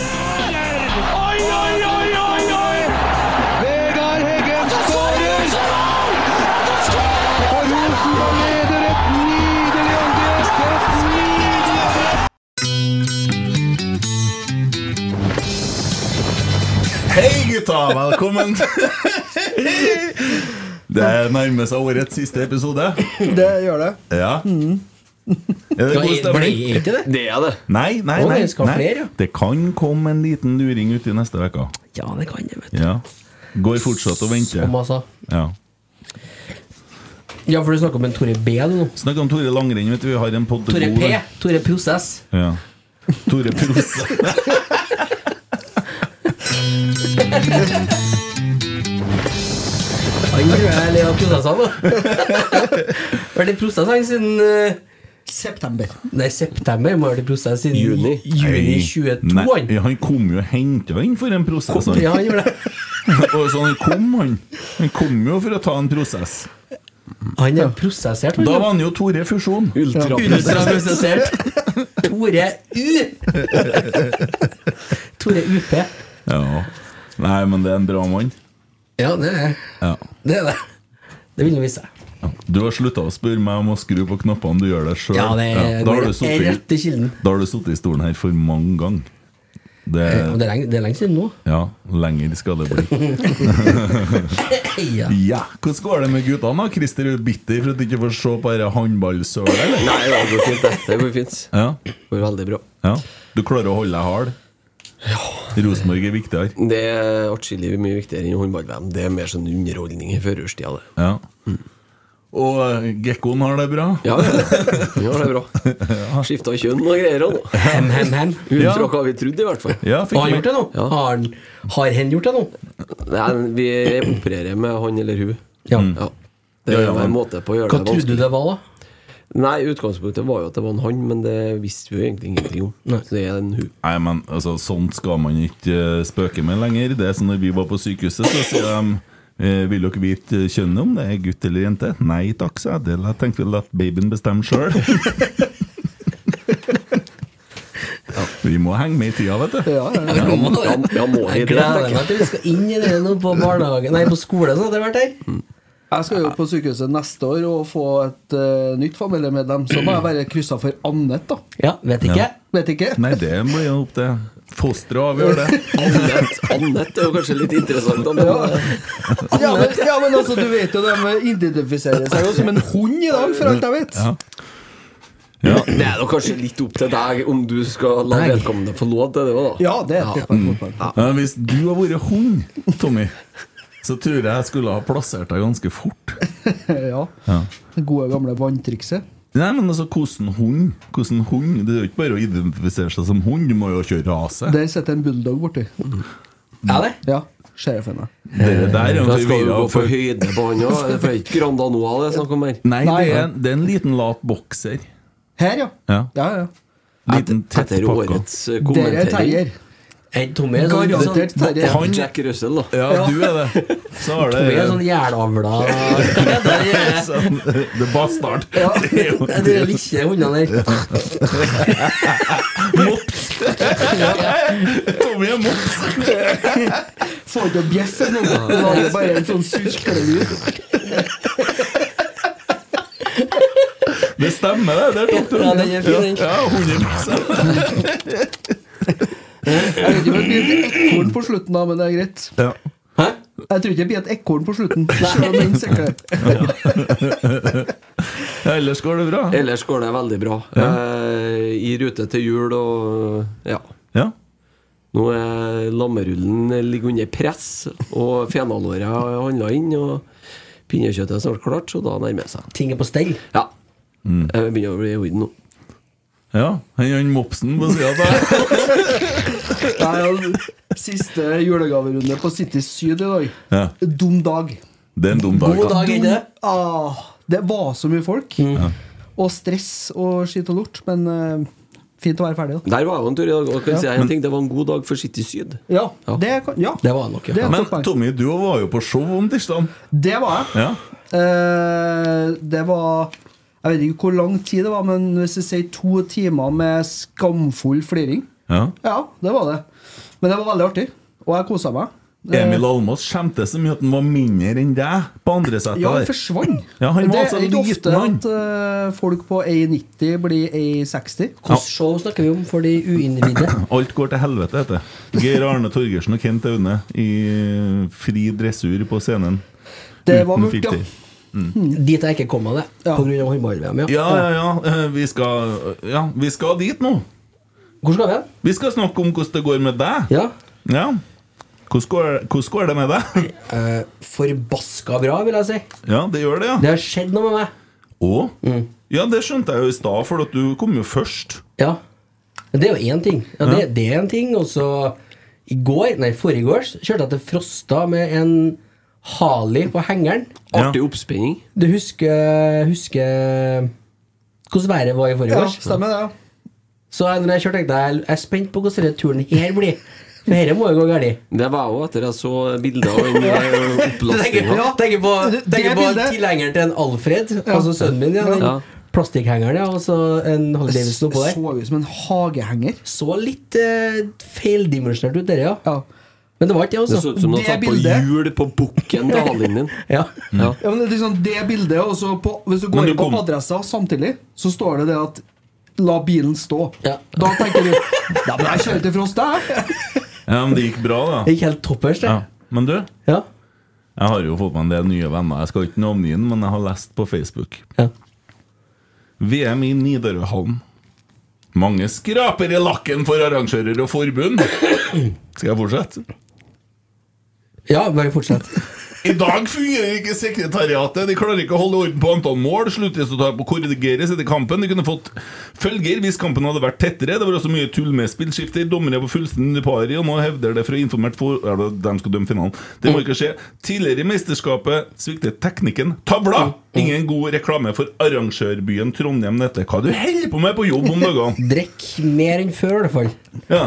Oi, oi, oi, oi, oi! Vegard Heggen skårer! Og Rosenborg leder et nydelig angrep! Et nydelig angrep! Hei gutta, velkommen Det nærmer seg årets siste episode Det gjør det. Mm. Ja Er det god stemning? ikke det? Det er det. Nei, nei, Å, nei, det skal nei. flere, ja. Det kan komme en liten luring ut i neste veka Ja, det kan det, vet du. Ja Går fortsatt og venter Som jeg sa. Ja Ja, for du snakker om en Tore B nå. Snakk om Tore Langrenn, vet du, vi har en podd Tore P. Tore Prosess. Ja Tore Prosa Han tror jeg er lei av prosessene, da. Vært i prosess han siden eh, September. Nei, september. Må ha vært i prosess siden Juni. juni 22, Nei, han. han kom jo og hentet inn for en prosess han. Ja, han gjorde det. Og så han kom han Han kom jo for å ta en prosess Han er prosessert, han. Da var han jo Tore Fusjon Ultraprosessert. Tore U. Tore UP. Ja. Nei, men det er en bra mann. Ja, det er Ja. det. Er det. det vil nå vise seg. Du har slutta å spørre meg om å skru på knappene. Du gjør det sjøl. Ja, det er, da har er du rett sittet i- til kilden. da har du sittet i stolen her for mange ganger. Ja, Det Det er lenge, det er lenge siden nå. Ja, lenger skal det bli. Ja. Ja, Hvordan går det med guttene? da? Christer er jo bitter for at du ikke får se på dette håndballsølet. eller? Nei, det går fint, det. Det går fint. Ja, Det går veldig bra. ja. Du klarer å holde deg hard? Rosenborg er viktigere. Det er atskillig mye viktigere enn håndball-VM. Det er mer sånn underholdning i førjulstida, det. Ja. Og eh, gekkoen har det bra? Ja, ja, ja, det er bra. Skifta kjønn og greier òg, nå. Hem, hem, hem. Ut Ja. fra hva vi trodde, i hvert fall. Ja, fikk Har han gjort det nå? Ja. Har, han- har hen gjort det nå? Nei, vi opererer med han eller hun. Mm. Ja. Ja. Ja, Det er ja, jo en men- måte på å gjøre Hva det trodde du vanskelig. det var, da? Nei, utgangspunktet var jo at det var en han, men det visste vi jo egentlig ingenting om. Så det er en hun. Nei, men altså, sånt skal man ikke eh, spøke med lenger. Det er sånn når vi var på sykehuset, så sier de eh, Vil dere vite kjønnet, om det er gutt eller jente? Nei takk, sa jeg. Det la- tenkte vi la babyen bestemme sjøl. Vi må henge med i tida, vet du. Ja, Ja, ja, må vi Jeg det? gleder meg til vi skal inn i det nå på barnehagen Nei, på skolen, så hadde det vært her. Jeg skal jo på sykehuset neste år og få et eh, nytt familiemedlem. Så må jeg være kryssa for Annet, da. Ja, vet ikke. Vet ikke. Nei, det blir jo opp til fosteret å avgjøre det. Annet, annet er jo kanskje litt interessant. da, Ja. Men, Ja, men, ja, men altså, du vet jo, de identifiserer seg jo som en hund i dag, for alt jeg vet. Ja. det er da kanskje litt opp til deg om du skal la Nei. vedkommende få lov til det òg, da. Ja, det er et godt Mm. poeng, godt poeng. Ja, Hvis du hadde vært hund, Tommy, så tror jeg jeg skulle ha plassert deg ganske fort. Ja. Det gode, gamle vanntrikset. Nei, men altså, hvordan hund? Hvordan hund? Det er jo ikke bare å identifisere seg som hund, du må jo kjøre rase. Der sitter en bulldog borti. Ja, det. Ja. sheriffen. da. Det der er jo Da en skal du forvirra gå på for- høyde på han òg. Det er ikke Grandanoa det er snakk om her. Nei. Nei, det er, en- det er en liten lat bokser. Her, ja. Ja. ja, ja. Liten tett Etter pakka. årets eh, Der er kommentering. Terjer. En Tommy er sånn, sånn, Garantert Terjer. Han- Jack Russell, da. Ja, du er det. Så har Tommy er det sånn jernavla Der er- Sånn, The bastard. Det er jo- Det er lille hundene der. Tommy er mops. Får ikke å bjeffe nå. Det var jo bare en sånn susklelyd. Det stemmer, det. Der tok du Ja, den er fin, den. Ja, 100 Jeg vet ikke om det blir et ekorn på slutten, da, men det er greit. ja. Hæ? Jeg tror ikke det blir et ekorn på slutten. Selv om den sikler. Ellers går det bra. Ellers går det veldig bra. Eh, I rute til jul og ja. Ja. Nå er lammerullen ligger under press, og fenalåret har handla inn, og pinnekjøttet er snart klart, så da nærmer det seg. Ting er på stell. Ja. Jeg begynner å bli hoden nå. ja. Han han mopsen på sida der. Nei, ja, Siste julegaverunde på City Syd i dag. Ja. Dum dag. Det er en dum dag. God da. dag, Mm. er det? Ah, det var så mye folk. Og stress og skitt og lort. Men eh, fint å være ferdig, da. Der var jeg jo en tur i dag, og kan si en ting, det var en god dag for City Syd. Ja, Ja. det, kan, ja. Det var nok, ja. Det er et godt Men poeng. Tommy, du var jo på show om tirsdag. Det var jeg. Ja. Eh, det var Jeg vet ikke hvor lang tid det var, men hvis vi sier to timer med skamfull fliring ja. Ja, det var det. Men det var veldig artig. Og jeg kosa meg. Eh, Emil Almås skjemte så mye at han var mindre enn deg på andre setet. Ja, han der. forsvant. Ja, han var det altså er ikke ofte liten, han. at eh, folk på A90 blir A60. Hvilket show snakker vi om for de uinnvidde? Alt går til helvete, heter det. Geir Arne Torgersen og Kent Aune i fri dressur på scenen. Det var Uten mørkt, ja. filter. Dit jeg ikke kom av det. Ja. På grunn av håndball-VM, ja. Ja, ja, ja. eh, Vi skal, ja. Vi skal dit nå. Hvor skal vi hen? Vi skal snakke om hvordan det går med deg. Ja. Ja. Hvordan går, hvordan går det med deg? Eh, forbaska bra, vil jeg si. Ja, det gjør det, ja. Det har skjedd noe med meg. Og? Mm. Ja, det skjønte jeg jo i stad, for at du kom jo først. Ja. Men det er jo én ting. Ja, det, det er en ting. Og så i går, nei, forrige går så kjørte jeg til Frosta med en Harley på hengeren. Artig oppspenning. Du husker, husker hvordan været var i forrige ja. års? Stemmer det. ja. Så jeg- når jeg kjørte, tenkte jeg jeg er spent på hvordan denne turen her blir. For dette må jo gå galt. Det var jeg òg, etter jeg så bilder av den eh, Tenker, opplastinga. Ja. tenker på, Det- det tenker på bildet- tilhengeren til en Alfred, altså sønnen min. Ja, den Ja. Plastikkhengeren, ja, og så en Harley Davidson oppå der. Så ut som en hagehenger. Så litt eh, feildimensjonert ut, dere, ja. Ja. Men det var ikke det, Det så altså. ut som du Det hadde tatt på bildet- hjul på bukken til halen din. Ja. Ja. Ja, men det er liksom det bildet, og så på, hvis du går Men du inn på kom- adressa samtidig, så står det det at La bilen stå. Ja. Da tenker du Ja, men jeg kjører til Frosta, jeg. Ja, men det gikk bra, Det da. gikk helt toppers, det. Ja. Men du, Ja. jeg har jo fått meg en del nye venner. Jeg skal ikke navngi den, men jeg har lest på Facebook. Ja. VM i Nidarøhallen. Mange skraper i lakken for arrangører og forbund. Skal jeg fortsette? ja, bare fortsett. I dag fungerer ikke sekretariatet. De klarer ikke å holde orden på antall mål. Sluttresultatet må korrigeres etter kampen. De kunne fått følger hvis kampen hadde vært tettere. Det var også mye tull med spillskifter. Dommere på fullstendig pari, og nå hevder det fra informert for... Ja, det- de skal dømme finalen. Det må ikke skje. Tidligere i mesterskapet sviktet teknikken. Tavla! Ingen god reklame for arrangørbyen Trondheim dette. Hva du holder på med på jobb om dagene? Drikk mer enn før, i hvert fall. Ja.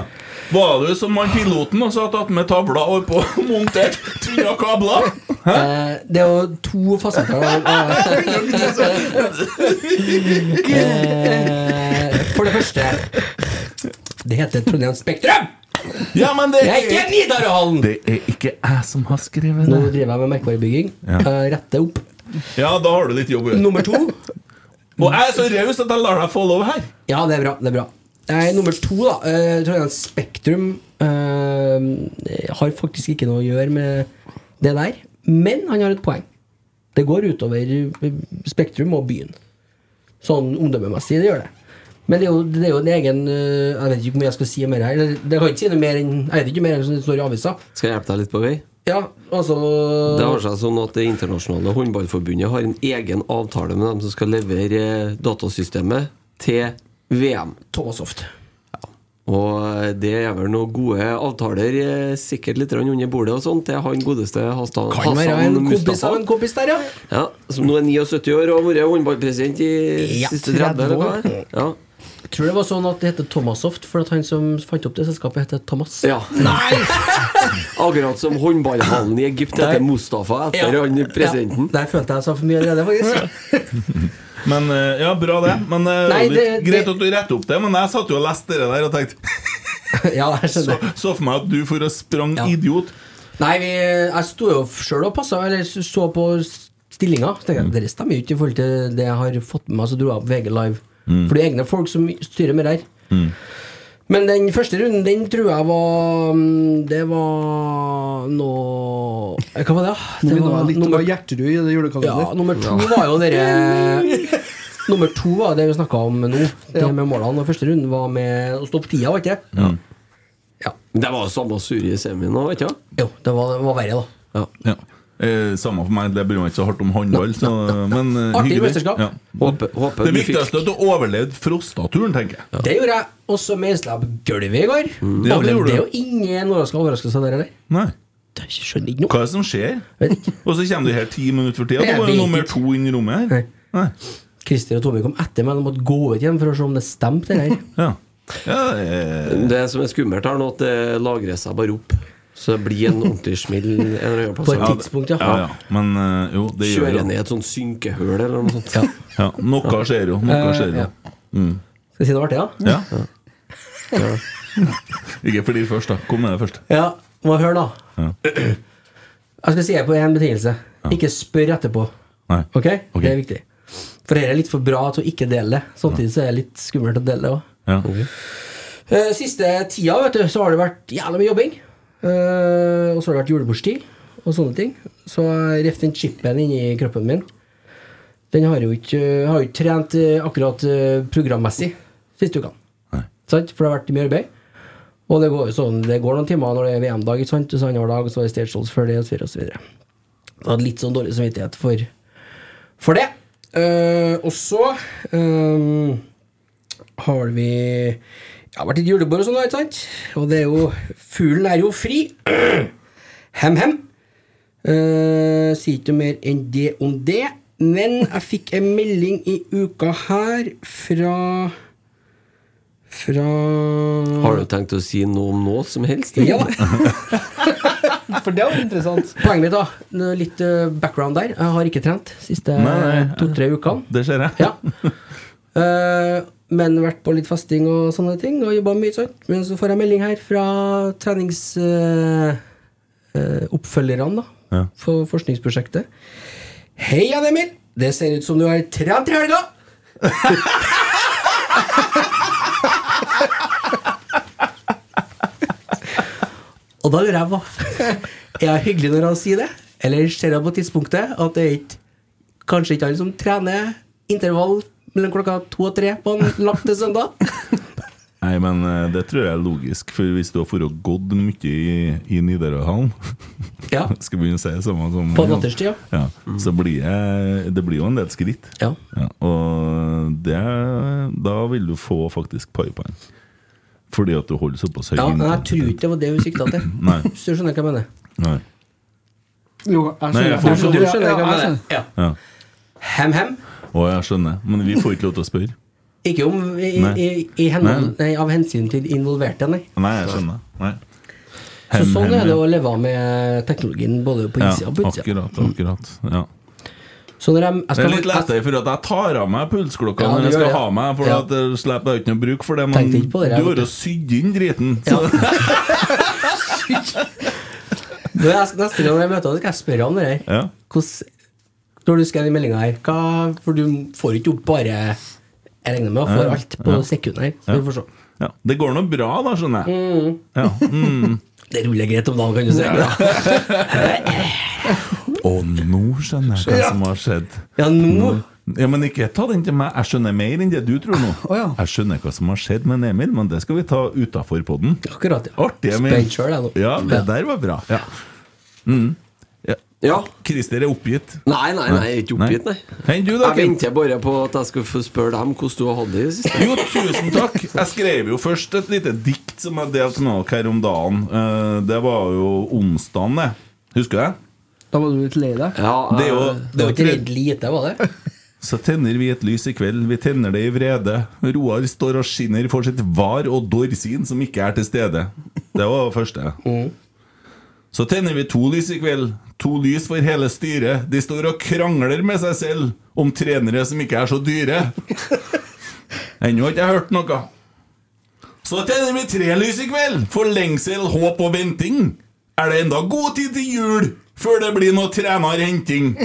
Var du som han piloten og satt attmed tavla og på montert tynne kabler? Hæ? Eh, det er jo to fasetter. av- av- eh, for det første Det heter Trondheim Spektrum! Ja, men det Det er ikke Nidarøhallen! Det er ikke jeg som har skrevet Nå det. driver jeg med merkevarebygging. Ja. Eh, rette opp. Ja, da har du litt jobb å gjøre. Nummer to Og jeg er så raus at jeg lar deg få lov her. Ja, det er bra. det er bra Nei, Nummer to, da. Uh, Trondheim Spektrum eh, har faktisk ikke noe å gjøre med det der. Men han har et poeng. Det går utover eh, Spektrum og byen. Sånn omdømmemessig, det gjør det. Men det er jo, det er jo en egen eh, Jeg vet ikke hvor mye jeg skal si om det her. Det, det kan ikke si noe mer enn Jeg vet ikke mer enn som det står i avisa. Skal jeg hjelpe deg litt på vei? Ja, altså Det har seg sånn at Det internasjonale håndballforbundet har en egen avtale med dem som skal levere eh, datasystemet til VM. Thomas Hoft. Og eh, det er vel noen gode avtaler, eh, sikkert litt grann under bordet og sånt, til han godeste Hastan, Kan være en Hassan kompis av Mustafa. en kompis der, ja. Ja, som nå er 79 år og har vært håndballpresident i Ja, siste 30 eller hva? det er. Ja. Jeg tror det var sånn at det heter Thomasoft, for at han som fant opp det selskapet, heter Thomas. ja. Akkurat som håndballhallen i Egypt Der. heter Mustafa etter han presidenten. Ja, der følte jeg så for mye allerede, faktisk. Men eh, ja, bra det. Men eh, Nei, Oliv, det- Greit det- at du retter opp det, men jeg satt jo og leste det der og tenkte ja, jeg Så, skjønner. så for meg at du for å sprang Ja. idiot. Nei, vi, jeg sto jo sjøl og passa, eller så på stillinga. Så tenkte jeg, Dere stemmer jo ikke i forhold til det jeg har fått med meg, så dro jeg opp VG Live. For det er egne folk som styrer med det her. Men den første runden, den tror jeg var mm, Det var noe Hva var det? da? Nå Det minner jeg litt om nummer- Hjerterud i det julekalender. Ja, nummer to var jo dere Nummer to var det vi snakka om nå. Det Ja. med målene. Og første runden var med å stoppe tida, var ikke det? Ja. Det var jo samme sur i semien òg, vet du. Jo, det var, det var verre, da. Ja. Ja. Eh, samme for meg, det bryr meg ikke så hardt om håndball. Så, men, eh, Artig hyggelig. mesterskap. Håper- håper det du fikk- viktigste er at du overlevde frostaturen, tenker jeg. Det gjorde jeg. Og så meisla jeg på gulvet i går. Ja, det det, gjorde det er du. jo ingen overraskelse overraskelse der heller. Nei. Det skjønner ikke noe. Hva er det som skjer? Vet ikke. Og så kommer du her ti minutter for tida. Jeg Da var jo vet nummer ikke. to inn i rommet her. Nei. Christer og Tommy kom etter meg. De måtte gå ut igjen for å se om det stemte. det her Ja. Ja, eh, Det som er skummelt her nå, at det lagrer seg bare opp. Så det blir en ordentlig smell en eller annen På et plass. tidspunkt, ja. ja, ja. Men eh, jo, det gjør Kjører jo ned i et sånt synkehull eller noe sånt. ja, Noe skjer jo. Noe Eh, skjer jo. ja. Skal jeg si noe artig, da? Ja. Ikke fordi først, da. Kom med det først. Ja, må jeg høre, da. Jeg skal si det på én betingelse. Ikke spør etterpå. Nei. Ok? Ok. Det er viktig. For dette er litt for bra til å ikke dele det. Samtidig så er det litt skummelt å dele det òg. Ja. Eh, Siste tida vet du, så har det vært jævla mye jobbing. Eh, og så har det vært julebordstid og sånne ting. Så jeg reff den chipen inni kroppen min. Den har jo ikke, jeg har jo ikke trent eh, akkurat eh, programmessig siste ukene. Nei. Sant? For det har vært mye arbeid. Og det går, jo sånn, det går noen timer når det er VM-dag, ikke sant? Og så andre dag, så er det stage shows før det, og så videre, og så videre. Jeg hadde litt sånn dårlig samvittighet for, for det. Eh, og så eh, har vi Jeg har vært i et julebord og sånn, da, ikke sant? Og det er jo Fuglen er jo fri. Hem-hem. Eh, sier ikke noe mer enn det om det. Men jeg fikk en melding i uka her fra Fra Har du tenkt å si noe om noe som helst? Ja, eller? For det var interessant. poenget mitt, da. Litt eh, background der. Jeg har ikke trent siste Nei, nei. to-tre ukene. Det ser jeg. Ja. Eh, men vært på litt fasting og sånne ting, og jobba mye sånt. Men så får jeg melding her fra treningsoppfølgerne, da. Ja. For forskningsprosjektet. Hei, Jan Emil! Det ser ut som du har trent i helga! og da lurer jeg på Er jeg hyggelig når han sier det? Eller ser jeg på tidspunktet at det er ikke kanskje ikke alle som trener intervall mellom klokka to og tre på en lagt til søndag. Nei, men eh, det tror jeg er logisk, for hvis du har for og gått mye i, i Nidarøhallen Ja, Skal begynne å si det samme som På natterstid, ja. ja. Så blir jeg, det blir jo en del skritt. ja. Ja, og det, da vil du få faktisk paipoeng. Fordi at du holder såpass høy ja men jeg tror intensitet. ikke det var det hun sikta til. Nei. Hvis du skjønner hva jeg mener. Nei. Jo, jeg Nei, skjønner. jeg får- Du skjønner Ja, hva jeg jeg mener. skjønner. Ja. Ja. Hem, hem. Å, jeg skjønner. Men vi får ikke lov til å spørre. Ikke om i, Nei. i, i henhold, nei, av hensyn til involverte, nei. Nei, jeg skjønner. Nei. Så Hem, sånn hem, er det ja. å leve med teknologien både på Ja, innsida og på utsida. akkurat. akkurat ja. Så når jeg, jeg Det skal, er litt lettere, for at jeg tar av meg pulsklokka Ja, du når jeg gjør skal det. ha meg. For Ja. at jeg slipper jeg har ikke noe bruk for det. Men Tenkte ikke på det, jeg du vet har du. jo sydd inn driten. Så, Når jeg- Neste gang jeg møter deg, skal jeg spørre om det her. ja. Hvordan, når du skrev den meldinga her hva, For du får ikke opp bare Jeg regner med å få Ja, alt på sekundet her. Så vi får se. Ja. Det går nå bra, da, skjønner jeg. Ja. Mm. Det ruller greit om dagen, kan du si. Ja, Og nå skjønner jeg hva som har skjedd. nå Ja, men ikke ta den til meg. Jeg skjønner mer enn det du tror nå. Å, ja. Jeg skjønner hva som har skjedd med Emil, men det skal vi ta utafor podden. Akkurat, ja. Artig, Emil. Spent sjøl, jeg nå. Ja, det der var bra. Ja. Mm. Ja. Ja. Christer er oppgitt. Nei, nei, nei, jeg er ikke oppgitt, nei. Hent du, da, Jeg Kent. venter bare på at jeg skal få spørre dem hvordan du har hatt det i det siste. Jo, tusen takk. Jeg skrev jo først et lite dikt som jeg delte med dere her om dagen. Eh, Det var jo onsdagen, det. Husker du det? Da var du litt lei deg? Ja, Det er jo, eh, Det det er var jo ikke tredje- redd lite, var det? Så tenner vi et lys i kveld, vi tenner det i vrede. Roar står og skinner for sitt var og dorsin som ikke er til stede. Det var det første. Så tenner vi to lys i kveld, to lys for hele styret. De står og krangler med seg selv om trenere som ikke er så dyre. Ennå har ikke jeg hørt noe. Så tenner vi tre lys i kveld, for lengsel, håp og venting. Er det enda god tid til jul før det blir noe trenerhenting?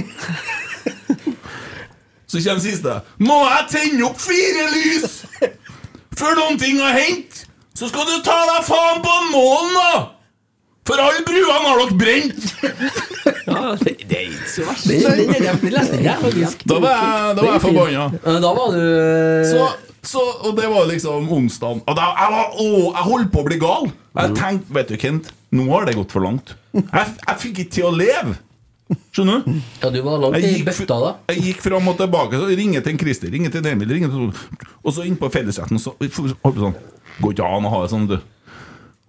Så kommer siste. Må jeg tenne opp fire lys før noen ting har hendt? Så skal du ta deg faen på målen, da! For alle bruene har dere brent! ja, det, det er ikke så verst. Den- den- den- den- den leste jeg, faktisk. Da var jeg, da var jeg forbanna. Ja, Da var du eh, Så, så, og det var liksom onsdagen. Og da, jeg, var, å, jeg holdt på å bli gal. Jeg tenkte, vet du, Kent, nå har det gått for langt. Jeg, jeg fikk ikke til å leve. Skjønner du? Ja, du var langt Jeg i gikk, bøtta da. jeg gikk fram og tilbake, så ringer til en Christer, ringer til en Emil, ringer til Og så inn på fellesretten, så holdt sånn Går ikke an å ha det sånn, du.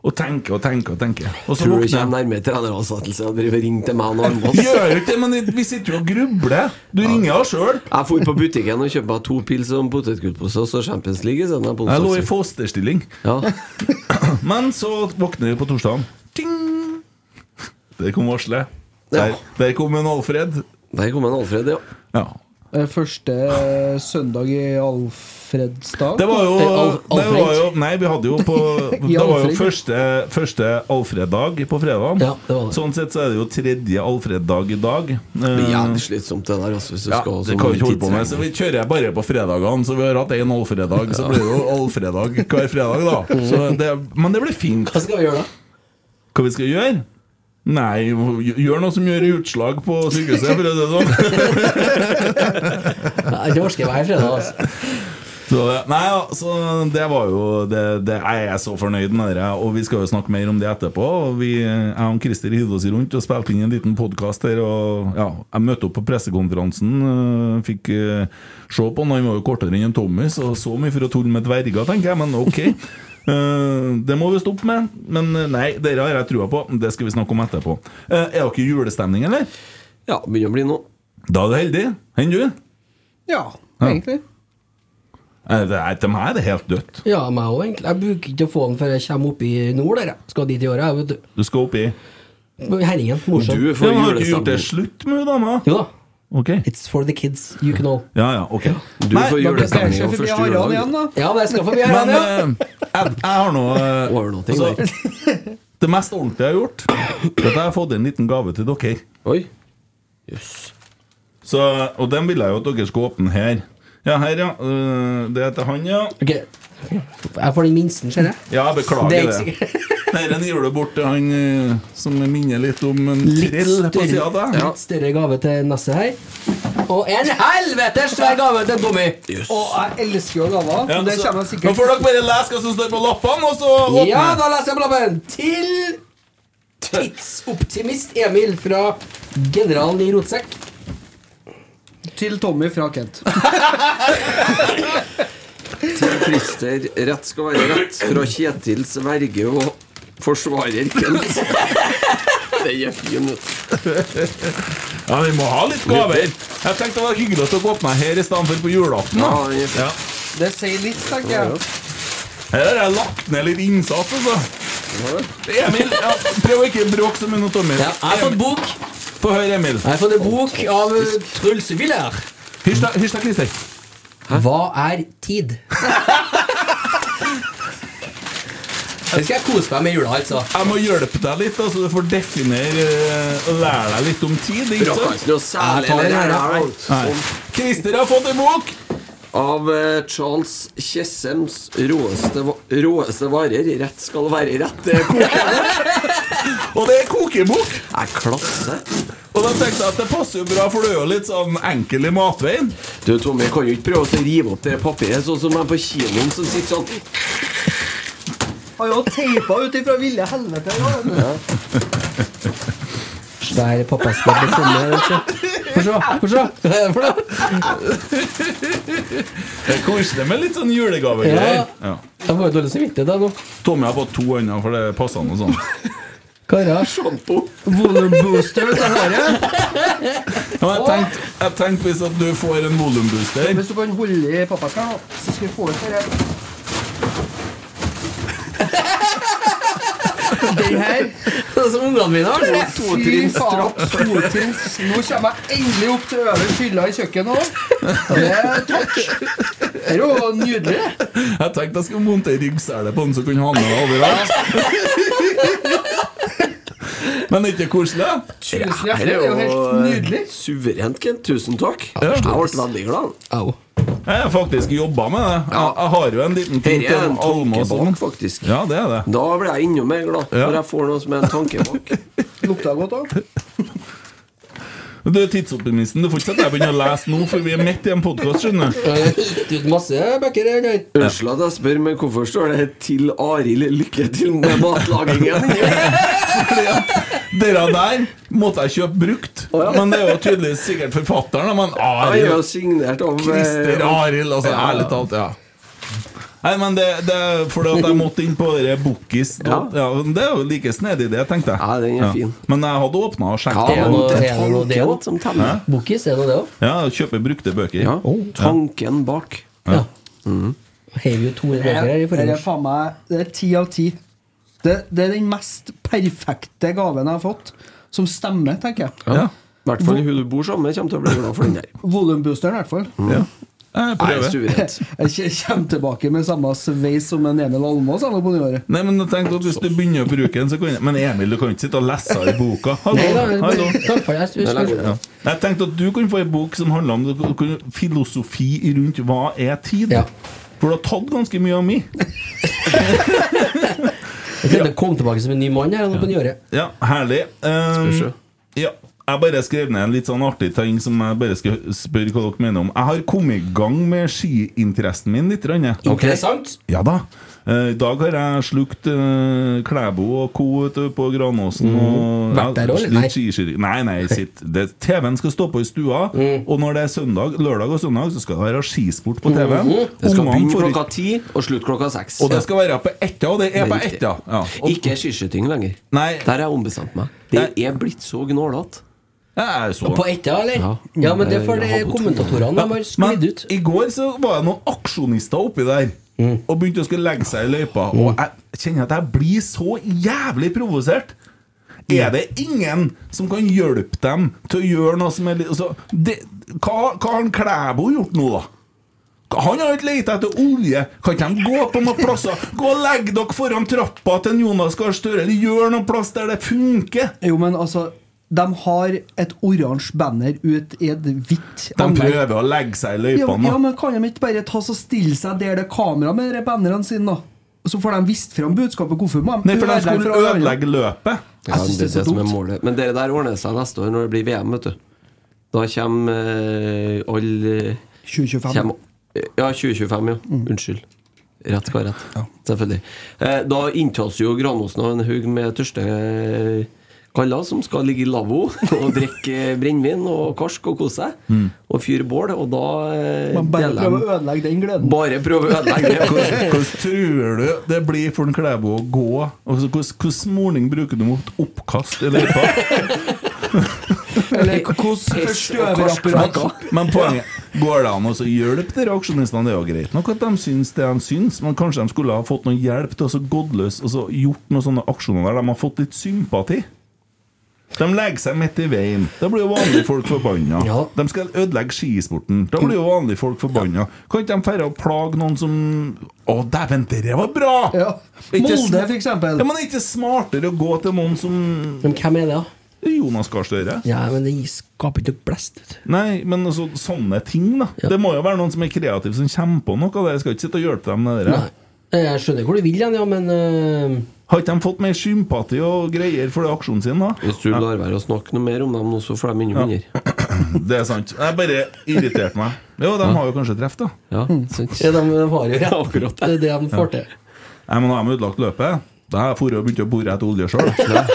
Og tenke og tenke og tenke. Og så Tror du ikke jeg våkner jeg. nærmere treneransettelse og driver og ringer til meg og Almås? Gjør jo ikke det, men vi sitter jo og grubler. Du ringer jo sjøl. Jeg dro på butikken og kjøpte meg to pils og en potetgullpose, og så Champions League i stedet. på Jeg lå i onsdags. fosterstilling. Ja. Men så våkner vi på torsdagen. Ting! Der kom varselet. Der, Ja. der kom en Alfred. Der kom en Alfred, ja. Ja. Eh, Første eh, søndag i Alfredsdag? Det var jo, Al- det var Alfred. jo Nei, vi hadde jo på I Det var jo Alfred. første, første Alfred-dag på fredagen. Ja, det var det. Sånn sett så er det jo tredje Alfred-dag i dag. Eh, Det er jævlig slitsomt, det der, altså, hvis du ja, skal ha så det kan vi mange ikke holde på med, så tidsregninger. vi kjører bare på fredagene. Så vi har hatt én Alfred-dag, så blir det jo Alfred-dag hver fredag, da. Så det, men det blir fint. Hva skal vi gjøre da? Hva vi skal gjøre? Nei, gjør noe som gjør utslag på sykehuset, for å si det sånn. Nei, Det orker jeg hver fredag. Altså. Så, det- nei, ja, så det var jo det, det, Jeg er så fornøyd med det, og vi skal jo snakke mer om det etterpå. Og vi, jeg og Christer hivde oss rundt og spilte inn en liten podkast her. Og ja, Jeg møtte opp på pressekonferansen, øh, fikk øh, se på han. Han var jo kortere enn en Thomas, og så mye for å tulle med dverger, tenker jeg, men ok. Eh, det må vi stoppe med. Men eh, nei, dere har jeg trua på. Det skal vi snakke om etterpå. Eh, er dere i julestemning, eller? Ja, begynner å bli nå. Da er du heldig. Enn du? Ja, egentlig. Eh, det er- Til meg er det helt dødt. Ja, meg òg, egentlig. Jeg bruker ikke å få den før jeg kommer opp i nord. Der. jeg. Skal dit i året, jeg, vet du. Du skal oppi Herringen. Morsom. Du Ja, får men har du ikke gjort det julestemning. slutt med dama? Jo da. Ok. It's for the kids. You can all. Ja, ja, ok. Du Nei, får men- Det ser julestemning ikke på forbi første Harald juledag. igjen, da. Ja, men jeg skal forbi Men her. ja. eh, jeg, jeg har nå eh, Over noe ting, Det mest ordentlige jeg har gjort, Det er at jeg har fått en liten gave til dere. Oi. Jøss. Så, og den vil jeg jo at dere skal åpne her. Ja, her, ja. Eh, Det er til han, ja. Ok. Jeg får den minsten, ser jeg. Ja, jeg beklager Det det. er ikke Dette gir du bort til han eh, som minner litt om en Litt trill på sida av større, deg. litt større gave til Nasse her. Og en helvetes svær gave til Tommy! Og jeg elsker jo gaver. Ja, så det så- kommer jeg Nå sikkert får dere bare lese hva som står på lappene, og så åpner Ja, jeg. da leser jeg på lappen! Til tidsoptimist Emil fra Generalen i rotsekk. til Tommy fra Kent. Christer, rett skal være rett. Fra Kjetil sverge og forsvarer Kent. Det er fin, vet du. Ja, vi må ha litt gaver. Jeg tenkte det var hyggelig at dere åpna her i stedet for på julaften. Ja, da. den er fin. Ja. Det sier litt, tenker jeg. Her har jeg lagt ned litt innsats, altså. Emil, ja, prøv å ikke bråke så mye nå, Tommy. Ja, jeg har fått Emil, bok. Få høre, Emil. Jeg har fått en bok av eh, Truls Willer. Hysj da, hysj da, Christer. Hva er tid? Det skal jeg kose meg med i jula, altså. Jeg må hjelpe deg litt, altså, du får definere eh, og lære deg litt om tid. ikke Brakka sant? ikke noe Jeg særlig tar den eller? her, ja. Nei. Christer har fått en bok! Av eh, Charles Kjessems råeste, va- råeste varer. Rett skal være rett. eh, Det er kokende. Og det er kokebok! Jeg klasser. Og da tenkte jeg at det passer jo bra, for du er jo litt sånn enkel i matveien. Du, Tommy, kan jo ikke prøve å rive opp det papiret, sånn som de på kinoen som sitter sånn. Har jo teipa ut ifra ville helvete. Ja. svær pappaskap i sommer. vet du. Få se, få se! Hva er det for noe? Det er koselig med litt sånn julegavegreier. Ja. Jeg får jo dårlig samvittighet jeg, nå. Tommy har fått to øyne, for det passer han og sånn. Karer. Shampoo. Volum booster til håret. Ja, men jeg tenkte jeg tenkte hvis at du får en volumbooster Hvis du kan holde i pappaska, så skal vi få ut det her. Den her Det er som ungene mine har. sånn Fy Totrinns faen, trapp. totrinns. Nå kommer jeg endelig opp til øverste hylla i kjøkkenet òg. Det er takk. Det er jo nydelig. Jeg tenkte jeg skulle montere ryggselet på den, så kunne han ha det overalt. Men er ikke det koselig? Tusen hjertelig. Det er jo helt nydelig. suverent, Kent. Tusen takk. Jeg ble veldig glad. Au. Jeg har faktisk jobba med det. Jeg, jeg har jo en liten ting Dette er en tanke Almås bak, også. faktisk. sånn. Ja, det er det. Da blir jeg enda mer glad Ja. når jeg får noe som er en tanke bak. Lukta godt òg. Du er tidsoptimisten. Du får ikke at jeg begynner å lese nå, for vi er midt i en podkast, skjønner du. Jeg har gitt ut masse bøker. jeg, Geir. Unnskyld at jeg spør, men hvorfor står det 'Til Arild, lykke til med matlagingen'? Dere der måtte jeg kjøpe brukt. Men det er jo tydeligvis sikkert forfatteren. da, Men Jeg er jo Arild signert av eh, Christer Arild, altså ærlig talt. ja Nei, men det, det er fordi at jeg måtte inn på dere Bookis. Ja. Ja. men det er jo like snedig, det, tenkte jeg. Ja, den er fin. Men jeg hadde åpna og Ja, sjekket Det er men noe- det det er er noe det tanken også. som teller. Bokis, er det det òg? Ja, kjøpe brukte bøker. Oh, Ja. Tanken bak. Ja. Mm. Heiv jo 200 bøker her i Det forrige er faen meg Det er ti av ti. Det, det er den mest perfekte gaven jeg har fått, som stemmer, tenker jeg. Ja. I hvert fall hun du bor sammen med, kommer til å bli glad for den der. Volumboosteren, i hvert fall. ja. Jeg Mm. Nei, prøver. suverent. Jeg kje- kommer tilbake med samme sveis som en Emil Almås. eller på nyåret. Nei, men jeg tenkte at Hvis du begynner å bruke den, så kan jeg Men Emil, du kan ikke sitte og lese i boka. Hallo, Nei da, det er hallo. bare- takk for det. Jeg Den er husker- god. Ja. Jeg tenkte at du kunne få ei bok som handla om du kunne- filosofi rundt hva er tid. Ja. For du har tatt ganske mye av mi. Jeg tenkte jeg kom tilbake som en ny mann her nå på nyåret. Ja, herlig. Um, ja, jeg bare skrev ned en litt sånn artig ting som jeg bare skal spørre hva dere mener om. Jeg har kommet i gang med skiinteressen min litt. Ranne. Interessant. Ja da. Eh, I dag har jeg slukt eh, Klæbo og co. vet du, på Granåsen. Og, Vært der også, eller? Litt skiskyting. Nei, nei. Sitt. Det, TV-en skal stå på i stua, og når det er søndag, lørdag og søndag, så skal det være skisport på TV-en. Mm. Det skal Ungene begynne får klokka ikke- ti og slutte klokka seks. Og det skal være på etta, og det er på riktig. etta. Ja. Og, Ikke skiskyting lenger. Nei. Der har jeg ombestemt meg. Det er blitt så gnålete. jeg så På ett, ja, eller? Ja. Ja, men det er for Jeg de har på to. kommentatorene. De har sklidd ut. i går så var det noen aksjonister oppi der og begynte å skulle legge seg i løypa. Og jeg kjenner at jeg blir så jævlig provosert. Er det ingen som kan hjelpe dem til å gjøre noe som er litt altså, det, hva, hva har han Klæbo gjort nå, da? Han har ikke leita etter olje. Kan ikke de gå på noen plasser? Gå og legg dere foran trappa til en Jonas Gahr Støre, eller gjør noen plass der det funker! Jo, men altså De har et oransje banner ut i et hvitt De anlegg. prøver å legge seg i Ja, løypa nå. ja, men Kan de ikke bare ta så stille seg der det er kamera med de bannerne sine, da? Og så får de vist fram budskapet. Hvorfor må Nei, for de skulle ødelegge løpet. Ja, synes det det er er det så som er dumt. målet. Men det der ordner seg neste år når det blir VM, vet du. Da kommer eh, alle 2025. kommer- Ja, 2025, ja. Mm. Unnskyld. Rett skal være rett. Selvfølgelig. Eh, da inntas jo Granåsen av en haug med tørste eh, kaller som skal ligge i lavvo og drikke brennevin og karsk og kose seg. Og fyre bål. Og da eh, Man bare deler prøver de- å ødelegge den gleden. Bare prøve å ødelegge det. Hvordan tror du det blir for en Klæbo å gå? Altså, hvordan- Hvordan morning bruker du mot oppkast i løypa? Eller hvordan Piss og forstøverapparatet Men poenget Går det an å så hjelpe de reaksjonistene? Det er jo greit nok at de syns det de syns, men kanskje de skulle ha fått noe hjelp til å så gått løs og så gjort noen sånne aksjoner der de har fått litt sympati? De legger seg midt i veien. Da blir jo vanlige folk forbanna. Ja. De skal ødelegge skisporten. Da blir jo vanlige folk forbanna. Kan ikke de færre å plage noen som Å, dæven, det var bra! Ja. Ikke Molde, sm- for eksempel. Ja, men er ikke smartere å gå til noen som Men hvem er det, da? Jonas Gahr Støre? Ja, men det skaper ikke blest. vet du. Nei, men altså, sånne ting, da. Det må jo være noen som er kreative, som kommer på noe av det. Jeg skal ikke sitte og hjelpe dem med det der. Nei. Jeg skjønner hvor du vil hen, ja, men øh, Har ikke de fått mer sympati og greier for det aksjonen sin, da? Hvis du lar være å snakke noe mer om dem nå, så får de enda mindre. Det er sant. Jeg bare irriterte meg. Jo, de har jo kanskje treff, da. Ja, Mm. sant. ja, de, de har jo rett. Akkurat det. er det de får til. Nei, men nå har de ødelagt løpet. Da har jeg dratt og begynt å bore etter olje sjøl.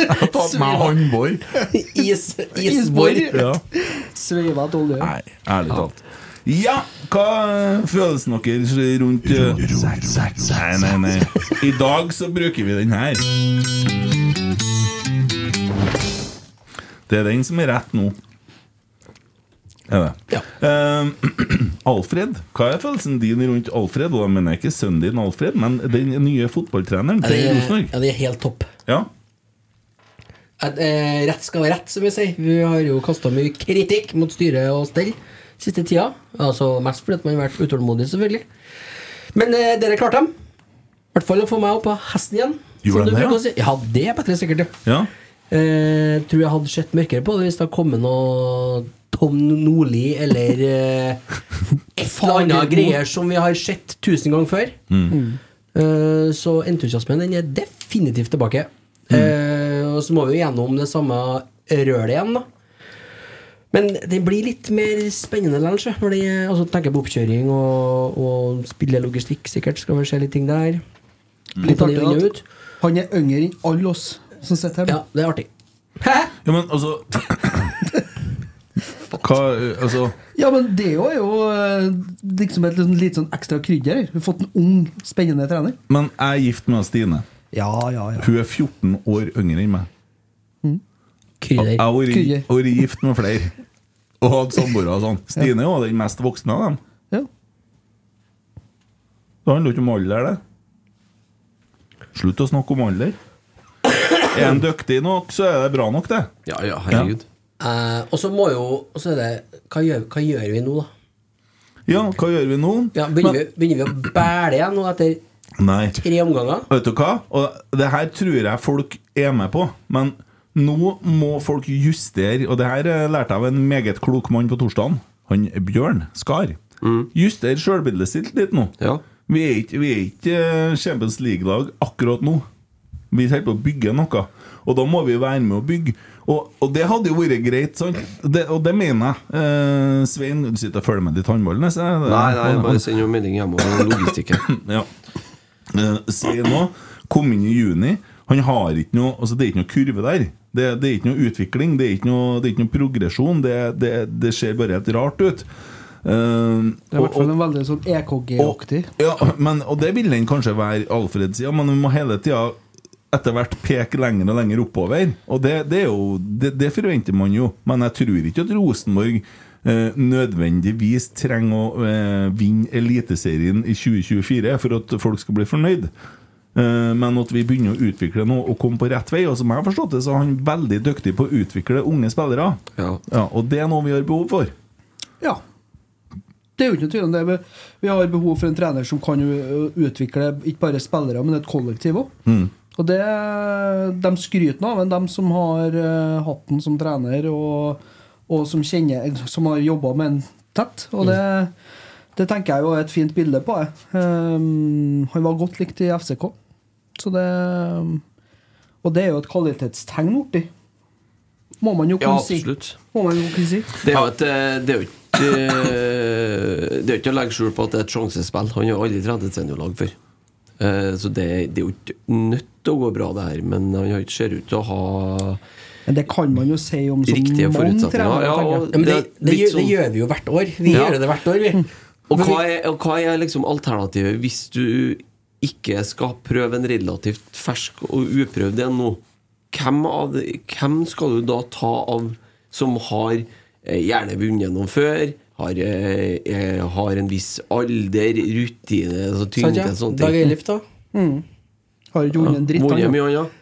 Jeg tar på meg håndbor. Is, Isborg. Ja. Sveiva et olje. Nei, ærlig talt. Ja, hva er følelsen deres rundt eh, Nei, nei, nei. I dag så bruker vi den her. Det er den som er rett nå. Er det? Ehm, Alfred. Hva er følelsen din rundt Alfred? Og da mener jeg ikke sønnen din Alfred, men den nye fotballtreneren Ja, det til er, Rosenborg. ja, det er helt topp. Ja. At, eh, rett skal være rett, som vi sier. Vi har jo kasta mye kritikk mot styre og stell siste tida. Altså Mest fordi at man har vært utålmodig, selvfølgelig. Men eh, dere klarte dem. I hvert fall å få meg opp på hesten igjen. som Gjorde du de det, bruker å si. Ja, det er bedre sikkert, ja. ja. Eh, tror jeg hadde sett mørkere på det hvis det hadde kommet noe Tom Nordli eller eh, et eller annet greier som vi har sett tusen ganger før. Mm. Eh, så entusiasmen den er definitivt tilbake. Mm. Eh, og så må vi jo gjennom det samme rølet igjen, da. Men det blir litt mer spennende likevel, sjø, når det er- altså, tenker på oppkjøring og, og spillelogistikk, sikkert. Skal vi se litt ting der. Litt av det inn og ut. Han er yngre enn alle oss som sitter her. Ja, det er artig. Hæ? ja, men altså Hva eh, Altså Ja, men det er jo eh, liksom et litt, litt sånn ekstra krydder. Vi har fått en ung, spennende trener. Men jeg er gift med Stine. Ja, ja, ja. Hun er 14 år yngre enn meg. Jeg Krydder. har vært- Krydder. vært gift med flere. Og hadde samboere og sånn. Stine var den mest voksne av dem. ja. Det handler jo ikke om alder, det. Slutt å snakke om alder. Er en dyktig nok, så er det bra nok, det. Ja, ja, herregud. Eh, og så må jo og så er det, hva, gjør, hva gjør vi nå, da? Ja, hva gjør vi nå? Ja, begynner, vi, begynner vi å bæle igjen nå etter Nei. tre omganger? Vet du hva? Og det her tror jeg folk er med på, men nå må folk justere Og det her eh, lærte jeg av en meget klok mann på torsdagen. Han Bjørn Skar. Juster sjølbildet sitt litt nå. Mm. Ja. Vi er ikke, vi er ikke eh, Champions League-lag akkurat nå. Vi holder på å bygge noe, og da må vi være med å bygge. Og, og det hadde jo vært greit, sant? Det, og det mener jeg. Eh, Svein, du sitter og følger med ditt håndball? Nei, Nei, nei, jeg bare send jo melding hjemover om logistikken. ja. Eh, Se nå, kom inn i juni. Han har ikke noe altså Det er ikke noe kurve der. Det, det er ikke noe utvikling, det er ikke noe, det er ikke noe progresjon. Det, det, det ser bare helt rart ut. Eh, Det er i og- hvert fall en veldig sånn EKG-aktig. og, ja, men, og det vil den kanskje være Alfred sida, men vi må hele tida etter hvert peke lenger og lenger oppover. Og det, det, er jo, det, det forventer man jo, men jeg tror ikke at Rosenborg eh, nødvendigvis trenger å eh, vinne Eliteserien i 2024 for at folk skal bli fornøyd. Eh, Men at vi begynner å utvikle noe og komme på rett vei. Og som jeg har forstått det, så er han veldig dyktig på å utvikle unge spillere. Ja. Ja, og det er noe vi har behov for. Ja. Det er jo ikke noe tvil om det. men Vi har behov for en trener som kan jo utvikle ikke bare spillere, men et kollektiv òg. Og det, de skryter nå av en, de som har eh, hatt den som trener, og, og som, kjenner, som har jobba med den tett. Og det, det tenker jeg jo er et fint bilde på. Jeg. Ehm, han var godt likt i FCK. Så det, og det er jo et kvalitetstegn borti. Må man jo ja, kunne si. absolutt. Må man jo kunne si. Det er jo et eh, Det er jo ikke eh, Det er jo ikke å legge skjul på at det er et sjansespill. Han har aldri trent et seniorlag før. Eh, Så det, det er jo ikke nødt til å gå bra, det her, men han har ikke- ser ut til å ha Men det kan man jo si om så Riktige mange forutsetninger, trenere. ja, tenker jeg. og- Ja, men det, Det er det, litt gjør, det sånn- gjør vi jo hvert år. Vi Ja. gjør det hvert år, vi. Og Men hva vi- er, og hva er liksom alternativet hvis du ikke skal prøve en relativt fersk og uprøvd en nå? Hvem, av, de- hvem skal du da ta av som har eh, gjerne vunnet noen før, har, eh, eh, har en viss alder, rutine, altså Sant, tyngde ja? og sånne Dag ting? Eilif, da. Har ikke vunnet en dritt. han, Vunnet da. mye annet?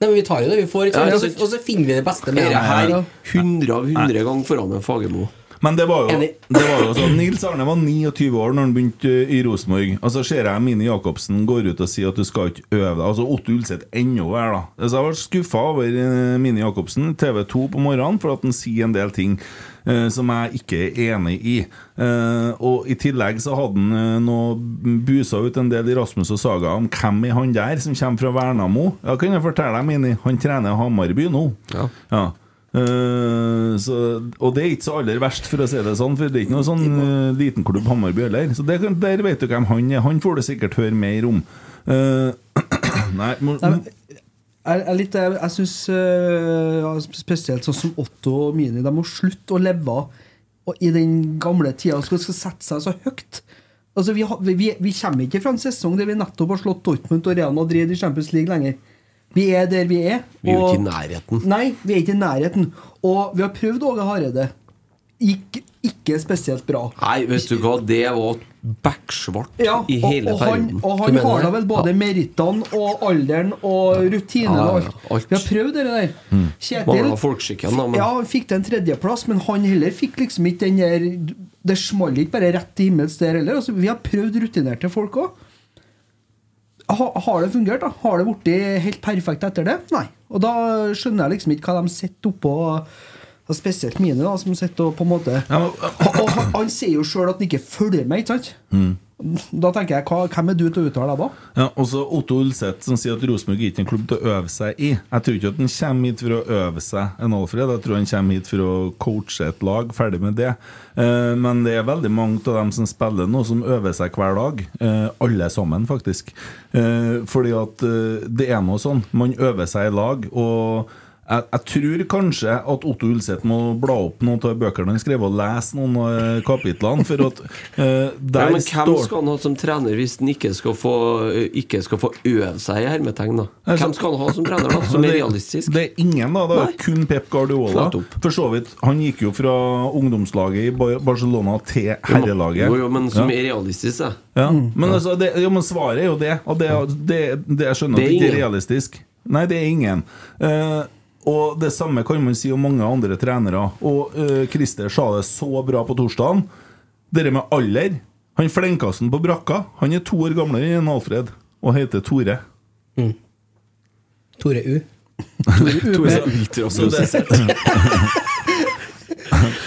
Nei, men vi tar jo det vi får, ikke sant? Ja, og, sant. så, og så finner vi det beste med Er det det. her 100 av 100 ganger foran en Fagermo? Men det var jo, Enig. det var jo sånn Nils Arne var 29 år når han begynte eh, i Rosenborg. Og så ser jeg Mini Jacobsen går ut og sier at du skal ikke øve deg. Altså Otto Ulseth ennå her, da. Så jeg var skuffa over eh, Mini Jacobsen, TV 2 på morgenen, for at han sier en del ting eh, som jeg ikke er enig i. Eh, og i tillegg så hadde han eh, noe busa ut en del i Rasmus og Saga om hvem er han der som kommer fra Vernamo. Ja, kan jeg fortelle deg, Mini, han trener Hamarby nå. Ja. Ja. Eh, så, og det er ikke så aller verst, for å si det sånn. For det er ikke noe sånn eh, liten klubb Hammarby heller. Så det, kan- der vet du hvem han er. Han får du sikkert høre mer om. Eh, nei, må, Nei, men Jeg, jeg, er litt- jeg, jeg syns ja, spesielt sånn som Otto og Mini De må slutte å leve og i den gamle tida. Skal, skal sette seg så høyt. Altså, vi, har- vi, vi kommer ikke fra en sesong der vi nettopp har slått Dortmund og Real Madrid i Champions League lenger. Vi er der vi er. Vi er jo og- ikke i nærheten. Nei, vi er ikke i nærheten. Og vi har prøvd Åge Hareide. Gikk ikke spesielt bra. Nei, vet du hva, det var beksvart Ja, i hele og, og han, perioden. og Du han mener har da det? vel både merittene og alderen og rutinene Ja, ja, og ja, alt. alt. Mm. Vi har prøvd det der. Kjetil Manglet folkeskikken, da, men- Ja, han fikk til en tredjeplass, men han heller fikk liksom ikke den der Det smalt ikke bare rett til himmels der heller. Altså, vi har prøvd rutinerte folk òg. Ha, har det fungert? da? Har det blitt helt perfekt etter det? Nei. Og da skjønner jeg liksom ikke hva de sitter oppå og Spesielt mine, da, som sitter og på en måte og og han, han sier jo sjøl at han ikke følger med, ikke sant? Da tenker jeg, hva, hvem er du til å uttale deg da? Ja, også Otto Ulseth som sier at Rosenborg er ikke en klubb til å øve seg i. Jeg tror ikke at han kommer hit for å øve seg, en Alfred. Jeg tror han kommer hit for å coache et lag. Ferdig med det. Eh, Men det er veldig mange av dem som spiller nå, som øver seg hver dag. Eh, Alle sammen, faktisk. Eh, Fordi at eh, det er nå sånn. Man øver seg i lag. Og jeg, jeg tror kanskje at Otto Ulseth må bla opp noen av bøkene han skrev, og lese noen av eh, kapitlene. For at eh, Ja, der men hvem står skal han ha som trener hvis han ikke skal få, eh, ikke skal få øve seg i hermetegn, da? Altså- Hvem skal han ha som trener, da? Som Det- er realistisk? Det er ingen, da. Det er Nei. kun Pep Guardiola. Klart opp. For så vidt. Han gikk jo fra ungdomslaget i Bar- Barcelona til herrelaget. Jo, jo, men som ja. er Mm. realistisk, da. Ja. Men, altså, det, jo, men svaret er jo det. Og det, det, det jeg skjønner Mm. Det at det er ikke er ingen. realistisk. Nei, det er ingen. Eh, og det samme kan man si om mange andre trenere. Og eh, Christer sa det så bra på torsdagen. Dere med alder Han flenkasen på brakka, han er to år gamlere enn Alfred og heter Tore. Tore U. Tore Så- så det-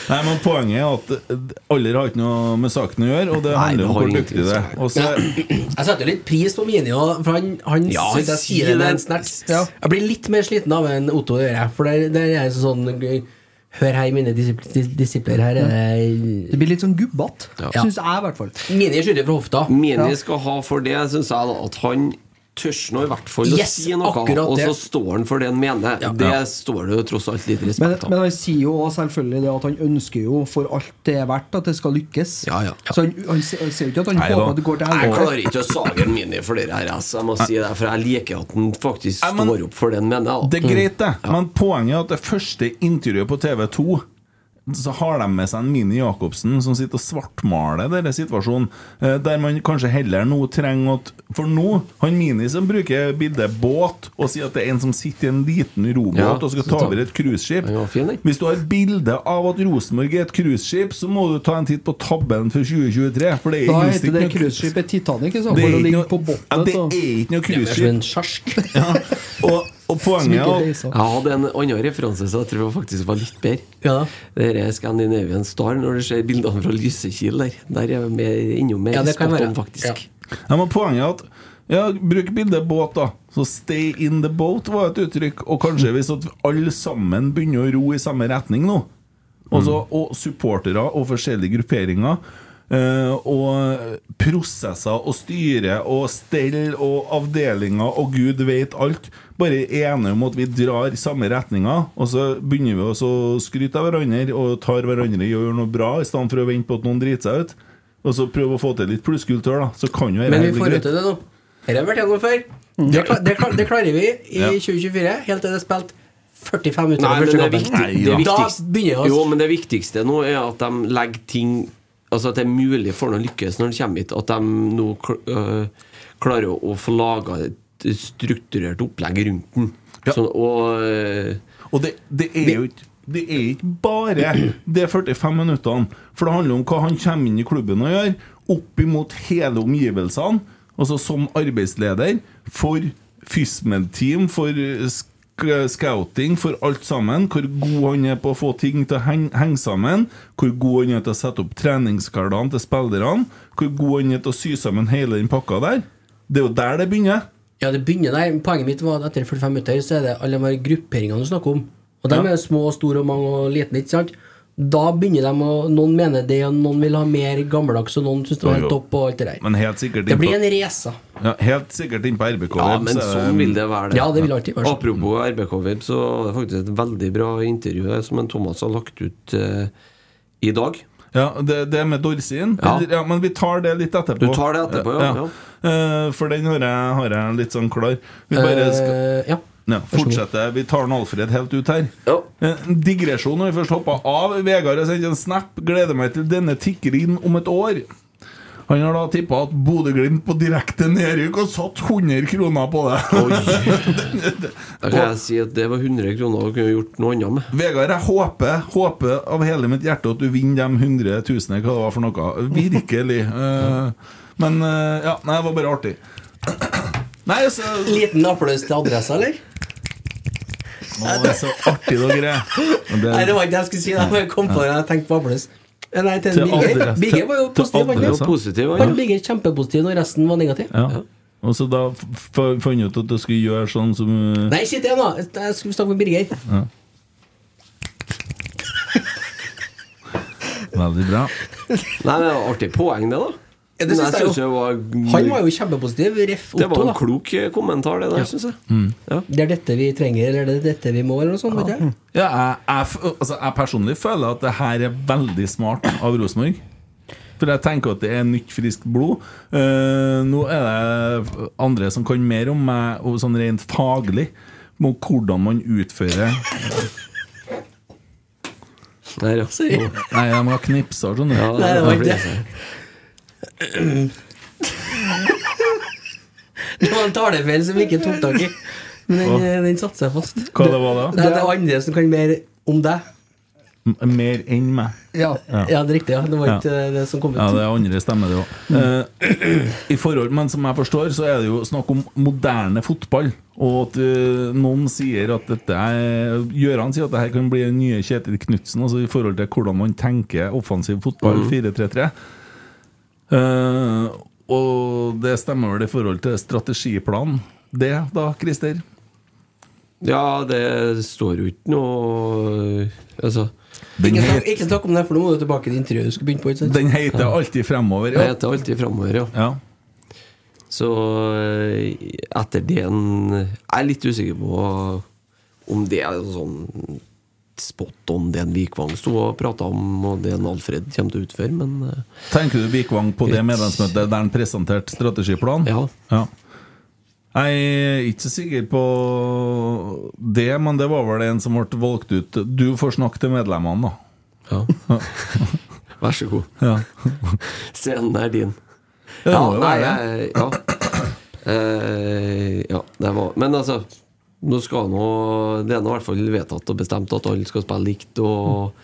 Nei, men Poenget er at alder har ikke noe med saken å gjøre, og det Nei, handler det om har hvor ingenting dyktig det er. med Og så- Jeg setter litt pris på Mini, og- for han, han Ja, synes han jeg sier sier det med en det. snert. Ja. Jeg blir litt mer sliten av en Otto, det gjør jeg. For der, der er jeg sånn Hør her, mine disipl dis- disipler. Her er det Det blir litt sånn gubbete, Ja. syns jeg i hvert fall. Mini skyter fra hofta. Mini skal ha for det, syns jeg, da, at han tør nå i hvert fall Yes, å si noe, akkurat og det. så står han for det han mener. Det står det jo tross alt litt Men, respekt av. men han sier jo også selvfølgelig det at han ønsker jo for alt det er verdt, at det skal lykkes. Ja, ja. Så han, han sier han sier jo ikke at han Nei da. håper at det går til Jeg helvete. klarer ikke å sage en Mini for det her, altså, jeg må si det, for jeg liker at han faktisk Nei, men- står opp for det han mener. Det Da. er greit, det. Men poenget er at det første intervjuet på TV2 så har de med seg en Mini Jacobsen som sitter og svartmaler denne situasjonen. eh, Der man kanskje heller nå trenger at For nå, han Mini som bruker bildet båt, og sier at det er en som sitter i en liten robåt Ja, og skal så ta ta- over et cruiseskip. Den var fin, den. Hvis du har bilde av at Rosenborg er et cruiseskip, så må du ta en titt på tabben for 2023. For det er Da just heter det ikke noe- cruiseskipet Titanic. Ikke sant? Det Hvor er det ikke ligger på noe, ja, bunnen. det altså. og- er ikke noe Det er som cruiseskip. en sjark. Ja. Og, og poenget Smykker er at reiser. Jeg hadde en annen referanse som jeg tror faktisk var litt bedre. Ja da. Det her er Scandinavian Star, når du ser bildene fra Lysekil der. Der er vi mer- innom mer Ja, det kan spot være. on, faktisk. ja, men poenget er at ja, Bruk bildet båt, da. Så 'stay in the boat' var et uttrykk. Og kanskje hvis at alle sammen begynner å ro i samme retning nå, Også, og supportere og forskjellige grupperinger, eh, og prosesser og styre og stell og avdelinger og gud vet alt, bare er enige om at vi drar i samme retninga, og så begynner vi også å skryte av hverandre og tar hverandre og gjør noe bra, i stedet for å vente på at noen driter seg ut. Og så prøve å få til litt plusskultur, da. Så kan jo dette Men vi bli får greit. ut av det nå. Dette har vi vært gjennom før. Det, kla- det, kla- det klarer vi i Ja. 2024, helt til det er spilt 45 minutter. Nei, av men første det, er kampen. viktig, det, da viktigste, begynner jo, vi altså. å men det viktigste nå er at de legger ting Altså at det er mulig for ham å lykkes når han kommer hit. At de nå kl- øh, klarer å- å få laga et strukturert opplegg rundt den. Ja. Sånn, og øh, Og det, det er jo ikke det er ikke bare de 45 minuttene, for det handler om hva han kommer inn i klubben og gjør, opp imot hele omgivelsene, altså som arbeidsleder, for FISMED-team, for eh, sk- scouting, for alt sammen, hvor god han er på å få ting til å henge, henge sammen, hvor god han er til å sette opp treningshverdagene til spillerne, hvor god han er til å sy sammen hele den pakka der. Det er jo der det begynner. Ja, det begynner der. Poenget mitt var at etter 45 minutter så er det alle de her grupperingene du snakker om. Og de er små og store og mange og liten, ikke sant? Da begynner de å Noen mener det, og noen vil ha mer gammeldags, og noen syns det var Jo, helt jo. topp, og alt det der. Men helt sikkert det blir innpå- en race. da. Ja, helt sikkert inn på RBK. Ja, Web, men så, um, sånn vil det være. Ja, det vil alltid være sånn. Apropos RBK-web, så var det faktisk et veldig bra intervju der som en Thomas har lagt ut eh, i dag. Ja, det, det med Dorsin. Ja. Eller, ja, men vi tar det litt etterpå. Du tar det etterpå, ja, ja. Eh, for den har jeg, har jeg litt sånn klar. Vi bare skal Eh, ja. ja, fortsette. Vi tar nå Alfred helt ut her. Ja. Eh, En digresjon når vi først hoppa av. Vegard har sendt en snap. Gleder meg til denne tikker inn om et år. Han har da tippa at Bodø-Glimt på direkte nedrykk og satt 100 kroner på det. Da kan jeg si at det var 100 kroner du kunne gjort noe annet med. Vegard, jeg håper, håper av hele mitt hjerte at du vinner de 100 000, hva det var for noe. Virkelig. Eh, Men eh, ja, nei, det var bare artig. Nei, så Liten applaus til adressa, eller? Å, det er så artig dere er. Men Nei, det det- var ikke det jeg skulle si. da, men Jeg kom på det, jeg tenkte på applaus. Eh, Nei, til Til Bigge. adressa- Bigge var jo til positiv. Det han, adressa. var ja. positiv, Han han. altså. ja. Bigge er kjempepositiv når resten var negativ. Ja. Og så da f- f- fant jeg ut at du skulle gjøre sånn som eh, Nei, sitt igjen, da! Jeg skulle snakke med Birger. Veldig bra. Nei, men det var artig poeng, det, da. Ja, det Men synes jeg synes jo. det var, Han var jo kjempepositiv. Ref Det var Otto, en da. Mm. klok eh, kommentar, det der, synes jeg. Ja. Det er dette vi trenger, eller det er dette vi må, eller noe sånt. vet jeg. Ja, jeg, jeg, f- altså, jeg personlig føler at det her er veldig smart av Rosenborg. For jeg tenker at det er nytt, friskt blod. Eh, nå er det andre som kan mer om meg, og sånn rent faglig, om hvordan man utfører Der, ja. Nei, de har knipsa, skjønner du. Ja, Nei, det var ikke det. Det var en talefeil som vi ikke tok tak i. Men den, den satte seg fast. Hva det var da? Det er det andre som kan mer om deg. M- Mer enn meg. Ja. Ja, det er riktig. ja Det var ikke det som kom ut. Ja, det er andre stemmer, det òg. I forhold, men som jeg forstår, så er det jo snakk om moderne fotball. Og at eh, noen sier at dette er Gjøran sier at dette kan bli den nye Kjetil Knutsen, altså i forhold til hvordan man tenker offensiv Mm. fotball, 4-3-3. Eh, og det stemmer vel i forhold til strategiplanen, det da, Christer? ja, det står jo ikke noe Altså, Ikke snakk, ikke snakk om det, for nå må du tilbake til intervjuet du skulle begynne på. Ikke sant? Den heter alltid 'Fremover'. det Ja. heter alltid framover, ja. ja. Så eh, etter det en Jeg er litt usikker på om det er sånn spot on det en Vikvang sto og prata om, og det en Alfred kommer til å utføre, men eh, Tenker du Vikvang på det Litt- medlemsmøtet der han presenterte strategiplanen? ja. Ja. Jeg er ikke så sikker på det, men det var vel en som ble valgt ut. Du får snakke til medlemmene, da. ja. Vær så god. Ja. Scenen er din. Det Ja, må jo nei, være det. jeg, ja. Eh, ja, det var Men altså, nå skal nå Det er nå i hvert fall vedtatt og bestemt at alle skal spille likt og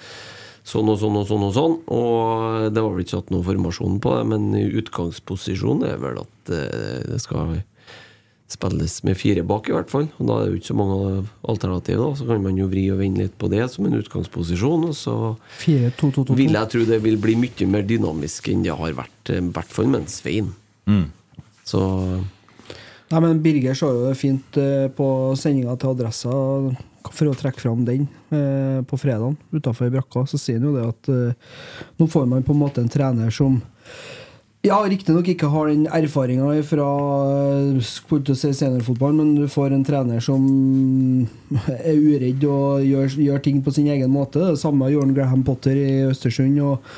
sånn og sånn og sånn. Og sånn Og det var vel ikke satt noen formasjon på det, men utgangsposisjonen er vel at eh, det skal spilles med fire bak, i hvert fall. Og da er det jo ikke så mange alternativer. da. Så kan man jo vri og vende litt på det som en utgangsposisjon, og så 4-2-2-2. vil jeg tro det vil bli mye mer dynamisk enn det har vært, eh, i hvert fall med en Svein. Så Nei, men Birger så jo fint eh, på sendinga til Adressa for å trekke fram den eh, på fredagen utafor brakka. Så sier han jo det at eh, nå får man på en måte en trener som ja, riktignok ikke har den erfaringa fra eh, skulle til å si seniorfotball, men du får en trener som eh, er uredd og gjør, gjør ting på sin egen måte. Det samme gjorde han Graham Potter i Østersund. Og,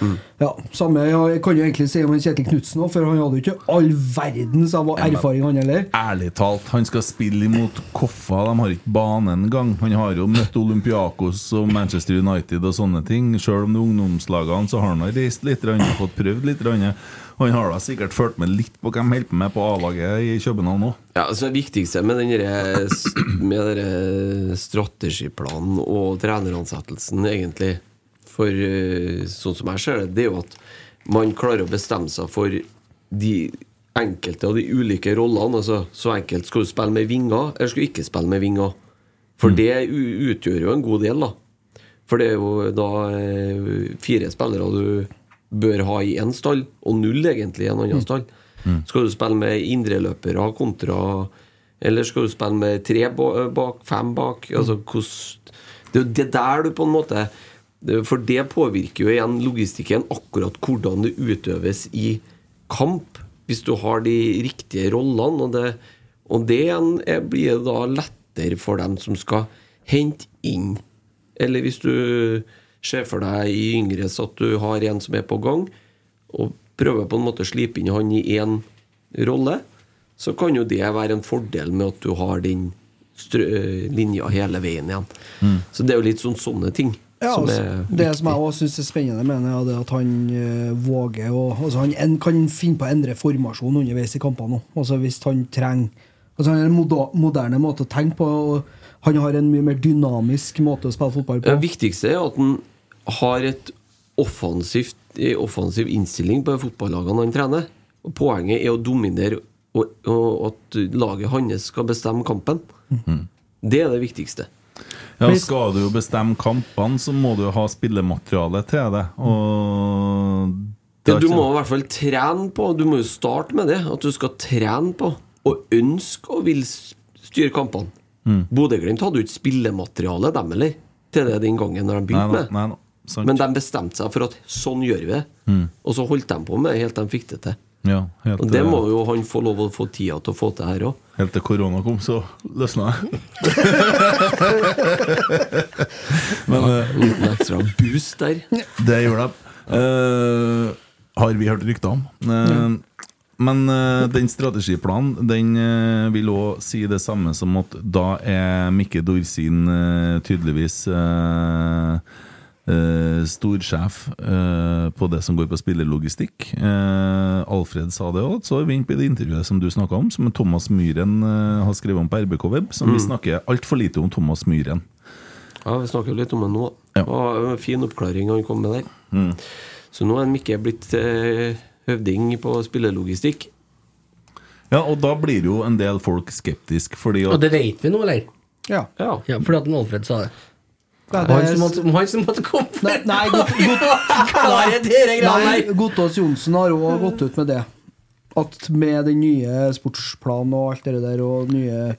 ja, samme ja, jeg kan jo egentlig si om en Kjetil Knutsen òg, for han hadde jo ikke all verdens av erfaring, han heller. Ærlig talt, han skal spille imot Koffa. De har ikke bane engang. Han har jo møtt Olympiakos og Manchester United og sånne ting. Selv om det er ungdomslagene, så har han da reist litt, han har fått prøvd litt. Han han har da sikkert fulgt med litt på hvem holder på med på A-laget i København òg. ja, altså det viktigste med den derre- med denne strategiplanen og treneransettelsen, egentlig, for eh, sånn som jeg ser det, det er jo at man klarer å bestemme seg for de enkelte og de ulike rollene. Altså, så enkelt skal du spille med vinger, eller skal du ikke spille med vinger? For det u- utgjør jo en god del, da. For det er jo da eh, fire spillere du bør ha i én stall, og null egentlig i en annen stall. Skal du spille med indreløpere kontra Eller skal du spille med tre ba- bak, fem bak? Altså hvordan Det er jo det der du på en måte det- For det påvirker jo igjen logistikken, akkurat hvordan det utøves i kamp. hvis du har de riktige rollene. Og det, og det igjen er, blir da lettere for dem som skal hente inn. Eller hvis du ser for deg i Yngres at du har en som er på gang, og prøver på en måte å slipe inn han i én rolle, så kan jo det være en fordel med at du har den strø- linja hele veien igjen. Så det er jo litt sånn sånne ting. Ja, som altså, er det som viktig. jeg også syns er spennende, mener jeg, det er at han eh, våger å altså Han en, kan finne på å endre formasjon underveis i kampene òg, altså hvis han trenger altså Han har en moda- moderne måte å tenke på. Og han har en mye mer dynamisk måte å spille fotball på. Det viktigste er at han har et offensivt, eh, offensiv innstilling på fotballagene han trener. Og Poenget er å dominere, og, og at laget hans skal bestemme kampen. Mhm. Det er det viktigste. Ja, skal du jo bestemme kampene, så må du jo ha spillemateriale til det. Og det Ja, er du ikke- må i hvert fall trene på Du må jo starte med det. At du skal trene på og ønske og vil s- styre kampene. Mm. Bodø-Glimt hadde jo ikke spillemateriale, dem heller, til det den gangen når de Nei da, begynte med det. nei da. Sant. Mm. Men de bestemte seg for at sånn gjør vi det. Og så holdt de på med det helt til de fikk det til. ja, helt, Og det eh, må jo han få lov å få tida til å få til her òg. Helt til korona kom, så løsna jeg. Men eh, Liten ekstra boost der. det gjorde jeg. Eh, har vi hørt rykter om. Eh, Men eh, den strategiplanen Den eh, vil òg si det samme som at da er Mikke Dorsin eh, tydeligvis eh, eh, storsjef eh, på det som går på spillerlogistikk. Eh, Alfred sa det òg, så er vi inne på det intervjuet som du snakka om, som Thomas Myhren eh, har skrevet om på RBK Web, som vi snakker altfor lite om Thomas Myhren. Ja, Vi snakker jo litt om det nå. Ja. Det var en fin oppklaring han kom med der. Så nå er han Mikke blitt eh, høvding på spillelogistikk. Ja, og da blir jo en del folk skeptisk fordi Og at det vet vi nå, eller? Ja. Ja. Ja, fordi at en Alfred sa det. Nei, Det var det han som er- måtte, han som måtte komme Nei, nei, godt, Klarhet i dette greiene Nei, her. Gotaas Johnsen har òg gått ut med det. At med den nye sportsplanen og alt det der, og nye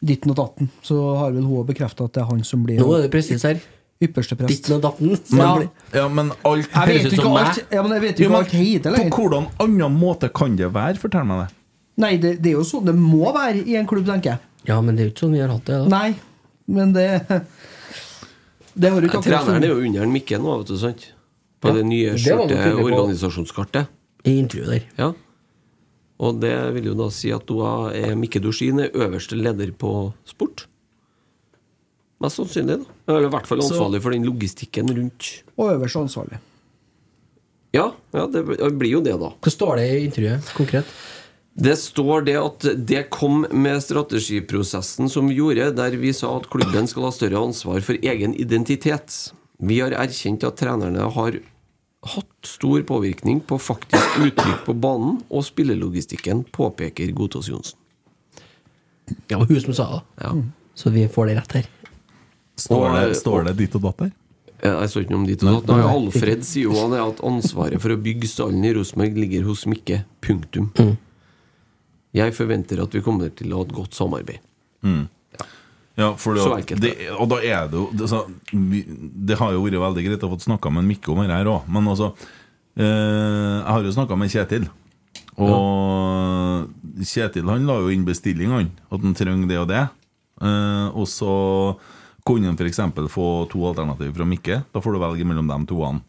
ditten og datten, så har vel hun bekrefta at det er han som blir Nå er det presis her. ypperste prest. Ditten og datten. Men, ja, men alt Jeg Høres vet ut jo ikke som alt, meg. ja, men jeg vet jo Jo, ikke men alt hit, På eller? hvordan annen måte kan det være? Fortell meg det. Nei, det, det er jo sånn det må være i en klubb, tenker jeg. Ja, men det er jo ikke sånn vi har hatt det. da Nei, men det Det har du ikke Ja, treneren er jo under han Mikke nå, vet du sant? På det nye det var skjorte noe tydelig på. organisasjonskartet. I intervjuet der. Ja. Og det vil jo da si at da er Mikke Dorsin er øverste leder på sport. Mest sannsynlig, da. Eller i hvert fall ansvarlig for den logistikken rundt. Og øverste ansvarlig. Ja, ja det blir jo det, da. Hva står det i intervjuet konkret? Det står det at det kom med strategiprosessen som vi gjorde, der vi sa at klubben skal ha større ansvar for egen identitet. Vi har erkjent at trenerne har hatt stor påvirkning på faktisk uttrykk på banen og spillelogistikken, påpeker Godtås Johnsen. Ja, hun som sa det. Ja. Så vi får det rett her. Står, Og- det. står det ditt og datt der? Eh, Jeg så ikke noe om dit og datt. Nei, Alfred sier jo han er at ansvaret for å bygge stallen i Rosenborg ligger hos Mikke. Punktum. Jeg forventer at vi kommer til å ha et godt samarbeid. Ja, for det, Så enkelt. det, og da er det jo det, så, vi, det har jo vært veldig greit å få snakka med Mikke om det her òg, men altså eh, Jeg har jo snakka med Kjetil, og Kjetil han la jo inn bestilling, han. At han trenger det og det. Eh, og så kunne han f.eks. få to alternativer fra Mikke. Da får du velge mellom de toene.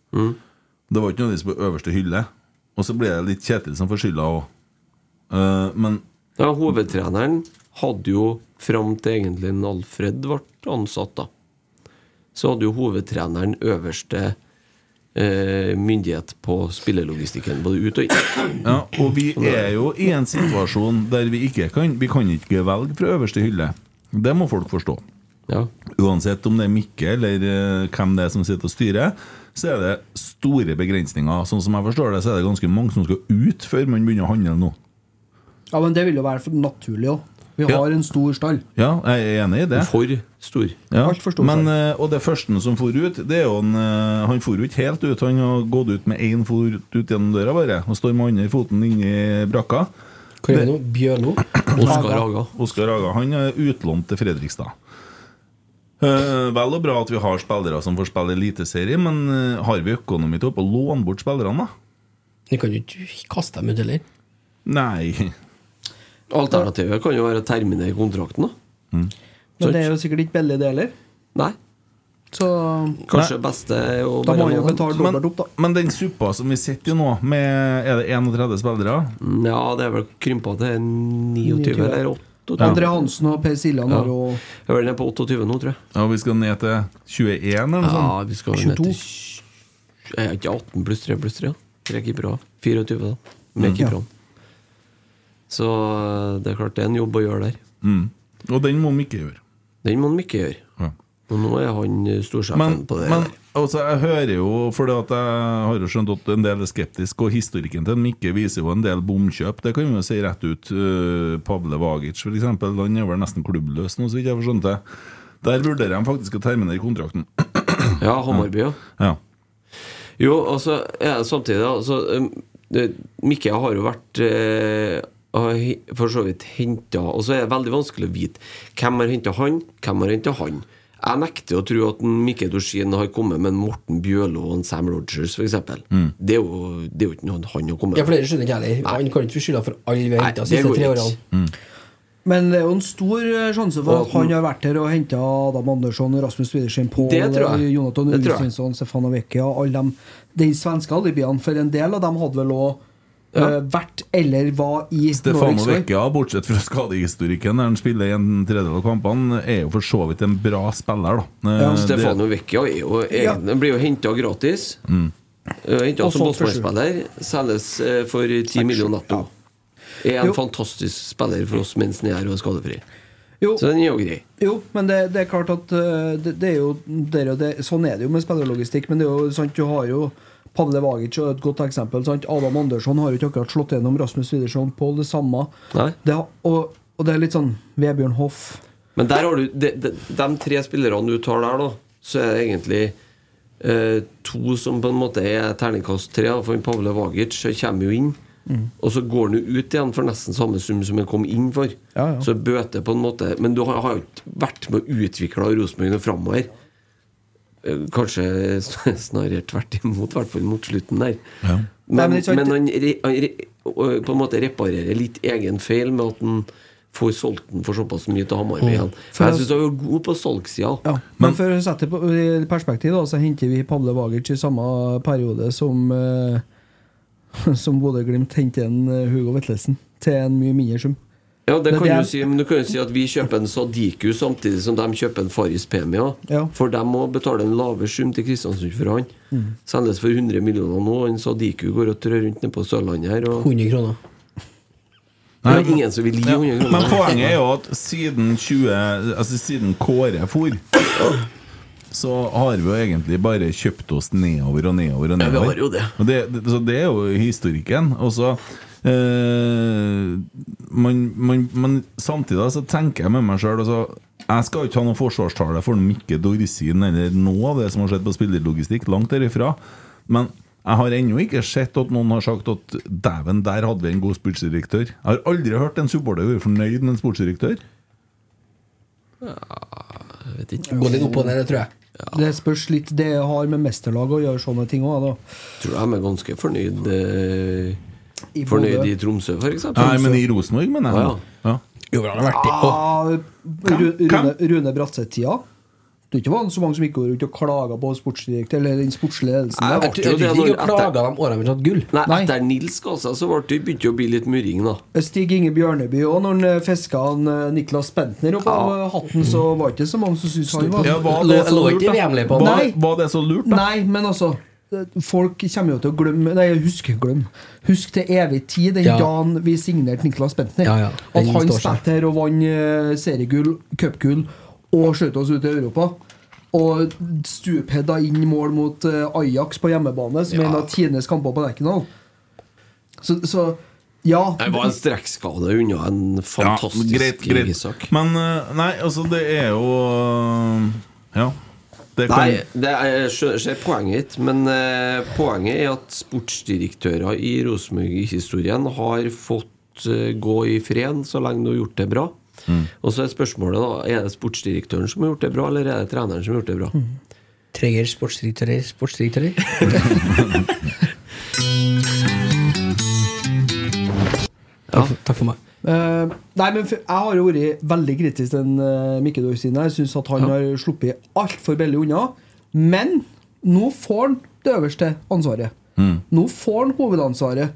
Det var ikke nødvendigvis på øverste hylle. Og så ble det litt Kjetil som får skylda òg. men Ja, hovedtreneren hadde jo fram til egentlig en Alfred ble ansatt, da. Så hadde jo hovedtreneren øverste eh, myndighet på spillelogistikken, både ut og inn. Ja, og vi er jo i en situasjon der vi ikke kan Vi kan ikke velge fra øverste hylle. Det må folk forstå. Ja. Uansett om det er Mikke eller eh, hvem det er som sitter og styrer, så er det store begrensninger. Sånn som jeg forstår det, så er det ganske mange som skal ut før man begynner å handle nå. Ja, men det vil jo være for naturlig òg. Vi Ja. har en stor stall. Ja, jeg er enig i det. For stor. Ja. Alt for stor Men, sjanse. eh, og det første som for ut, det er jo en, eh, Han for jo ikke helt ut. Han har gått ut med én fot ut gjennom døra bare, og står med andre foten inni brakka. Hva gjør vi nå? Bjørlo? Oskar Haga. Oskar Haga han er utlånt til Fredrikstad. Eh, vel og bra at vi har spillere som får spille eliteserie, men eh, har vi økonomi til å låne bort spillerne, da? Vi kan jo ikke kaste dem ut heller. Nei. Alternativet kan jo være å terminere kontrakten, da. Men det er jo sikkert ikke billig, det heller. Nei. Så Kanskje beste er å da må bare man jo ha den. betale Men, dobbelt opp, da. men den suppa som vi sitter jo nå, med er det 31 spillere? Ja, det er vel krympa til 29 eller 28. André Hansen og Per Siljan har jo Jeg er vel nede på 28 nå, tror jeg. Og vi skal ned til 21 eller noe Ja, sånt? vi skal ned til 20 Jeg er ikke 18 pluss 3 pluss 3. Tre keepere. 24, da. Med keeperne. Så eh, det er klart det er en jobb å gjøre der. Mm. Og den må vi ikke gjøre. Den må de ikke gjøre. Ja. Og nå er han eh, storsjefen Men, på det. men der. altså, jeg hører jo, for jeg har jo skjønt at en del er skeptisk, og historikken til Mikke viser jo en del bomkjøp. Det kan vi jo si rett ut. Eh, Pavle Vagic, for eksempel, han er vel nesten klubbløs nå, så vidt jeg har forstått det. Der vurderer de faktisk å terminere kontrakten. Ja, Hammarby, ja. Ja. Jo, og så er det samtidig altså, um, det- Mikke har jo vært eh, har he- for så vidt henta Og så er det veldig vanskelig å vite hvem har henta han, hvem har henta han. Jeg nekter å tro at en Mikke Dorsin har kommet med en Morten Bjørlo og en Sam Rogers, f.eks. Mm. Det, er jo- det er jo ikke noe han har kommet Ja, for med. dere skjønner ikke heller. Han kan ikke få skylda for alle vi har Nei, henta de det siste går tre ikke. årene. Men det er jo en stor eh, sjanse for Og at at han den- har vært her og henta Adam Andersson, Rasmus Widersen Pål, Det tror jeg. Jonathan Det tror jeg. Ulsteinsson, Stefano Vecchia alle dem, De svenske alibiene. For en del av dem hadde vel òg eh, vært eller var i Stefano Norwich. Vecchia, bortsett fra skadehistorikken, der han spiller en tredjedel av kampene, er jo for så vidt en bra spiller, da. Eh, det- Stefano Vecchia er jo egen, blir jo henta gratis. Mm. Henta Og som solgt for sju. Bosman-spiller. Selges eh, for 10 millioner netto. Er en Jo. fantastisk spiller for oss mens den er her og er skadefri. Jo, Så den er jo grei. Jo, men det, det er klart at eh, det, det er jo, det er jo det, Sånn er det jo med spillerlogistikk. Men det er jo sant, du har jo Pavle Vagic er et godt eksempel. Sant? Adam Andersson har jo ikke akkurat slått gjennom Rasmus Widersson på det samme. Nei. Det, har- og, og det er litt sånn Vebjørn Hoff. Men der har du de, de, de tre spillerne du tar der, da, så er det egentlig eh, to som på en måte er terningkast tre. da, For Pavle Vagic så kommer jo inn, Mm. og så går han jo ut igjen for nesten samme sum som han kom inn for. Ja, ja. Så bøter på en måte Men du har har jo ikke vært med å utvikle Rosenborg noe framover. Eh, Kanskje sn- snarere tvert imot, i hvert fall mot slutten der. Nei, men Men, det er sant. men han, re, han re, ø, på en måte reparerer litt egen feil med at han får solgt den for såpass mye til Hamarby igjen. For jeg syns han var god på salgssida. Mm. Ja. Men, for å sette det på- i perspektiv, da, så henter vi Pavle Vagic i samme periode som eh, Som Bodø-Glimt henter en eh, Hugo Vetlesen til en mye mindre sum. Ja, det Men kan det er- du si, men du kan jo si at vi kjøper en Sadiku samtidig som de kjøper en Faris Pemia. Ja. For de må betale en lavere sum til Kristiansund for han. Mm. Selges for 100 millioner nå, og en Sadiku går og trør rundt nede på Sørlandet her. Og 100 kroner. det er ingen som vil gi 100 Men kroner. poenget er jo at siden 20 Altså siden Kåre for så har vi jo egentlig bare kjøpt oss nedover og nedover og vi nedover. har jo det. Og det, det så det er jo historikken. Og så eh, man, man, Men samtidig så tenker jeg med meg sjøl Jeg skal jo ikke ha noen forsvarstale for Mikke Dorsin eller noe av det som har skjedd på spillerlogistikk. Langt derifra. Men jeg har ennå ikke sett at noen har sagt at 'dæven, der hadde vi en god sportsdirektør'. Jeg har aldri hørt en supporter være fornøyd med en sportsdirektør. Jeg vet ikke. Gå litt opp og ned, det tror jeg. Det spørs litt det har med mesterlag å gjøre sånne ting òg. Tror du de er ganske fornøyd eh, I Fornøyd Bodø. i Tromsø, for eksempel? Nei, men i Rosenborg, mener jeg. Å, Ja. Jo, det har vært det. Og Ja, Ru- Hvem? Ah, Rune, Rune Bratseth-tida. Det er ikke var så mange som gikk rundt og klaga på sportsdirektør eller den sportslige ledelsen. Nei, der. Jeg artig tror jo jeg det tror ikke når- å klage de årene vi har tatt gull. Nei, Nei. etter Nils ga seg, så ble det begynte det å bli litt murring, da. Stig Inge Bjørneby òg, når han fiska Niklas Bentner opp av eh, hatten, så var det ikke så mange som syntes han var Ja, var Lå- det så lå lurt, ikke da? VM -løypa? Var, Nei. var det så lurt, da? Nei, men altså eh, Folk kommer jo til å glemme Nei, huske glemme. Husk til evig tid den Ja. dagen vi signerte Niklas Bentner. Ja, ja. Den At han står seg. spilte her og vant eh, seriegull, cupgull og skjøt oss ut i Europa. Og stupheada inn mål mot eh, Ajax på hjemmebane, som er en av Tines kamper på Lerkendal. Så, så ja. Det var en strekkskade unna en fantastisk sak. Men eh, nei, altså, det er jo eh, Ja. Det kan Nei, det er, jeg skjø- ser poenget ditt, men eh, poenget er at sportsdirektører i Rosenborg-historien har fått eh, gå i fred så lenge du har gjort det bra. Og så er spørsmålet da Er det sportsdirektøren som har gjort det bra, eller er det treneren som har gjort det Mm, bra? Trenger sportsdirektører, sportsdirektører. Takk, for- takk for meg. Eh, nei, men f- jeg har jo vært veldig kritisk til en, eh, Mikke Dorsin. Jeg syns at han har sluppet altfor billig unna. Men nå får han det øverste ansvaret. Mm. Nå får han hovedansvaret.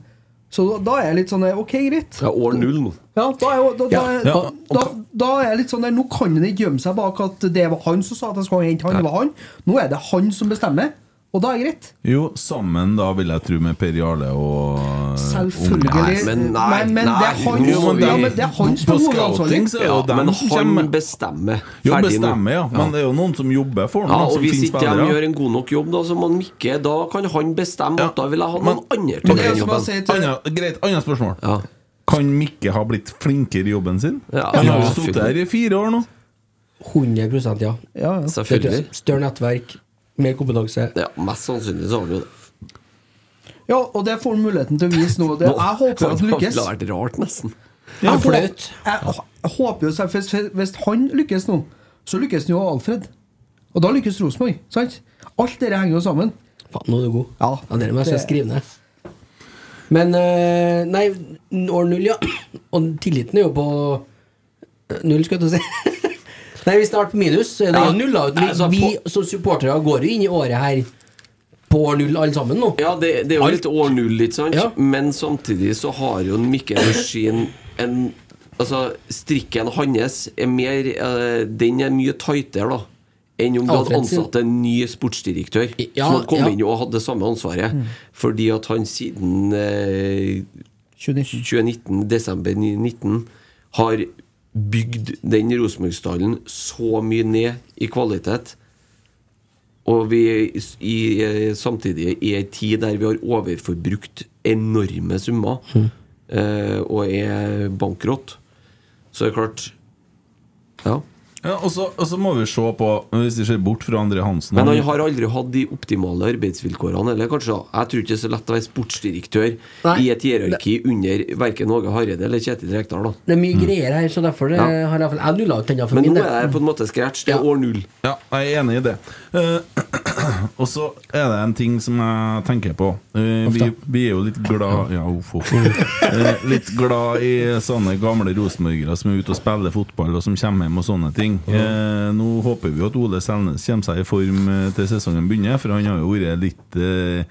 Så da, da er jeg litt sånn eh, Ok, greit. Det er år null nå. Ja, da er, jo- da, da, Ja, ja. Da, da er jeg litt sånn der, Nå kan han ikke gjemme seg bak at det var han som sa at jeg skulle hente han. Det var han. Nå er det han som bestemmer, og da er det greit. Jo, sammen da vil jeg tro med Per Jarle og eh, Selvfølgelig. Nei, men nei, men, men det er nei, han nå må som vi- ja, men det er han som På er hovedansvarlig. scouting så er det Ja, jo dem men som han kommer. bestemmer. Jo, Ferdig nå. bestemmer, ja. Men det er jo noen som jobber for Ja, noen og som Hvis finner ikke de spillere. gjør en god nok jobb, da, som han Mikke, da kan han bestemme Ja, at da vil jeg ha men- noen andre Men til det er den som å jobben. si til- Anna, greit, annet spørsmål. Ja. Kan Mikke ha blitt flinkere i jobben sin? Ja, han har ja, jo sittet her i fire år nå. 100 ja. Ja, ja. Selvfølgelig. Større nettverk, mer kompetanse. Ja, Mest sannsynlig så har han jo det. Ja, og det får han muligheten til å vise nå. Det, jeg håper at han lykkes. Det hadde vært rart, nesten. Ja, Jeg hå- flaut. Jeg hå- jeg håper jo selv- hvis, hvis han lykkes nå, så lykkes han jo Alfred. Og da lykkes Rosenborg. Sant? Alt dette henger jo sammen. Faen, nå er du god. Ja, det er det jeg skal det- skrive ned. Men eh, Nei, år null, ja. Og tilliten er jo på null, skal jeg til å si. Nei, hvis det har vært minus, så er det Ja, jo null. da. Vi, altså, vi på- som supportere går jo inn i året her på år null, alle sammen nå. Ja, det, det er jo litt år null, ikke sant? Ja. Men samtidig så har jo Mikkel Dorsin en Altså, strikken hans er mer eh, Den er mye tightere, da. Enn om du hadde Alfred sin. ansatt en ny sportsdirektør I- ja, som hadde kommet ja. inn og hadde det samme ansvaret. Mm. Fordi at han siden eh, 2019. 2019, desember 19, har bygd den Rosenborg-stallen så mye ned i kvalitet. Og vi er i, i- eh, samtidig i en tid der vi har overforbrukt enorme summer eh, og er bankrott, så er det klart Ja. Ja, og, så, og så må vi se på, hvis vi ser bort fra André Hansen Men han han- har aldri hatt de optimale arbeidsvilkårene. Eller kanskje, Jeg tror ikke det er så lett å være sportsdirektør Nei. i et hierarki under verken Åge Hareide eller Kjetil Rekdal. da. Det er mye greier her, så derfor eh, Ja. har jeg iallfall Jeg nulla ut den da, for Men min nå del. er jeg på en måte scratch. Det Ja. er år null. Ja, jeg er enig i det. Eh, og så er det en ting som jeg tenker på. Eh, vi, vi er jo litt glad Ja, uff, uff. Eh, litt glad i sånne gamle rosenborgere som er ute og spiller fotball, og som kommer hjem og sånne ting. Eh, nå håper vi jo at Ole Selnes kommer seg i form eh, til sesongen begynner, for han har jo vært litt eh,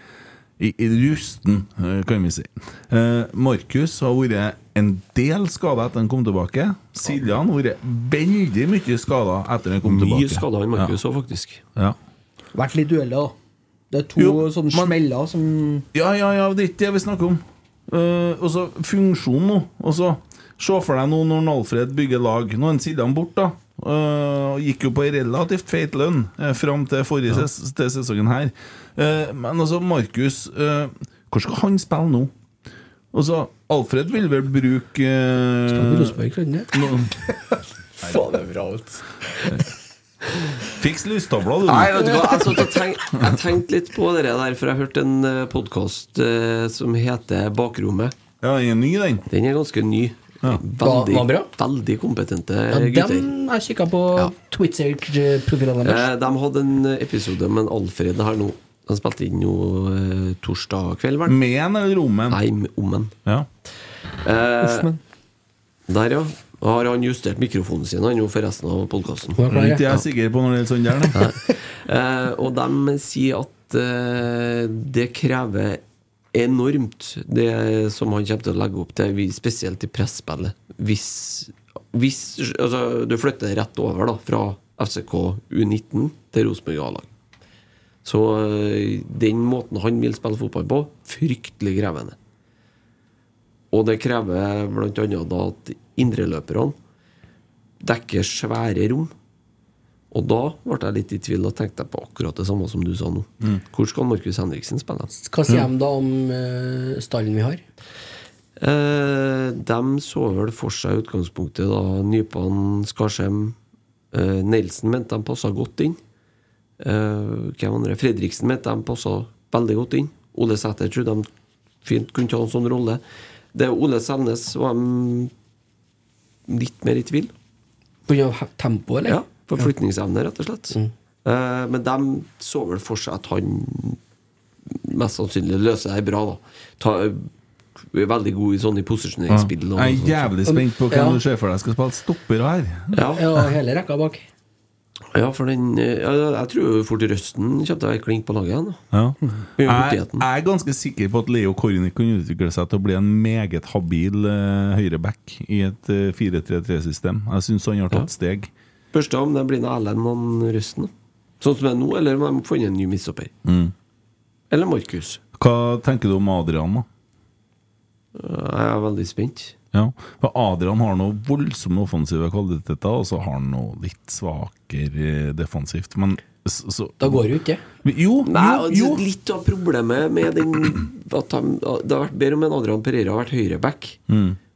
i, i rusten, eh, kan vi si. Eh, Markus har vært en del skada etter han kom tilbake. Siljan har vært veldig mye skada etter han kom tilbake. Mye skada han Markus òg, faktisk. Ja. Vært litt dueller, da. Det er to Jo, sånne men- smeller som ja, ja, ja, det er ikke det vi snakker om. Eh, og så funksjon nå. Og så Se for deg nå når Alfred bygger lag. Nå er Siljan borte, da. Eh, og gikk jo på en relativt feit lønn eh, fram til forrige ses til sesongen her. Eh, men altså, Markus eh, Hvor skal han spille nå? Og så, Alfred vil vel bruke Men eh, Rosenborg kan det. Fiks lystavla, du. Nei, vet du hva, jeg, satt og tenk, jeg tenkte litt på det der, for jeg hørte en podkast som heter Bakrommet. Ja, den er ny, den. Den er ganske ny. Var- Veldig, var bra? veldig kompetente Ja, gutter. dem jeg kikka på Ja. Twitter-profilene deres. Eh, de hadde en episode med en Alfred her nå. De spilte inn nå eh, torsdag kveld, vel? Med en eller romen? Nei, om en. Ja. Eh, der, ja. Har han justert mikrofonen sin han, jo, for resten av podkasten? Var Det er jeg klar, ikke ja. jeg sikker på når det gjelder sånn der. nei. Eh, og de sier at eh, det krever enormt, det som han kommer til å legge opp til, vi- spesielt i presspillet. Hvis, hvis altså, du flytter rett over da, fra FCK U19 til Rosenborg A-lag. Så eh, den måten han vil spille fotball på, fryktelig krevende. Og det krever bl.a. at indreløperne dekker svære rom. Og da ble jeg litt i tvil og tenkte på akkurat det samme som du sa nå. Hvor skal Markus Henriksen spille? Hva sier de da om eh, stallen vi har? Eh, de så vel for seg i utgangspunktet da Nypan, Skarsheim eh, Nelson mente de passa godt inn. Eh, hvem andre? Fredriksen mente de passa veldig godt inn. Ole Sæter trodde de fint kunne ta en sånn rolle. Det er Ole Selnes var de litt mer i tvil. Pga. tempoet, eller? Ja, forflytningsevne, rett og slett. Eh, men de så vel for seg at han mest sannsynlig løser det bra. da Ta, Du er veldig god i sånne posisjoneringsspill. og Jeg er sånt. jævlig spent på hvem Ja. du ser for deg skal spille stopper her. Ja. Ja, hele rekka bak. ja, for den eh, ja, Jeg tror jo fort Røsten kommer til å være klink på laget igjen. da. Jeg, Begynner på dieten. jeg er ganske sikker på at Leo Kornic kan utvikle seg til å bli en meget habil eh, høyreback i et eh, 4-3-3-system. Jeg syns han har Ja. tatt steg. Spørs det om det blir noe Erlend og Røsten. da. Sånn som det er nå, eller om de har funnet en ny midtstopper. Eller Markus. Hva tenker du om Adrian, da? Jeg er veldig spent. Ja, for Adrian har noe voldsomme offensive kvaliteter, og så har han noe litt svakere eh, defensivt. Men så, så Da går det jo ikke. Jo, Nei, jo, og jo. det- Litt av problemet med den at han, Det har vært bedre om en Adrian Pereira har vært høyreback.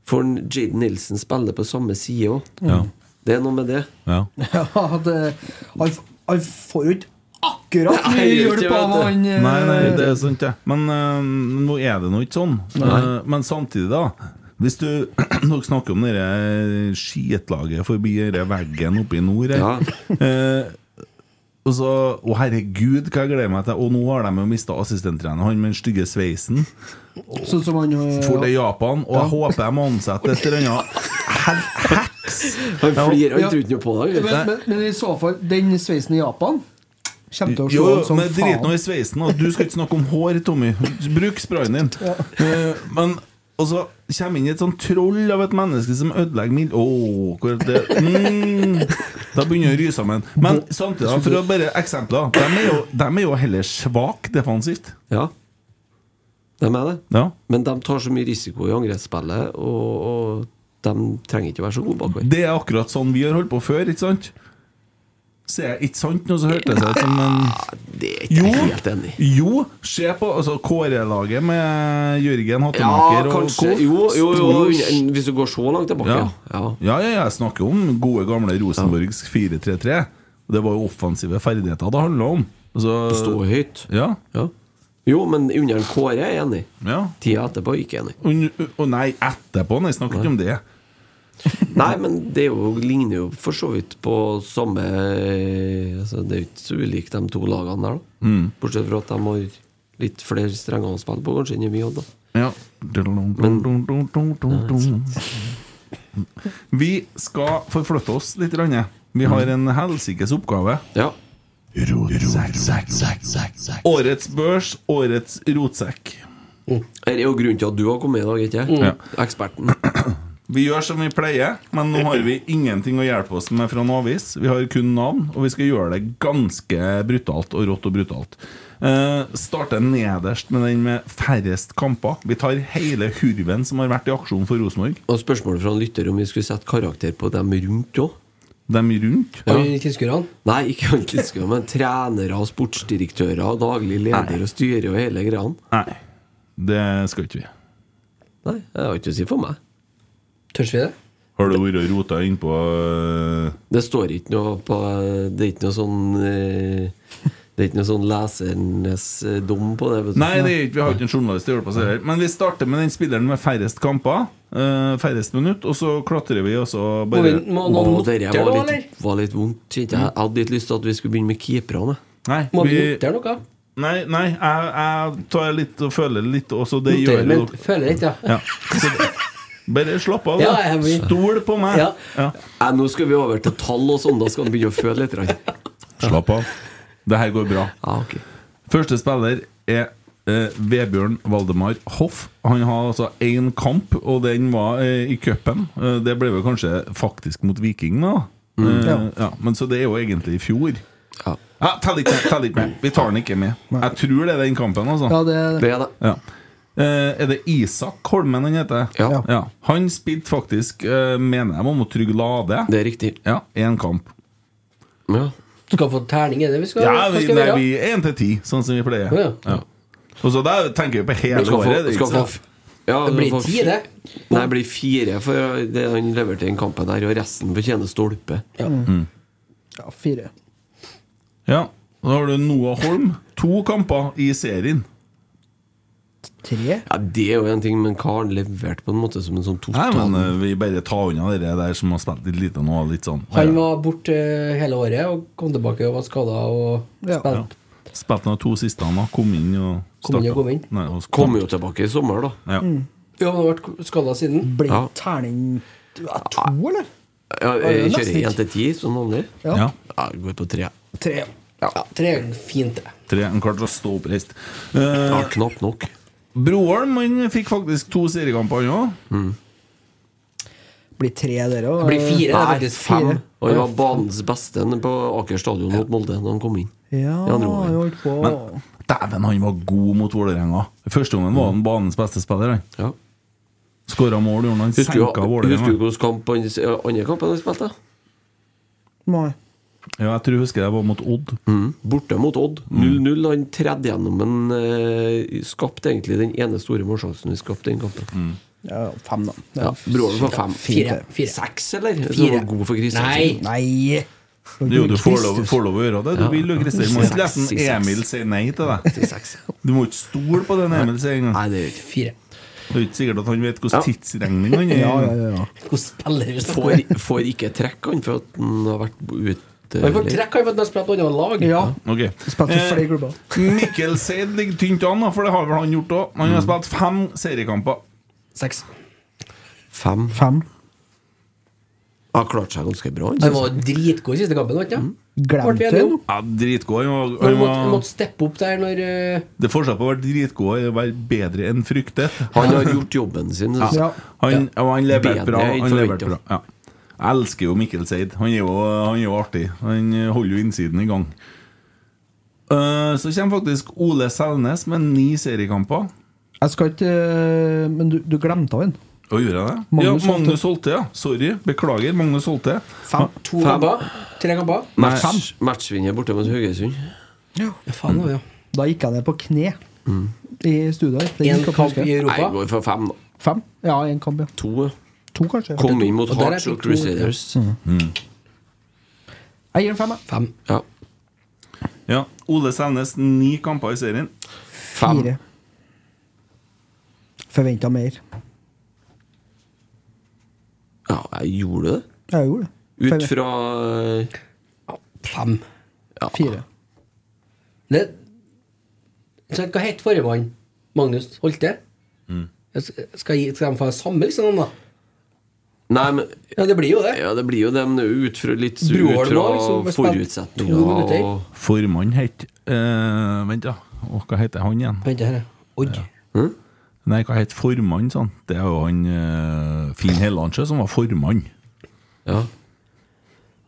For en Jaden Nilsen spiller på samme side òg. Ja, Det er noe med det. ja. Ja, det, han, f- han får jo ikke akkurat mye Nei, jeg vet hjelp ikke, av vet du. han eh, Nei, nei, det er sant, det. Men eh, nå er det nå ikke sånn. Eh, men samtidig, da. Hvis du Dere snakker om det eh, skitlaget forbi denne veggen oppe i nord her. Ja. Eh, og så, Å, herregud, hva jeg gleder meg til! Og nå har de jo mista assistenttreneren, han med den stygge sveisen. Sånn som han eh, For til Japan, og jeg håper de ansetter et eller annet hel- heks! Han flirer han Ja. tror ikke noe på deg. vet men, men, men i så fall, den sveisen i Japan kommer til å Jo, slå han sånn som men drit nå faen. i sveisen, og du skal ikke snakke om hår, Tommy. Bruk sprayen din. Eh, men og så kommer inn et sånt troll av et menneske som ødelegger mil... Åh, hvor det, mm, da begynner jeg å ryse sammen. Men samtidig, da, for å bare eksempler De er jo, dem er jo heller svake defensivt. du. Ja. De er det. Ja. Men de tar så mye risiko i angrepsspillet, og, og de trenger ikke å være så gode bakover. Det er akkurat sånn vi har holdt på før, ikke sant? Sier jeg ikke sant nå, så hørtes det ut som en Det er ikke Jo, jeg helt enig i. jo, se på altså, Kåre-laget med Jørgen Ja, Hattemaker og kanskje. co. Jo, jo, jo, Stor- under- hvis du går så langt tilbake, ja. ja. ja. Ja, ja, jeg snakker om gode, gamle Rosenborgs 4-3-3. Og Det var jo offensive ferdigheter det handla om. Stå Altså, høyt. ja, Ja. Jo, men under en Kåre er jeg enig. ja. Tida etterpå er jeg ikke enig. Og, og nei, etterpå, nei, snakker ikke om det. Nei, men det er jo, ligner jo for så vidt på samme eh, altså Det er jo ikke så ulikt de to lagene der, da. Bortsett fra at de har litt flere strenger å spille på, kanskje, enn vi hadde. da. Ja. Vi skal forflytte oss litt. grann. Vi Mm. har en helsikes oppgave. Ja. Årets børs, årets rotsekk. Dette Mm. er jo grunnen til at du har kommet i dag, ikke jeg? Ja. Eksperten. Vi gjør som vi pleier, men nå har vi ingenting å hjelpe oss med fra en avis. Vi har kun navn, og vi skal gjøre det ganske brutalt og rått og brutalt. Eh, Starte nederst med den med færrest kamper. Vi tar hele hurven som har vært i aksjon for Rosenborg. Og spørsmålet fra en lytter om vi skulle sette karakter på dem rundt òg? Dem rundt. Ja. Tilskuerne. Nei, ikke han Kiske, men trenere og sportsdirektører og daglig leder og styre og hele greia. Nei, det skal ikke vi. Nei, det har ikke å si for meg. Tørs vi det? Har du vært og rota innpå eh, Det står ikke noe på Det er ikke noe sånn eh, Det er ikke noe sånn lesernes eh, dom på det. Vet du. Nei, det er ikke, vi har ikke en journalist til å hjelpe oss her. Men vi starter med den spilleren med færrest kamper. eh, færrest minutt, og så klatrer vi, og så Må, bare vi, må Å, noen dere notere var nå, eller? litt, var litt vondt. kjente Jeg Jeg hadde litt lyst til at vi skulle begynne med keeperne. Nei, Må vi vi, notere noe? nei, nei jeg, jeg tar litt og føler litt også. Det Notere, gjør men jo føler ikke, ja. ja. Så det- Bare slapp av, Ja, da. jeg vil- Stol på meg. Ja. Ja. Nei, nå skal vi over til tall og sånn. Da skal han begynne å føle litt. grann. Slapp av. Det her går bra. Ja, ok. Første spiller er eh, Vebjørn Valdemar Hoff. Han har altså én kamp, og den var eh, i cupen. Eh, det ble vel kanskje faktisk mot Viking, da. Mm. Eh, ja. men så det er jo egentlig i fjor. Ja. Ja, Tell ikke med, tell ikke med. Vi tar den ikke med. Jeg tror det er den kampen, altså. Ja, det Det er det. Ja. Eh, er det Isak Holmen han heter? Ja. Han spilte faktisk, eh, mener jeg, var mot Trygg Lade. Det er riktig. Ja, én kamp. Ja. Skal få terning, er det vi skal, Ja, hva vi, skal vi nei, gjøre? vi er én til ti, sånn som vi pleier. Ja. Og så der tenker vi på hele Du skal få, året. det er skal ikke få sant? ja, Det du blir får ti, fi- det. Nei, det blir fire, for det han leverte i den kampen der, og resten fortjener stolpe. ja, fire. Ja, Da har du Noah Holm. To kamper i serien. Tre? Ja, Det er jo en ting, men hva har han levert på en måte som en sånn Nei, total men eh, Vi bare tar unna det der som har spilt litt lite nå. Litt sånn. Han var borte eh, hele året og kom tilbake og var skada og Ja. spilte. Spilte de to siste, han da. Kom inn og Kom inn og startet. kom inn. Nei, og så Kommer jo tilbake i sommer, da. Ja. Jo, men det ble skada siden. Ble Ja. terning ja, to, eller? Ja, jeg nesten kjører ikke. én til ti som vanlig. Ja. Ja. Ja, jeg går på tre. Tre. Ja, tre er fint, det. Tre, han klarte å stå oppreist. Ja, Eh, knapt nok. Broholm han fikk faktisk to seriekamper, han òg. Blir tre, dere òg? Det blir fire, det er Nei, faktisk fem. fire. Og han var banens beste på Aker stadion mot Molde da han kom inn. Ja, I andre jeg omgang. holdt på Men- Dæven, han var god mot Vålerenga. Første gangen var han banens beste spiller. han. Ja. Skåra mål, gjorde han. han. Husker du Senka husker du Vålerenga. hvilken kamp han ja, andre kampen han spilte? Nei. Ja, jeg tror jeg husker det var mot Odd. Mm. Borte mot Odd. 0-0. Han tredde gjennom en eh, Skapte egentlig den ene store målsjansen vi skapte i den kampen. Ja, fem, da. Det Ja, er f- Broren var fem. Fire. fire. Seks, eller? Som Fire. var god for Nei. Kristiansen. Nei! Jo, du får lov, får lov å gjøre det. Du vil jo, Christer. Du må ikke la Seks i en seks. Emil si nei til deg. Seks. Du må ikke stole på den Emil sier engang. Nei, det gjør jeg ikke. Fire. Det er jo ikke sikkert at han vet Ja. hvordan tidsregning han er. Ja, ja, ja, ja. Hvordan spiller vi snakker om? Får, får ikke trekk, han, for at han har vært ute Han får trekk, han, for at han har spilt på annet lag. ja. Ok. Spilte Eh, for flere klubber. Mikkel Seid ligger tynt an, da, for det har vel han gjort òg. Han har spilt fem seriekamper. Seks. Fem. Fem. Har klart seg ganske bra. han, Han synes jeg. var dritgod i siste kampen, vet du. Ble vi Mm. Glemte enige det om? nå. Ja, Dritgod. Han var- Han han måtte, var måtte steppe opp der når eh, Det er forskjell på å være dritgod og å være bedre enn fryktet. Han har gjort jobben sin. synes jeg. Ja. Han, og han leverte Bedre bra. enn Han leverte bra forventet. ja. Jeg elsker jo Mikkel Seid. Han er jo, han er jo artig. Han holder jo innsiden i gang. Eh, så kommer faktisk Ole Selnes med ni seriekamper. Jeg skal ikke eh, Men du, du glemte han. Og gjorde jeg det? Magnus ja, Holte. Magnus Holte. Ja. Sorry. Beklager, Magnus Holte. Fem. To kamper? Tre kamper? Match, matchvinner borte mot Haugesund. Ja, faen, Mm. det var, ja. Da gikk jeg ned på kne i studio. her. Det En gikk opp, kamp husker i jeg. Nei, jeg Europa. går for fem, da. Fem? Ja, én kamp, ja. To. ja. To, kanskje. Kom inn mot Og der er Hearts og det to, Crusaders. Jeg gir den fem, jeg. Fem. Ja. Ja. Ole Selnes, ni kamper i serien. Fem. Fire. Forventa mer. Ja, jeg gjorde det. Jeg gjorde det. Ut Forve- fra eh, Fem. ja. Fire. Det, så hva het forrige mann? Magnus Holte? Jeg Skal, skal jeg- skal de få samme liksom, navn, da? Nei, men Ja, det blir jo det. ja, det blir jo det, men det er jo ut fra litt ut Broholm fra også, liksom, spilt to forutsetninger minutter. og- Formann het eh, Vent, da. Å, hva heter han igjen? Vent her, ja. Odd. Nei, hva het formann, sånn? Det er jo han eh, Finn Hellandsjø som var formann. ja.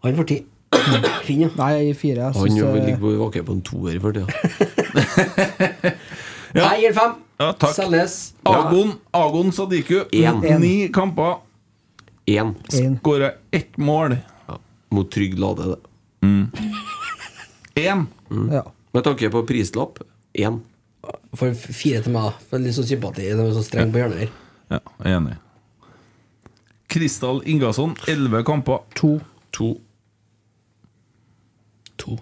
Han får ti. Fin, ja. Nei, jeg gir fire. Jeg Han synes, jo eh, ligger på- vakker på en toer for tida. Ja. Jeg gir fem. Ja, takk. Selnes. Agon, Agon Sadiku. En. Ni kamper. Én en. Skåra ett mål. mot Trygg Lade. det. Én. Ja. Med tanke på prislapp én. Får fire til meg, da. For litt sånn sympati. De er så strenge på hjørnet her. Ja, jeg er enig. Kristal Ingasson, elleve kamper. To. To. To.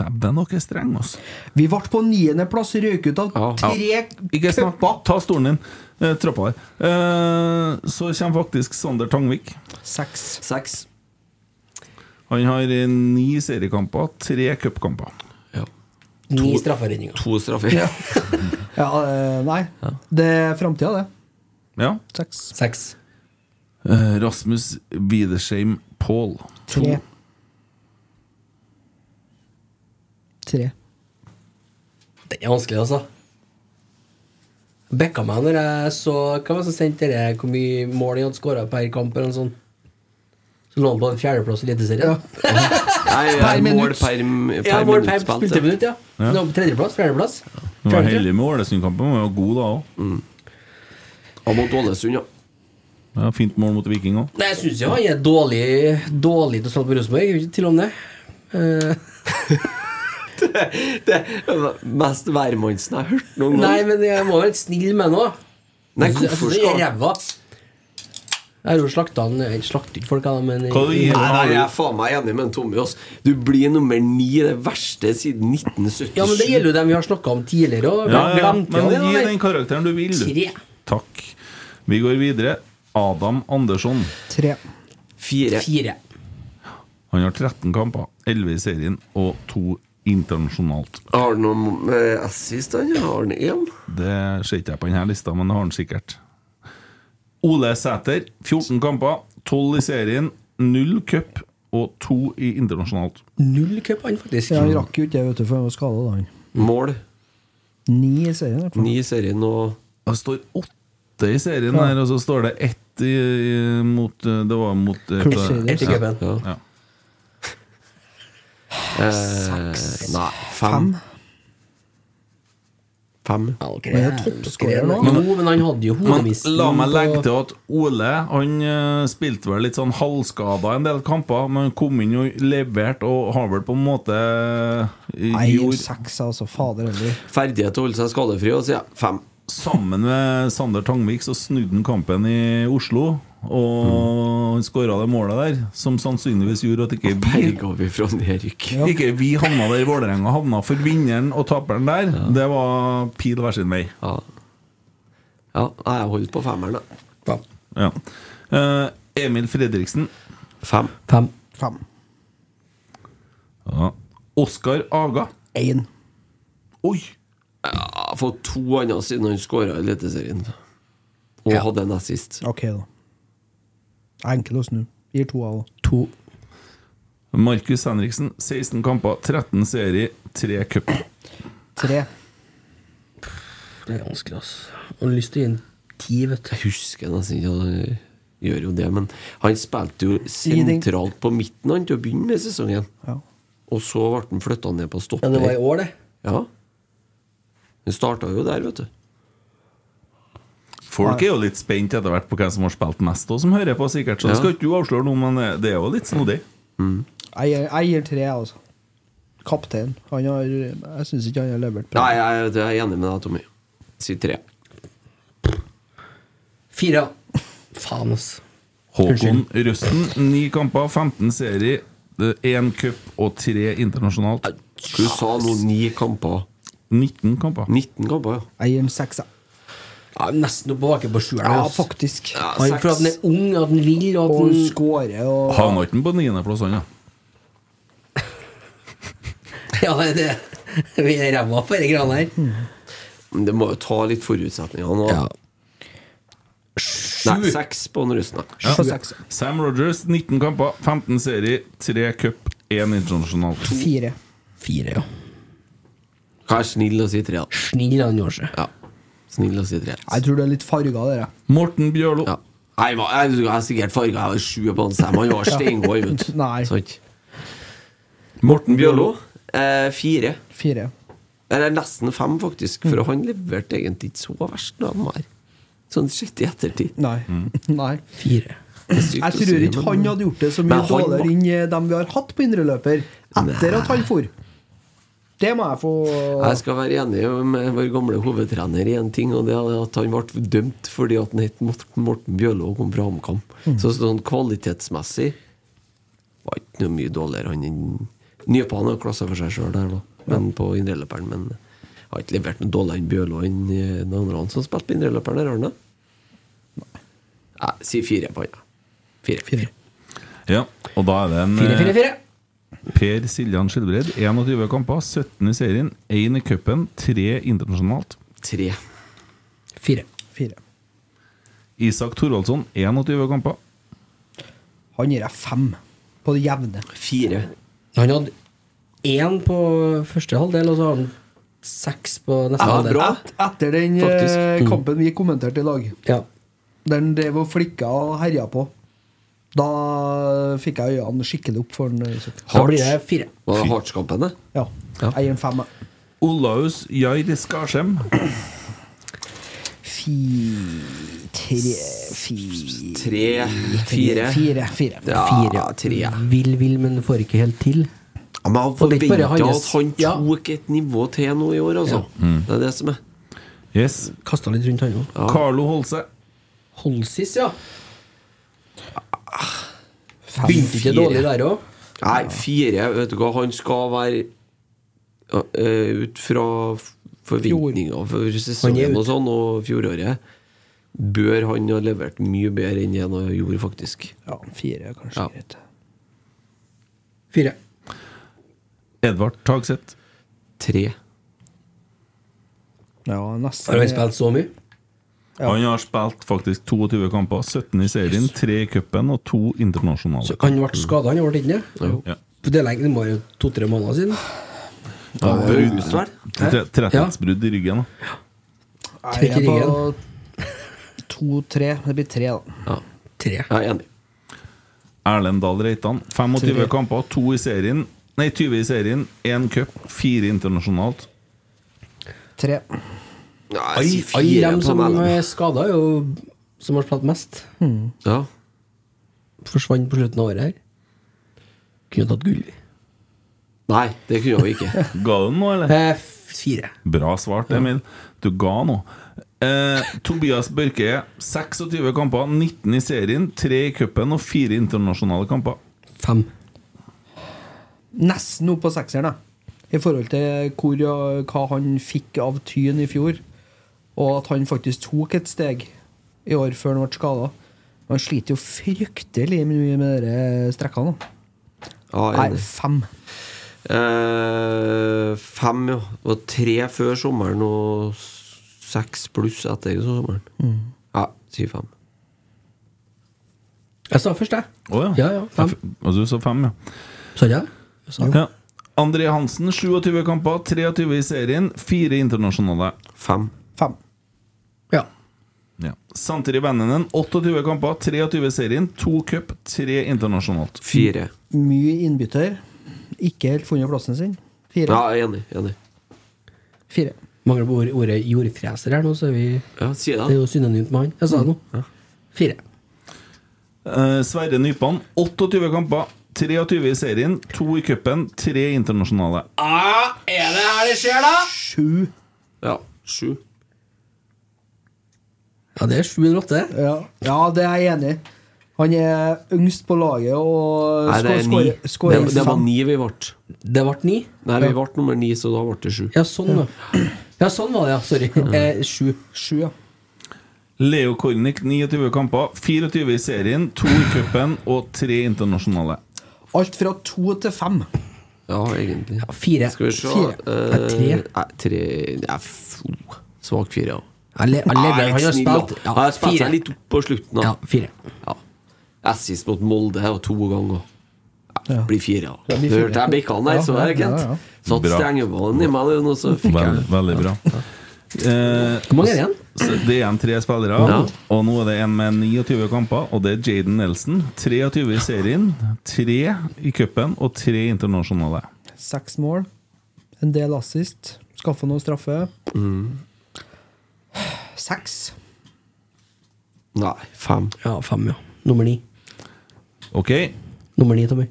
Dæven, dere er strenge, altså. Vi ble på niendeplass, røk ut av Ja. tre Ikke snakk. cuper. Ta stolen din. Eh, Trappa der. Eh, så kommer faktisk Sander Tangvik. Seks. Seks. Han har eh, ni seriekamper, tre cupkamper. Ja. Ni strafferedninger. To straffer. Ja, eh, nei. Det er framtida, det. Ja. Seks. Seks. Eh, Rasmus Widersheim Paul. Tre. Tre. Det er vanskelig, altså. Bekka meg når jeg så Hva var det som sendte dere hvor mye mål de hadde skåra per kamp? eller noe sånt? Så lå han på en fjerdeplass i Eliteserien. Nei, Per mål minutt. per, m- Ja, per mål minutt per spilt, ja. spilteminutt, ja. ja. Nå på tredjeplass, fjerdeplass. Du var Klarte. heldig med Ålesund-kampen, men var god da òg. Ja, mot Ålesund, ja. Ja, fint mål mot Viking òg. Nei, jeg syns jo han er dårlig Dårlig til å spille på Rosenborg. Jeg vil ikke til om det. Eh, Det er mest værmannsen jeg har hørt noen gang. nei, men jeg må være litt snill med han òg. Nei, hvorfor Jeg er skal ræva. Jeg har jo slakta han Jeg slakter ikke folk, jeg, men Hva du gir Nei, nei, jeg han? er faen meg enig med en Tommy. Ass. Du blir nummer ni, det verste siden 1977. Ja, men det gjelder jo dem vi har snakka om tidligere òg. Ja, ja, men gi den karakteren du vil, du. Tre. Takk. Vi går videre. Adam Andersson. Tre. Fire. Fire. Han har 13 kamper, 11 i serien og to internasjonalt. Har han noen eh, assist, han? Har han én? Det ser ikke jeg på denne lista, men det har han sikkert. Ole Sæter, 14 kamper, 12 i serien, 0 cup og 2 i internasjonalt. Null cup, han, faktisk. Ja, han rakk jo ikke det, vet du, for han var skada da. han. Mål Ni i serien, i hvert fall. ni i serien og Og Det står 8 i serien her, og så står det 1 i, i, mot eh, Det var mot eh, Crusaders. Etter cupen. ja. Ja. Eh, nei, fem. Fem. Fem. Ja, ok. Men jeg er toppskårer nå. Jo, men han hadde jo Men hodemisten la meg legge på- til at Ole Han eh, spilte vel litt sånn halvskada en del kamper, men han kom inn og leverte og har vel på en måte eh, Nei, gjort seks, altså. Fader heller. Ferdighet til å holde seg skadefri, og så sier jeg fem. Sammen med Sander Tangvik så snudde han kampen i Oslo. Og han skåra det målet der, som sannsynligvis gjorde at ikke vi, Berga vi fra nedrykk? ikke vi havna der Vålerenga havna. For vinneren og taperen der, det var pil hver sin vei. Ja. ja. Nei, jeg holder på femmeren, da. Ja. Eh, Emil Fredriksen. Fem. Fem. Fem. Ja. Oskar Aga. Én. Oi! Jeg har fått to andre siden han skåra i Eliteserien. Og hadde en assist. Ok, da. Enkel å snu. Gir to av òg. To. Markus Henriksen, 16 kamper, 13 serie, 3 cup. Tre. Det er vanskelig, altså. Jeg har lyst til å gi en ti, vet du. Jeg husker nesten ikke han gjør jo det, men han spilte jo Ingenting. sentralt på midten han til å begynne med sesongen. Ja. Og så ble han flytta ned på Ja, stopper. det var i år, det. Ja. Han starta jo der, vet du. Folk er jo litt spent etter hvert på hvem som har spilt mest, og som hører på, sikkert. Så det skal ikke du avsløre noe, men eh, det er jo litt snodig. Jeg gir- jeg gir tre, altså. Kaptein. Han har Jeg syns ikke han har levert bra. Nei, jeg, jeg er enig med deg, Tommy. Si tre. Fire. Faen, altså. Håkon Røsten, 9 kamper, 15 serie, 1 cup og 3 internasjonalt. Du sa nå ni kamper. 19 kamper. 19 kamper, ja. Jeg gir en sekser. Ja, jeg er nesten tilbake på sjueren. Ja, altså. faktisk. Ja, Han, seks. for at den er ung, at den vil, og at Og den skårer og Havna ikke den på niendeplass, han, da? Ja, det er det. Vi er ræva på disse greiene Hmm. her. Men det må jo ta litt forutsetninger nå. Nei, seks på den russen. da. På seks. Sam Rogers, 19 kamper, 15 serie, 3 cup, 1 internasjonalt. Fire. Fire, ja. Vær snill og si tre, da. Snill han gjorde seg. Ja. Snill og si tre. Jeg tror det er litt farga, dere. Morten Bjørlo. Ja. Nei, hva- jeg, jeg er sikkert farga. Jeg har sju på han Sam. Han var steingod, vet du. Nei. Sant? Morten Bjørlo eh, fire. Mm. Fire. Eller nesten fem, faktisk. For han leverte egentlig ikke så verst. Da, han var. Sånn sett i ettertid. Nei. Nei. Fire. Jeg tror ikke han hadde gjort det så mye Men han dårligere var- enn eh, dem vi har hatt på indreløper etter Nei. at han for. Det må jeg få Jeg skal være enig med vår gamle hovedtrener i en ting, og det er at han ble dømt fordi at han het Morten Morten Bjørlo og kom fra HamKam. Mm. Så sånn kvalitetsmessig var ikke noe mye dårligere han enn Nypan har klasse for seg sjøl der, da, men på indreløperen. Men har ikke levert noe dårligere enn Bjørlo enn eh, de andre han som spilte på indreløperen der, Arne. Nei, si fire på han. da. Fire. Ja, og da er det en eh, Fire, fire, fire. Per Siljan Skjelbred, 21 kamper, 17 i serien, 1 i cupen, 3 internasjonalt. Tre. Fire. fire. Isak Thorvaldsson, 21 kamper. Han gir jeg fem. På det jevne. Fire. Han hadde én på første halvdel, og så hadde han seks på neste Ja, halvdel. Mm. bra. Et, etter den eh, Faktisk. kampen vi kommenterte i lag, Ja. der han drev og flikka og herja på, da fikk jeg øynene skikkelig opp for han. eh, Isak. Da blir det fire. Var det Hartskampen, det? Ja. Ja. Jeg gir en fem. jeg. Olaus Jair Skarsheim, Fi... Tre... Fi... Tre. Fire. Fire. fire. Ja, Fire. tre. Vil, vil, men får ikke helt til. Ja, men han Og det er ikke forventa bare at hans- han Ja. Mm. tok et nivå til nå i år, altså. Det er det som er. yes. Kasta litt rundt han òg. Carlo Holse, Holsis, ja. Begynte ikke dårlig der òg. Nei, fire, vet du hva, han skal være ja, eh, ut fra f- forventninger for Han er sesongen ut. og sånn, og fjoråret, bør han ha levert mye bedre enn det han har gjort, faktisk. Ja, fire er kanskje Ja. greit. Fire. Edvard Tagseth, Tre. Ja, nesten. Har han spilt så mye? Han har spilt faktisk 22 kamper. 17 i serien, 3 i cupen og 2 internasjonale. Så han ble Mm. skada, han ble ikke det? Ja. Det er lenge, det må jo to-tre måneder siden. Ja, August, vel? Tre- Trettighetsbrudd i ryggen. da. Trekk i Jeg er ryggen. på to-tre. Det blir tre, da. Ja. Tre. Jeg er enig. Erlend Dahl Reitan. 25 kamper, 2 i serien. Nei, 20 i serien, 1 cup, 4 internasjonalt. Tre. Nei, Ai, si ai, fire dem på som meg. er skada, er jo som har spilt mest. Mm. Ja. Forsvant på slutten av året her. Kunne tatt gull. Nei, det kunne vi ikke. Ga du den nå, eller? Eh, fire. Bra svart, Emil. Du ga nå. Eh, Tobias Børke, 26 kamper, 19 i serien, 3 i cupen og 4 internasjonale kamper. Fem. Nesten opp på sekseren, da. I forhold til hvor, ja, hva han fikk av Tyn i fjor. Og at han faktisk tok et steg i år før han ble skada. Han sliter jo fryktelig mye med de eh, strekkene. da. Ja, jeg er Nei, enig. fem. Eh, fem, ja. Det var tre før sommeren og seks pluss etter sommeren. Ja, si fem. Jeg sa først, jeg. Å ja. Ja, ja, fem. Jeg f- Altså, så fem, ja. Sa ikke jeg det? Jeg sa ja. André Hansen, 27 kamper, 23 i serien, 4 internasjonale. Fem. Fem. Ja. Ja. Samtidig Vennenen, 28 kamper, 23 i serien, 2 cup, 3 internasjonalt. Fire. Mye innbytter. Ikke helt funnet plassen sin. Fire. Ja, jeg er enig. jeg er enig. Fire. Mangler på ordet, ordet jordfreser her nå, så er vi Ja, si Det er det. jo synonymt med han. Jeg sa det Mm. nå. Fire. Eh, Sverre Nypan, 28 kamper, 23 i serien, 2 i cupen, 3 internasjonale. Er det her det skjer, da? Sju. Ja, Sju. Ja, det er 708. Ja. ja, det er jeg enig i. Han er yngst på laget og Nei, det er ni. skår- skår- Det, det var fem. ni vi ble. Det ble 9. Nei, vi ble nummer ni, så da ble det sju. Ja, sånn, da. Ja, sånn var det, ja. Sorry. Eh, sju. Sju, ja. Leo Kornic, 29 kamper, 24 i serien, 2 i cupen og 3 internasjonale. Alt fra to til fem. Ja, egentlig. Ja, fire. Skal vi se Fire. eh, Nei, tre. Nei, tre Nei, f- Svak fire, ja. Jeg le- jeg Ja, leder. litt Han har snill, da. spilt Ja, jeg spilte seg litt opp på slutten, da. Ja, fire. Ja. Assist mot Molde og to ganger. Ja, blir fire, ja. blir Du fire. hørte jeg bekkene der, så det er Ja, ja, ja, greit. Satt Bra. strengeballen i meg, og så fikk Veldig, jeg veldig bra. Eh, Hvor mange er det igjen? så det er igjen tre spillere, Ja. og nå er det en med 29 kamper, og det er Jaden Nelson. 23 i serien, 3 i cupen og 3 internasjonale. Seks mål. En del assist. Skaffa noe straffe. Mm. Seks. Nei, fem. Ja, fem, ja. Nummer ni. Ok, Nummer ni, Tommy.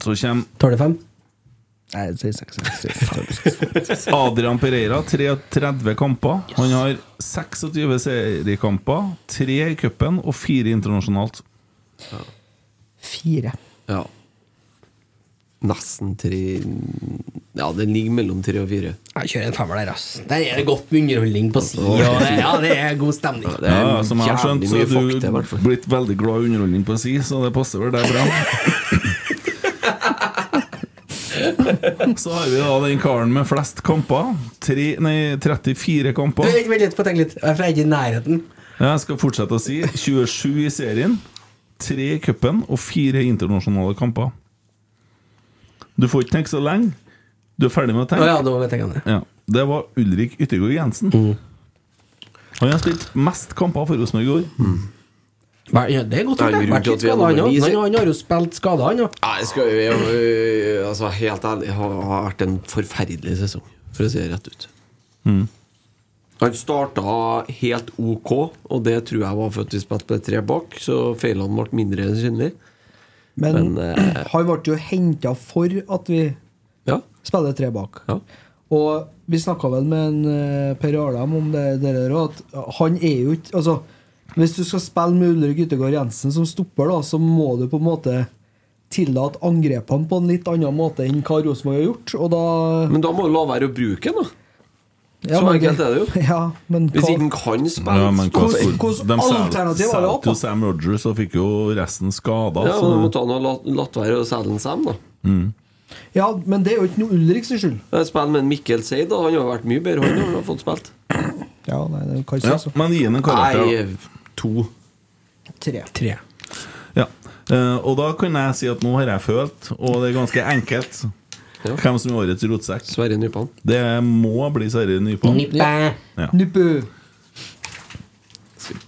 så kommer Tar det fem? Nei, jeg sier seks. jeg sier seks. Adrian Pereira, 33 kamper. Han har 26 seriekamper, 3 i cupen og 4 internasjonalt. Fire. Ja. Nesten tre Ja, den ligger mellom tre og fire. Jeg kjører en femmer der, ass. Der er det godt med underholdning på sida. og det- Ja, det er god stemning. Det er Ja, som jeg har skjønt, jævlig så mye er fakta, i hvert du fall. blitt veldig glad i underholdning på si, så det passer vel deg bra. Så har vi da den karen med flest kamper. Tre, nei, 34 Du, kamper. Vent vent litt, få tenke litt. Jeg er ikke i nærheten. Jeg skal fortsette å si 27 i serien, 3 i cupen og 4 internasjonale kamper. Du får ikke tenke så lenge. Du er ferdig med å Å tenke. ja, da vet jeg hva det er. Ja, det var Ulrik Yttergård Jensen. Han har spilt mest kamper for Rosenborg i år. Mm. Hva- Ja, det er godt gjort. Det er det. grunnen Vært til litt at vi er skadet, Han nummer ni, også. sier- Han- han har jo spilt skada, han òg. Nei, skal vi øh, Altså, helt ærlig, det har har vært en forferdelig sesong, for å si det rett ut. Han starta helt ok, og det tror jeg var for at vi spilte med tre bak, så feilene ble mindre enn synlig. Men, Mm. Men, eh, han ble jo henta for at vi Ja. spiller tre bak. ja. Og vi snakka vel med en eh, Per Arlem om det, det der òg, at han er jo ikke Altså, hvis du skal spille med Ulrik Yttergård Jensen som stopper, da, så må du på en måte tillate angrepene på en litt annen måte enn hva Rosenborg har gjort, og da Men da må du la være å bruke den, da. ja, så men- enkelt er det jo. Ja, men Hvis ikke hva, den kan spille Ja, men hva Hvordan- skulle- hvordan de sel- alternativ var det opp, selte jo da? Sam Rogers og fikk jo resten skada. Ja, men du så- må ta den og la- latt være å selge den Sam, da. ja, Eh, men det er jo ikke noe Ulrik sin skyld. Jeg spiller med en Mikkel Seid, da. Han har vært mye bedre, han har fått spilt. Ja, nei, det kan ikke Ja, si så. men gi den en karakter. da. Nei, to. Tre. Tre. Ja. Eh, og da kan jeg si at nå har jeg følt, og det er ganske enkelt, Ja. hvem som er årets rotsekk. Sverre Nypan. Det må bli Sverre Nypan. Nippe. Nuppe.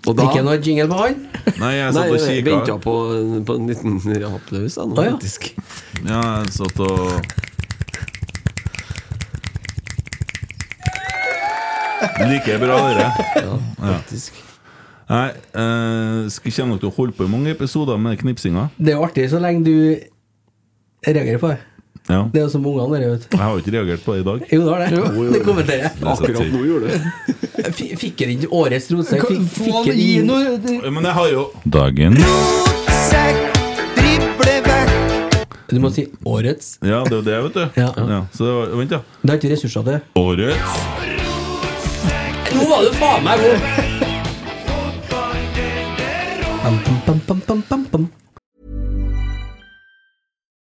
Og Ikke noe jingle på han. Nei, jeg Nei, satt og jeg venta kikka. på, på en liten applaus, jeg nå, Å, ja. faktisk. Ja, jeg satt og Like bra, dere. Ja, faktisk. Nei, eh, skal kommer nok til å holde på i mange episoder med knipsinga. Det er jo artig så lenge du reagerer på det. Ja. Det er jo som ungene der, vet du. Jeg har jo ikke reagert på det i dag. Jo, det har det. Det kommenterer jeg. Akkurat nå gjorde det. F- Fikk jeg ikke årets rotsekk? Fikk, Få fikk han jeg gi ikke noe det- Men jeg har jo Dagen. Du må si årets. Ja, det er jo det, vet du. Ja. så det var, vent, da. Det har ikke ressurser til. Årets Nå var du faen meg god! Bam, bam, bam, bam, bam, bam.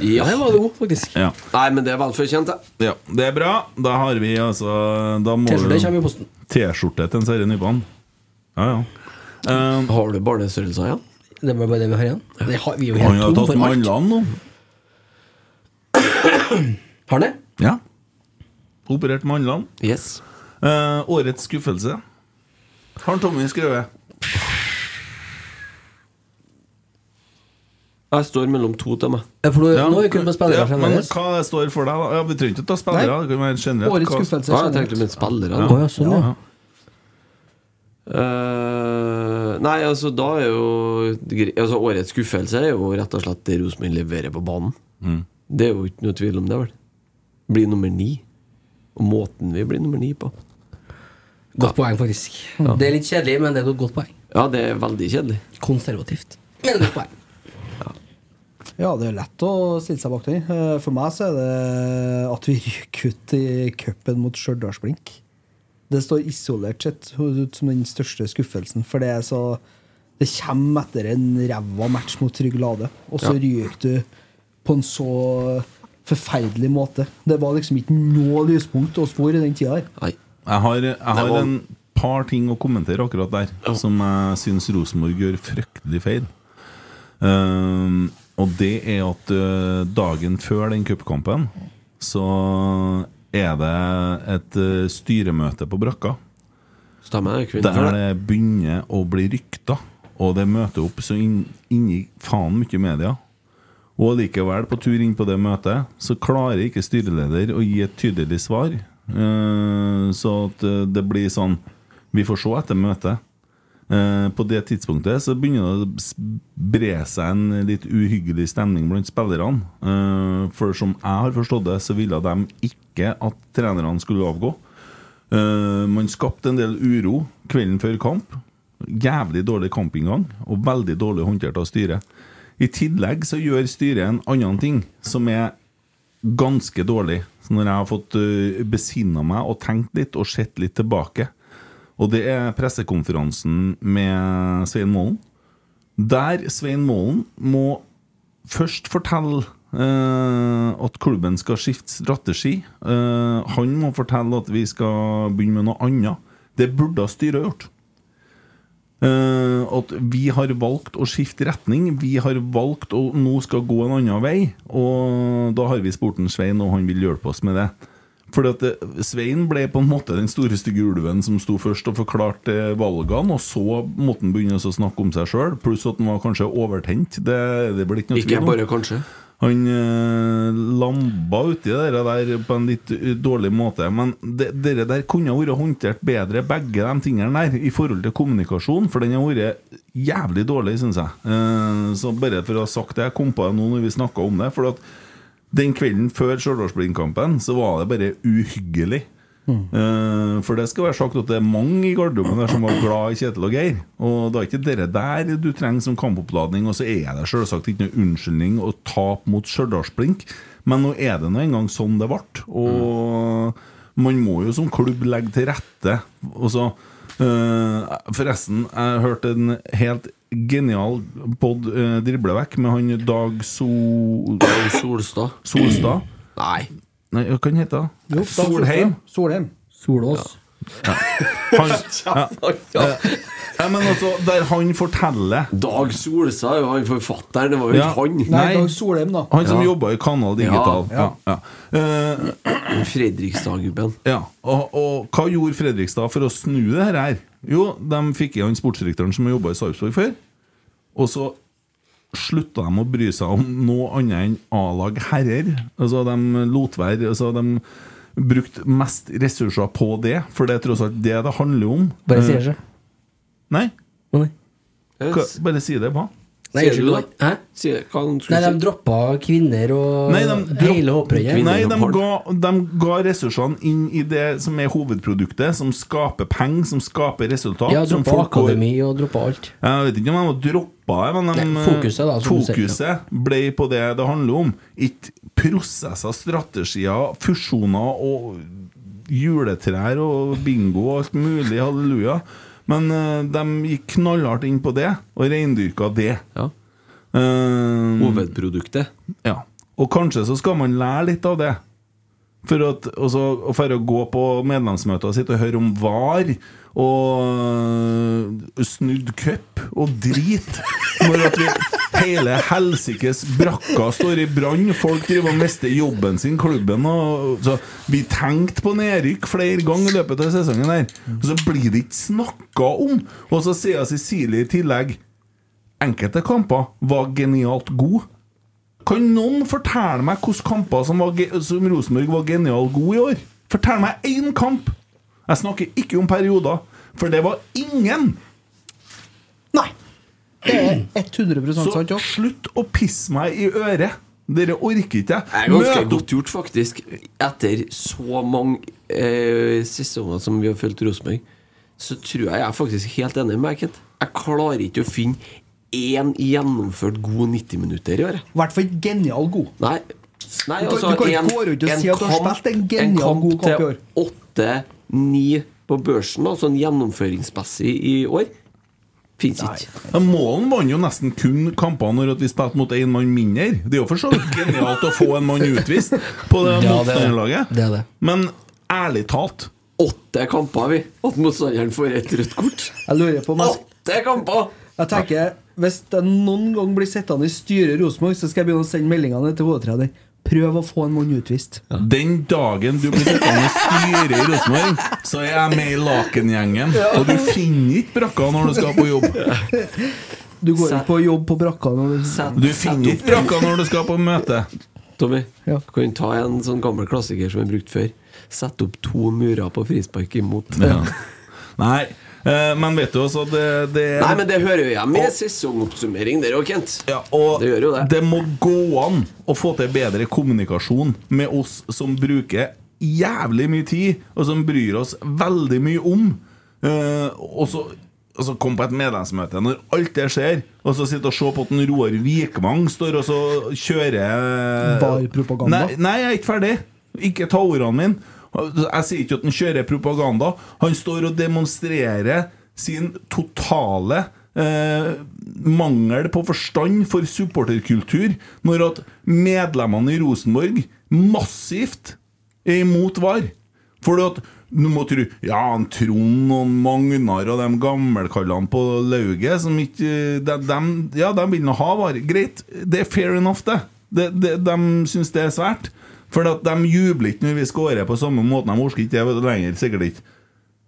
Ja, den var god, faktisk. ja. Nei, men det er velfortjent, det. ja, det er bra. Da har vi altså Da må T-skjorte kommer du i posten. T-skjorte til en Sverre Nypan. Ja, ja. Eh, Har du barnestørrelser igjen? Det var bare det vi har igjen. Det har, vi er jo han har helt tom tatt for alt. mandlene nå. Har han det? Ja. Operert mandlene. Yes. Eh, årets skuffelse. Har Tommy skrevet? Jeg står mellom to til meg. Ja, For nå, Ja, nå er vi kun på spillere ja, men fremdeles. hva det står for deg, da? Ja, vi trenger ikke ta spillere. Nei. Det kan være generelt. Årets Hva- skuffelse. Ja, jeg tenkte generelt. litt spillere. sånn Å da. ja, sånn, ja. Eh, nei, altså, da er jo gre- altså, Årets skuffelse er jo rett og slett det Rosenborg leverer på banen. Mm. Det er jo ikke noe tvil om det, vel. Blir nummer ni. Og måten vi blir nummer ni på. Godt poeng, faktisk. Det er litt kjedelig, men det er et godt poeng. Ja, det er veldig kjedelig. Konservativt. Men et godt poeng. Ja, det er lett å stille seg bak den. Eh, For meg så er det at vi ryker ut i cupen mot Stjørdalsblink. Det står isolert sett ut som den største skuffelsen, for det er så Det kommer etter en ræva match mot Trygg Lade, og så ryker du på en så forferdelig måte. Det var liksom ikke noe lyspunkt å spore i den tida her. Nei. Jeg har, jeg har var- en par ting å kommentere akkurat der, som jeg syns Rosenborg gjør fryktelig feil. Ehm, og det er at ø, dagen før den cupkampen, så er det et ø, styremøte på brakka. Stemmer det, kvinnen Der før det? det begynner å bli rykter, og det møter opp så inn- inni faen mye media. Og likevel, på tur inn på det møtet, så klarer ikke styreleder å gi et tydelig svar. Eh, Så at eh, det blir sånn Vi får se etter møtet. Eh, På det tidspunktet så begynner det å s- bre seg en litt uhyggelig stemning blant spillerne. Eh, For som jeg har forstått det, så ville de ikke at trenerne skulle avgå. Eh, man skapte en del uro kvelden før kamp. Jævlig dårlig kampinngang og veldig dårlig håndtert av styret. I tillegg så gjør styret en annen ting som er ganske dårlig. Så når jeg har fått uh, besinna meg og tenkt litt og sett litt tilbake Og det er pressekonferansen med Svein Målen. Der Svein Målen må først fortelle eh, at klubben skal skifte strategi. Eh, han må fortelle at vi skal begynne med noe annet. Det burde styret ha gjort. Eh, at vi har valgt å skifte retning. Vi har valgt å nå skal gå en annen vei. Og da har vi sporten Svein, og han vil hjelpe oss med det. Fordi at eh, Svein ble på en måte den store stygge ulven som sto først og forklarte eh, valgene, og så måtte han begynne å snakke om seg sjøl, pluss at han var kanskje overtent. Det, det blir ikke noe Ikke tvil om. bare kanskje. Han eh, lamba uti det der på en litt eh, dårlig måte. Men det, det der kunne ha vært håndtert bedre, begge de tingene der, i forhold til kommunikasjon. For den har vært jævlig dårlig, syns jeg. Eh, så bare for å ha sagt det, jeg kom på det nå når vi snakka om det. For at den kvelden før Stjørdalsblindkampen så var det bare uhyggelig. Eh, for det skal være sagt at det er mange i garderoben der som var glad i Kjetil og Geir. Og det er ikke dere der du trenger som kampoppladning. Og så er det selvsagt ikke noe unnskyldning å tape mot Stjørdalsblink, men nå er det nå engang sånn det ble. Og man må jo som klubb legge til rette. Og så eh, Forresten, jeg hørte en helt genial pod uh, driblevekk med han Dag so Solstad. Solstad. Nei. Nei, hva kan han hete? da? Solheim. Solheim. Solås. Han, ja. Nei, men altså, der han forteller Dag Solstad er jo han forfatteren, det var jo Ja. ikke han. Nei, Dag Solheim, da. Han som Ja. jobba i Kanal Digital. Ja, Ja. ja. Eh, Fredrikstad-gubben. ja. Og, og hva gjorde Fredrikstad for å snu det her? her? Jo, de fikk i han sportsdirektøren som jobba i Sarpsborg før. Og så slutta de å bry seg om noe annet enn A-lag herrer. Altså, de lot være altså, De brukte mest ressurser på det, for det er tross alt det det handler om. Bare Eh, sier seg. Nei, Nei, hva, Yes. bare si det, hva? Nei, Sier du unnskyld. da? Hæ? Sier, hva han Nei, skulle de si? droppa kvinner og Nei, de dropp- hele hopprennet. Kvinner. Nei, og de porn. ga, de ga ressursene inn i det som er hovedproduktet, som skaper penger, som skaper resultat. Ja, som droppa folk går- akademi og droppa alt. Jeg vet ikke om de har droppa det, men de, Nei, fokuset da, som du sier, fokuset ble på det det handler om. Ikke prosesser, strategier, fusjoner og juletrær og bingo og alt mulig, halleluja. Men eh, de gikk knallhardt inn på det, og reindyrka det. Ja. Mm. Eh, Hovedproduktet. ja. Og kanskje så skal man lære litt av det. For at, og så, og for å gå på medlemsmøter og sitte og høre om VAR og øh, snudd cup og drit Når at vi hele helsikes brakka står i brann, folk driver og mister jobben sin, klubben og så Vi tenkte på nedrykk flere ganger i løpet av sesongen her, og så blir det ikke snakka om! Og så sier Cecilie i tillegg Enkelte kamper var genialt gode. Kan noen fortelle meg hvilke kamper som, var, ge- som Rosenborg var genial god i år? Fortell meg én kamp! Jeg snakker ikke om perioder, for det var ingen! Nei! Det er 100 Så sant, ja. slutt å pisse meg i øret! Dere orker ikke Det er jeg. ganske Møt opp! godt gjort, faktisk. Etter så mange eh, sesonger som vi har fulgt Rosenborg, så tror jeg jeg er faktisk helt enig med deg, Kent. Jeg klarer ikke å finne én gjennomført god 90 minutter i år. jeg. I hvert fall genial god. Nei. Nei, Du kan- altså du kan ikke en- gå rundt og en si at du har kamp- spilt en genial god kamp i år. til åtte-ni på børsen, altså en gjennomføringsmessig i år, fins ikke. Ja, Målen vant jo nesten kun kampene når at vi spilte mot én mann mindre. Det er jo for så vidt genialt å få en mann utvist på det Ja, det er det. motstanderlaget. Det er det. Men ærlig talt Åtte kamper, vi! At motstanderen får et rødt kort. Jeg lurer på om jeg, Åtte kamper! jeg tenker, Hvis jeg noen gang blir sittende i styret i Rosenborg, så skal jeg begynne å sende meldingene til hovedtrener. Prøv å få en mann utvist. Den dagen du blir sittende og styre i Rosenborg, så er jeg med i Lakengjengen. Og du finner ikke brakka når du skal på jobb. Du går ikke på jobb på brakka når du Sett- Du sett finner opp ikke brakka når du skal på møte. Tommy, Ja. kan du ta en sånn gammel klassiker som vi har brukt før? Sett opp to murer på frispark imot. Nei, eh, men vet du også at det, det Nei, men det hører jo hjemme i sesongoppsummering der òg, Kent. ja, og Det gjør jo det. må gå an å få til bedre kommunikasjon med oss som bruker jævlig mye tid, og som bryr oss veldig mye om. Eh, og så og så komme på et medlemsmøte når alt det skjer, og så sitte og se på at en Roar Vikvang står og så kjører Var-propaganda. Nei, nei, jeg er ikke ferdig. Ikke ta ordene mine. Jeg sier ikke at han kjører propaganda. Han står og demonstrerer sin totale eh, mangel på forstand for supporterkultur når at medlemmene i Rosenborg massivt er imot VAR. For at du må tro Ja, han Trond og han Magnar og de gammelkallene på lauget som ikke de, de, Ja, de vil nå ha VAR. Greit, det er fair enough, det. De, de, de syns det er svært. For at de jubler ikke når vi scorer på samme måten. De orker ikke det lenger, sikkert ikke.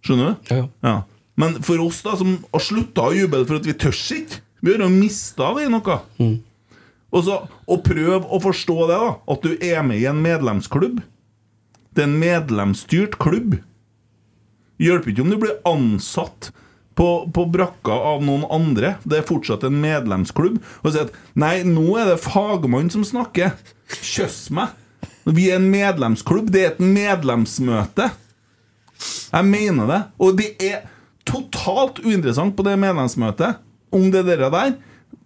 Skjønner du? Ja, Men for oss da, som har slutta å juble for at vi tør ikke Vi har jo mista vi noe. Og så å prøve å forstå det, da. At du er med i en medlemsklubb. Det er en medlemsstyrt klubb. Hjelper ikke om du blir ansatt på, på brakka av noen andre. Det er fortsatt en medlemsklubb. Og si at nei, nå er det fagmann som snakker. Kjøss meg. Vi er en medlemsklubb. Det er et medlemsmøte. Jeg mener det. Og det er totalt uinteressant på det medlemsmøtet om det dere der,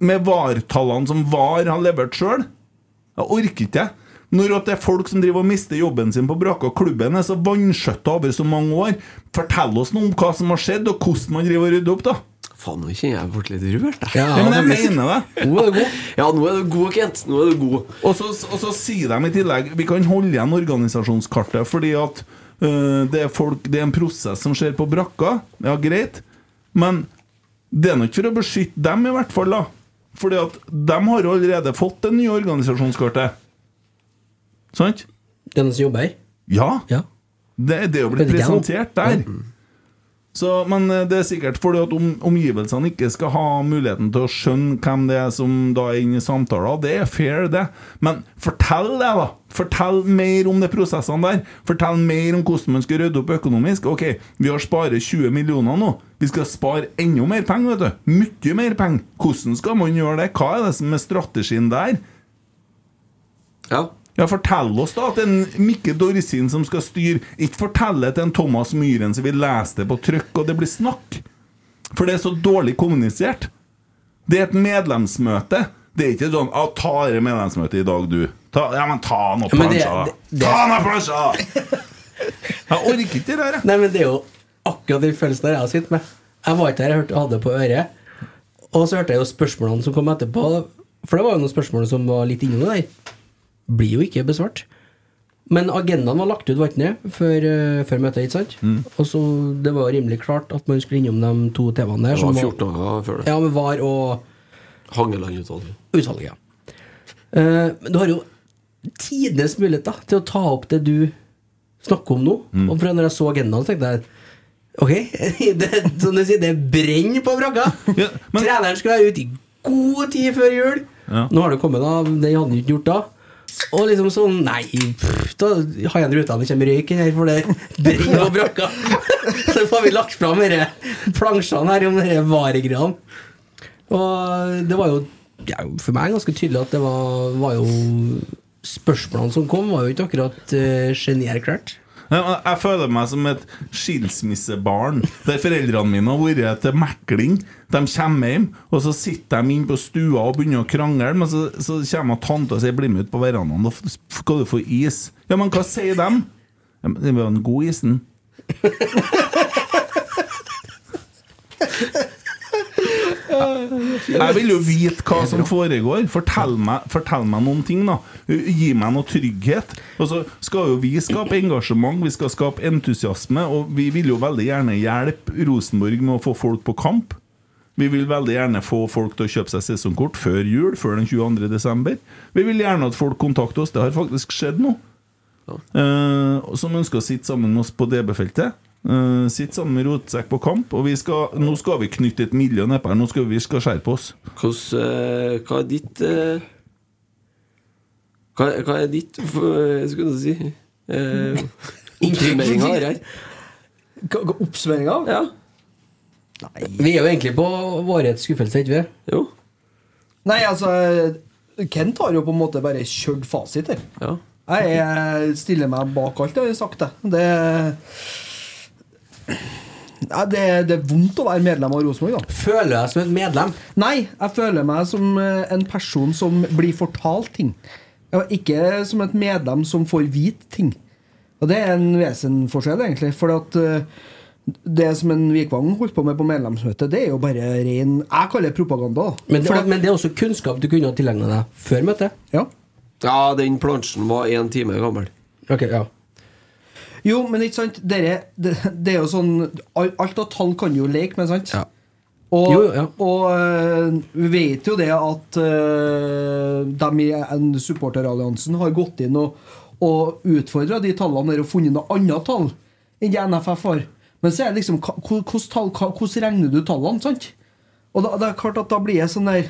med VAR-tallene som VAR har levert sjøl. Jeg orker ikke. Når at det er folk som driver og mister jobben sin på brakka, og klubben er så vanskjøtta over så mange år, fortell oss noe om hva som har skjedd, og hvordan man driver og rydder opp, da. Faen, nå kjenner jeg meg litt rørt. jeg. Ja, men jeg mener det. Nå er du god. Ja, nå er du god, Kent. Nå er du god. Og så, og så sier de i tillegg Vi kan holde igjen organisasjonskartet Fordi at øh, det, er folk, det er en prosess som skjer på brakka Ja, greit Men det er nok for å beskytte dem i hvert fall da Fordi at de har jo allerede fått det nye organisasjonskartet Sant? Den som jobber her? Ja, Det, det er jo blitt Vet ikke jeg nå. presentert der så, Men eh, det er sikkert fordi at om, omgivelsene ikke skal ha muligheten til å skjønne hvem det er som da er inne i samtaler. Det er fair, det. Men fortell det, da! Fortell mer om de prosessene der. Fortell mer om hvordan man skal rydde opp økonomisk. Ok, vi har sparet 20 millioner nå. Vi skal spare enda mer penger, vet du. Mye mer penger. Hvordan skal man gjøre det? Hva er det som er strategien der? Ja. Fortell oss da at det er en Mikke Dorsin som skal styre. Ikke fortell det til en Thomas Myhren som vil lese det på trykk, og det blir snakk. For det er så dårlig kommunisert. Det er et medlemsmøte. Det er ikke sånn ah, 'Ta det medlemsmøtet i dag, du'. Ta, ja, men ta nå Ja, men det- plansja, da. det- det- Ta nå plansja! Jeg orker ikke det der, jeg. Nei, men det er jo akkurat den følelsen der jeg har sittet med. Jeg var ikke der, jeg hørte, hadde det på øret. Og så hørte jeg jo spørsmålene som kom etterpå. For det var jo noen spørsmål som var litt innom det der. Blir jo ikke besvart. Men agendaen var lagt ut, var ikke det, før, eh, før møtet, ikke sant? Mm. Og så det var rimelig klart at man skulle innom de to TV-ene der. Det som var 14 dager før det. Ja, men var og Hangeland-utvalget. utsalget, ja. Eh, Men du har jo tidenes mulighet da, til å ta opp det du snakker om nå. Og fra når jeg så agendaen, så tenkte jeg ok, det, som du sier, det brenner på brakka! Treneren skulle være ute i god tid før jul. Ja. Nå har det kommet av, det hadde han ikke gjort da. Og liksom sånn Nei, pff, da har jeg en rute det kommer røyk her, for det brenner på brakka! Så får vi lagt fram disse plansjene her om disse varegreiene. Og det var jo det er jo for meg ganske tydelig at det var, var jo Spørsmålene som kom, var jo ikke akkurat uh, genierklært. Nei, men Jeg føler meg som et skilsmissebarn der foreldrene mine har vært til mekling. De kommer hjem, og så sitter de inne på stua og begynner å krangle. Men så, så kommer tanta og sier 'bli med ut på verandaen, da f- skal du få is'. Ja, men hva sier de? Ja, men det var den gode isen. Jeg vil jo vite hva som foregår. Fortell meg, fortell meg noen ting, da. Gi meg noe trygghet. Og så skal jo vi skape engasjement, vi skal skape entusiasme, og vi vil jo veldig gjerne hjelpe Rosenborg med å få folk på kamp. Vi vil veldig gjerne få folk til å kjøpe seg sesongkort før jul, før den 22. desember. Vi vil gjerne at folk kontakter oss. Det har faktisk skjedd nå. Eh, som ønsker å sitte sammen med oss på DB-feltet. Eh, sitte sammen med Rotsekk på kamp. Og vi skal, nå skal vi knytte et miljø nedpå her. Nå skal vi skal skjerpe oss. Hvordan, eh, hva er ditt eh, hva, hva er ditt f- eh, Skulle du si eh, Oppsummeringa her. her? Oppsummeringa? Ja. Vi er jo egentlig på vårets skuffelse, ikke vi? Jo. Nei, altså Kent har jo på en måte bare kjørt fasit her. Ja. Jeg er- stiller meg bak alt jeg har sagt, jeg. Det Ja, det, det er vondt å være medlem av Rosenborg, da. Føler jeg som et medlem? Nei, jeg føler meg som eh, en person som blir fortalt ting. Ja, Ikke som et medlem som får vite ting. Og det er en vesenforskjell, egentlig. For at eh, det som en Vikvang holdt på med på medlemsmøtet, det er jo bare ren Jeg kaller det propaganda. da. Men det, For at- men det er også kunnskap du kunne ha tilegna deg før møtet? Ja. Ja, den plansjen var én time gammel. Ok, ja Jo, men ikke sant Dere, det, det er jo sånn al- Alt av tall kan jo leke med, sant? Og, og øh, vi vet jo det at øh, de i en supporteralliansen har gått inn og, og utfordra de tallene der og funnet noe annet tall enn det NFF har. Men så er det liksom hva- hvor- Hvordan tall- hva- hvordan regner du tallene, sant? Og da, det er klart at da blir jeg sånn der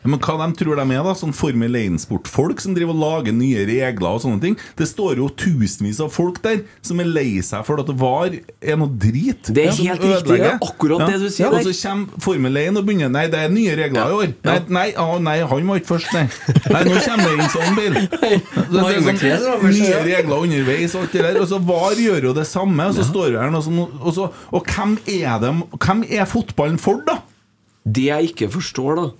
Ja, Men hva de tror de er, da? Sånn Formel 1-sportfolk som driver og lager nye regler og sånne ting. Det står jo tusenvis av folk der som er lei seg for at det var er noe drit. Det er som helt riktig, ødelegger. det er akkurat det du sier Og der. så kommer Formel 1 og begynner Nei, det er nye regler i år. Nei, nei, å, nei han var ikke først, nei. Nei, nå kommer det inn sånn bil. Det er sånn, nye regler underveis og alt det der. Og så VAR gjør jo det samme, og så står vi her og, sånn, og så Og hvem er dem Hvem er fotballen for, da? Det jeg ikke forstår, da,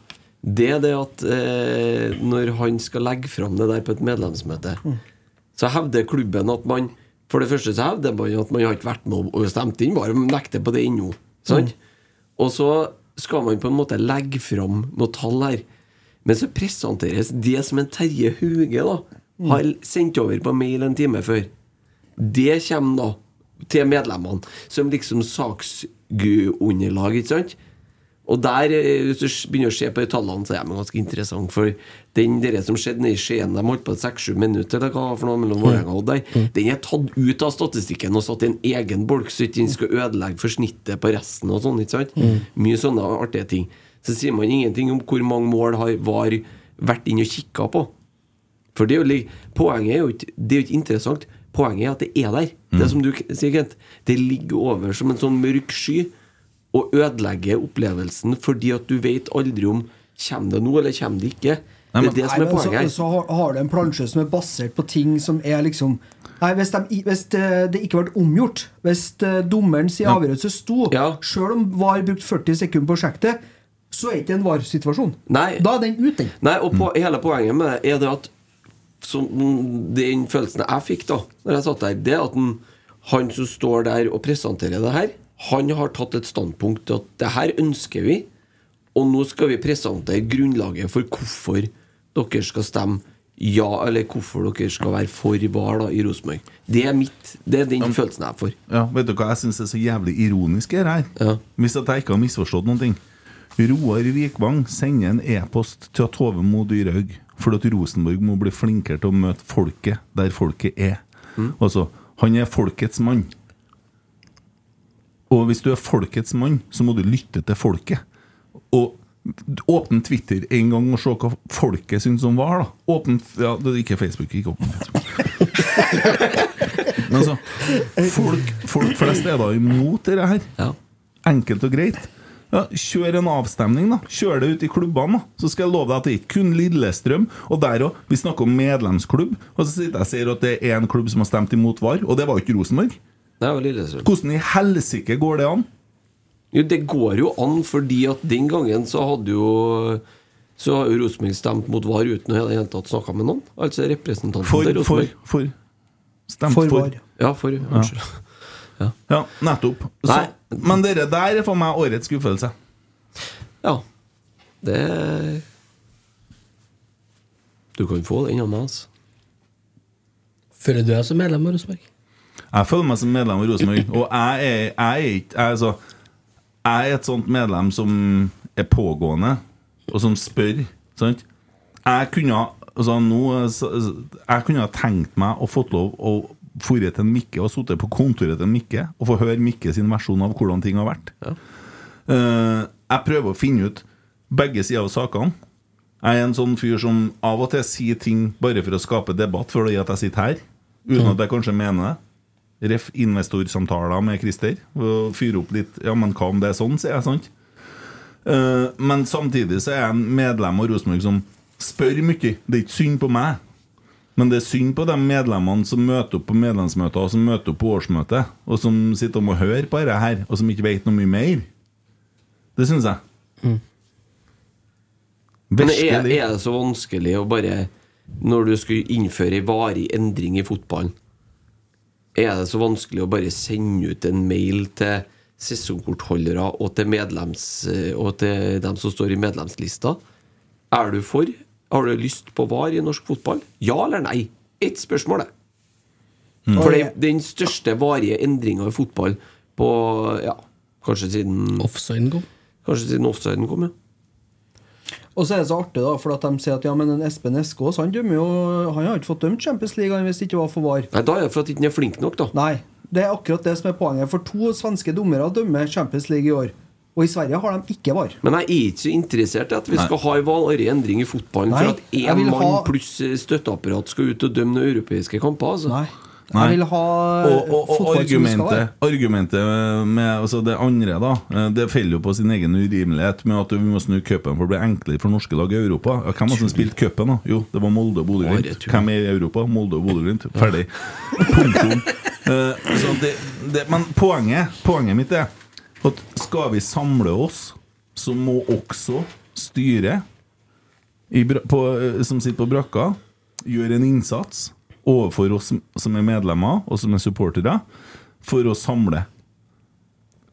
det er det at eh, når han skal legge fram det der på et medlemsmøte, så hevder klubben at man For det første så hevder man at man har ikke vært med og stemt inn, bare nekter på det ennå. Sant? Og så skal man på en måte legge fram noe tall her. Men så presenteres det som en Terje Huge da har sendt over på mail en time før. Det kommer da til medlemmene som liksom saksgudunderlag, ikke sant? Og der, eh, hvis du s- begynner å se på de tallene, så er de ganske interessante. For den dere som skjedde nede i Skien, de holdt på et seks-sju minutter eller hva det var for noe mellom Vålerenga og der, den er tatt ut av statistikken og satt i en egen bolk, så ikke den skal ødelegge for snittet på resten og sånn. ikke sant? Mye sånne artige ting. Så sier man ingenting om hvor mange mål har VAR vært inn og kikka på. For det er jo, lik- poenget er jo ikke Det er jo ikke interessant. Poenget er at det er der. Mm. Det er som du k- sier, Kent. Det ligger over som en sånn mørk sky og ødelegger opplevelsen fordi at du vet aldri om Kommer det nå, eller kommer det ikke? Det er det som Nei, er men poenget her. Så, så har, har du en plansje som er basert på ting som er liksom Nei, Hvis, de, i- hvis det, det ikke ble omgjort, hvis eh, dommeren sier avgjørelse sto, sjøl om VAR brukte 40 sekunder på å sjekke det, så er ikke det en VAR-situasjon. Da er den ute, den. Nei, og på, hele poenget med det er det at som, Den følelsen jeg fikk da Når jeg satt der, det er at den, han som står der og presenterer det her, han har tatt et standpunkt til at det her ønsker vi, og nå skal vi presentere grunnlaget for hvorfor dere skal stemme ja, eller hvorfor dere skal være for VAR da, i Rosenborg. Det er mitt, det er den følelsen jeg får. Ja, vet du hva jeg syns er så jævlig ironisk her? her? Hvis at jeg ikke har misforstått noen ting. Roar Vikvang sender en e-post til at Tove Mo Dyrhaug fordi at Rosenborg må bli flinkere til å møte folket der folket er. Altså, han er folkets mann. Og hvis du er folkets mann, så må du lytte til folket. Og åpne Twitter en gang og se hva folket syns om VAR. da Åpne ja, det er Ikke Facebook. Ikke åpne Facebook. Men altså, folk, folk flest er da imot dette her. Enkelt og greit. Ja, kjør en avstemning, da. Kjør det ut i klubbene. da Så skal jeg love deg at det er ikke kun Lillestrøm. Og der òg. Vi snakker om medlemsklubb. Og så sitter jeg og sier at det er én klubb som har stemt imot VAR, og det var jo ikke Rosenborg. Det er jo Lillestrøm. Hvordan i helsike går det an? Jo, det går jo an, fordi at den gangen så hadde jo Så har jo Rosenborg stemt mot VAR uten å i det hele tatt snakke med noen. Altså representanten For, til for, Rosenborg. for Stemt For for. VAR. Ja, for. Unnskyld. Ja. nettopp. Så, Nei. men dere der er for meg årets skuffelse. Ja. Det Du kan få den av meg, altså. Føler du deg som medlem av Rosenborg? Jeg føler meg som medlem av Rosenborg, og jeg er, jeg, er ikke, jeg, er så, jeg er et sånt medlem som er pågående, og som spør. Sant? Jeg kunne ha- altså, nå, så- så- Jeg kunne ha tenkt meg å fått lov å forre til en Mikke og sitte på kontoret til en Mikke og få høre Mikke sin versjon av hvordan ting har vært. Eh, jeg prøver å finne ut begge sider av sakene. Jeg er en sånn fyr som av og til sier ting bare for å skape debatt, fordi at jeg sitter her. Uten at jeg kanskje mener det. Ref investorsamtaler med Christer. og Fyre opp litt Ja, men hva om det er sånn, sier jeg, sant? Eh, men samtidig så er jeg en medlem av Rosenborg som spør mye. Det er ikke synd på meg. Men det er synd på de medlemmene som møter opp på medlemsmøter og som møter opp på årsmøtet, og som sitter og må høre på dette her, og som ikke vet noe mye mer. Det syns jeg. Mm. Men er, er det så vanskelig å bare Når du skulle innføre en varig endring i fotballen, er det så vanskelig å bare sende ut en mail til sesongkortholdere og til, medlems, og til dem som står i medlemslista? Er du for? Har du lyst på VAR i norsk fotball? Ja eller nei? Ett spørsmål, det. Mm. For det er den største varige endringa i fotball på ja, kanskje siden Offsiden kom? Kanskje siden offsiden kom, ja. Og så er det så artig, da, for at de sier at ja, men en Espen Eskås han dømmer jo Han har ikke fått dømt Champions League han, hvis det ikke var for VAR. Nei, Da er det for at ikke den er flink nok, da. Nei, det er akkurat det som er poenget. For to svenske dommere dømmer Champions League i år. Og i Sverige har de ikke VAR. Men jeg er ikke så interessert i at vi Nei. skal ha en varig endring i fotballen Nei, for at jeg én vil mann ha- pluss eh, støtteapparat skal ut og dømme noen europeiske kamper. Altså. Nei. Jeg vil ha eh, og, og, og fotball som det skal være. argumentet, argumentet med altså det andre, da eh, Det faller jo på sin egen urimelighet med at vi må snu cupen for å bli enklere for norske lag i Europa. Ja, hvem var det som spilte cupen, da? Jo, det var Molde og Bodø-Glimt. Hvem er i Europa? Molde og Bodø-Glimt. Ferdig. Punktum. Eh, så det, det, men poenget, poenget mitt er at skal vi samle oss, så må også styret i, bra- på, eh, som sitter på brakka, gjør en innsats overfor oss som, som er medlemmer og som er supportere, for å samle.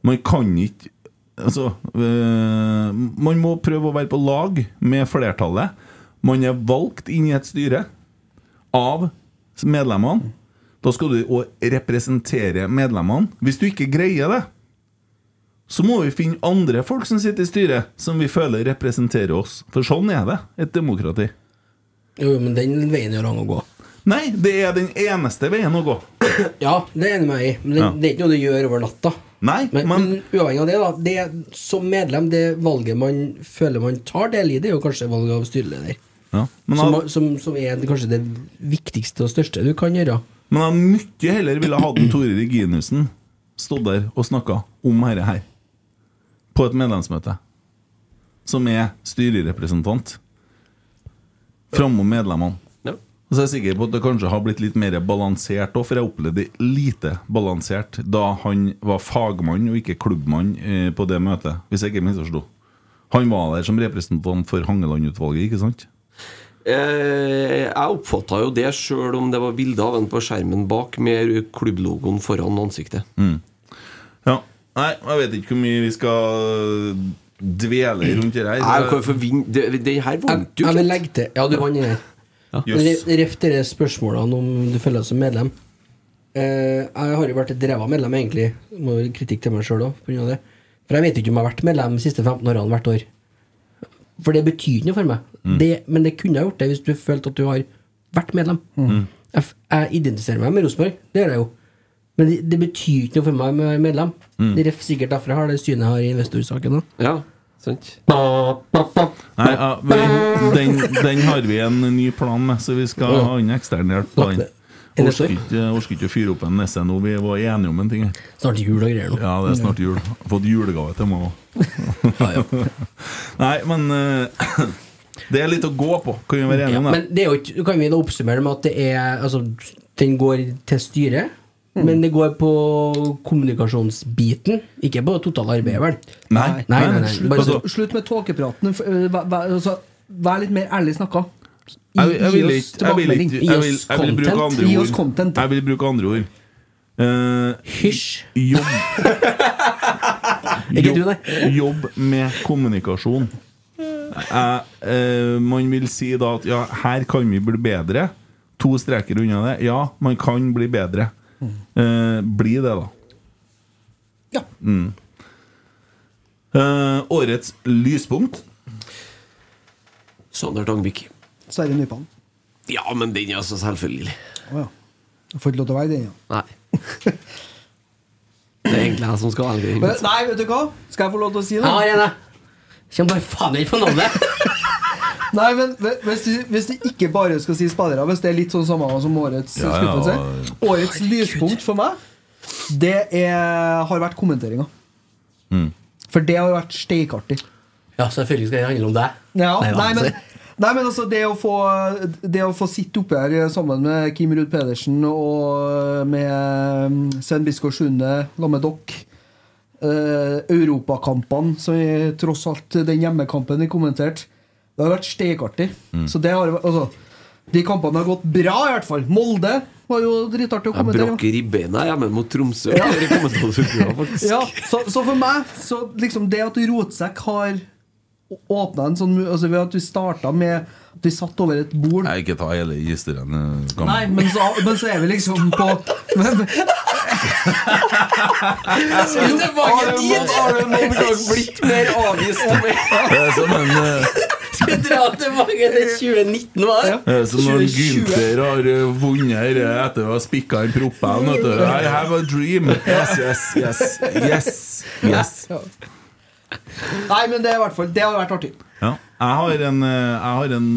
Man kan ikke Altså, eh, man må prøve å være på lag med flertallet. Man er valgt inn i et styre av medlemmene. Da skal du også representere medlemmene. Hvis du ikke greier det, så må vi finne andre folk som sitter i styret, som vi føler representerer oss. For sånn er det, et demokrati. Jo, jo, men den veien gjør han å gå. Nei, det er den eneste veien å gå. Ja, det er jeg enig med deg i. Men det, Ja. det er ikke noe du gjør over natta. Nei, men, men, uavhengig av det, da. Det, som medlem, det valget man føler man tar del i, det er jo kanskje valget av styreleder. Ja. Men som, jeg, som, som er kanskje det viktigste og største du kan gjøre. men jeg mye heller ville hatt en Tore Reginussen stått der og snakka om dette her. På et medlemsmøte. Som er styrerepresentant. Framom medlemmene. Ja. Og så er jeg sikker på at det kanskje har blitt litt mer balansert òg, for jeg opplevde det lite balansert da han var fagmann og ikke klubbmann eh, på det møtet, hvis jeg ikke misforsto. Han var der som representant for Hangeland-utvalget, ikke sant? Eh, jeg oppfatta jo det sjøl om det var bilde av en på skjermen bak med klubblogoen foran ansiktet. Mm. Ja. Nei, jeg vet ikke hvor mye vi skal eh, dvele rundt det her. Nei, hvorfor vin- det, det her vant jo Jeg vil ikke. legge til Ja, du vant den her. Jøss. Yes. Ref dere spørsmålene om du føler deg som medlem. Eh, jeg har jo vært et ræva medlem, egentlig. Må jo kritikk til meg sjøl òg, pga. det. For jeg vet jo ikke om jeg har vært medlem de siste 15 årene hvert år. For det betyr ikke noe for meg. Mm. Det, men det kunne jeg gjort det hvis du følte at du har vært medlem. Mm. Jeg, f- jeg identifiserer meg med Rosenborg, det gjør jeg jo. Men det, det betyr ikke noe for meg å være medlem. Mm. Det er ref sikkert derfor jeg har det synet jeg har i investorsaken. Ja, sant. Nei, ja, vi- den, den har vi en ny plan med, så vi skal ha inn eksternhjelp på den. Orsker ikke, orsker ikke å fyre opp en nisse nå. Vi var enige om en ting. Snart jul og greier nå. Ja, det er snart jul. Fått julegave til meg òg. Nei, men eh, Det er litt å gå på. Kan vi være enige om Men det? det er jo ikke, kan vi da oppsummere det med at det er altså, den går til styret, Mm. men det går på kommunikasjonsbiten, ikke på totale arbeidet, vel? Nei, Altså, nei, nei, Slutt, Bare så, slutt, slutt med tåkepraten. F- øh, vær- vær- altså, Vær litt mer ærlig snakka. Gi- Jeg, jeg, gi vil oss ikke, jeg, vil tilbakemelding. ikke, jeg, vil, jeg vil bruke andre ord. Gi oss content. Jeg vil bruke andre ord. Eh, Hysj. Jobb. Ikke du, Jobb- Jobb med kommunikasjon. Jeg, eh, man vil si da at ja, her kan vi bli bedre. To streker unna det. Ja, man kan bli bedre. Eh, bli det, da. Ja. Mm. Eh, årets lyspunkt? Sander Tangvik. Sverre Nypan. Ja, men den er altså selvfølgelig. Å ja. Jeg får ikke lov til å velge den, ja. Nei. Det er egentlig jeg som skal velge den. Men- Nei, vet du hva? Skal jeg få lov til å si det? Jeg har en, jeg. Kjem bare faen ikke på navnet. Nei, men hve- hvis du, hvis du ikke bare skal si spillere, hvis det er litt sånn samme som årets Ja, ja, skuffelse og- Årets lyspunkt for meg, det er, har vært kommenteringa. Mm. For det har vært steikartig. Ja, selvfølgelig skal det handle om deg. Ja, Nei, nei, hva men skal Nei, men altså, det å få, det å få sitte oppe her sammen med Kim Ruud Pedersen og eh, med um, Sven Biskår Sunde, la med dere eh, Europakampene, som vi tross alt den hjemmekampen vi kommenterte, det har vært stekartig. Mm. Så det har altså De kampene har gått bra, i hvert fall. Molde var jo dritartig å Jeg kommentere. brakk ribbeina hjemme mot Tromsø. Ja. Det kommentatorprogrammet, faktisk. Ja, så, så for meg, så liksom det at Rotsekk har åpna en sånn mu- Altså ved at vi starta med at vi satt over et bord Jeg ikke ta hele historien. eh, gammel. Nei, men så, men så er vi liksom på men, Har du noen- har du noen gang blitt mer avvist enn meg? Det er som en eh, Skal dra tilbake til 2019, hva? det er som Eh, når Gunther har eh, vunnet her, eh, etter å ha spikka inn proppen. vet du. I have a dream. Yes, yes, yes. Yes. yes. Ja. Nei, men det er i hvert fall Det har vært artig. Ja. Jeg har en, eh, jeg har en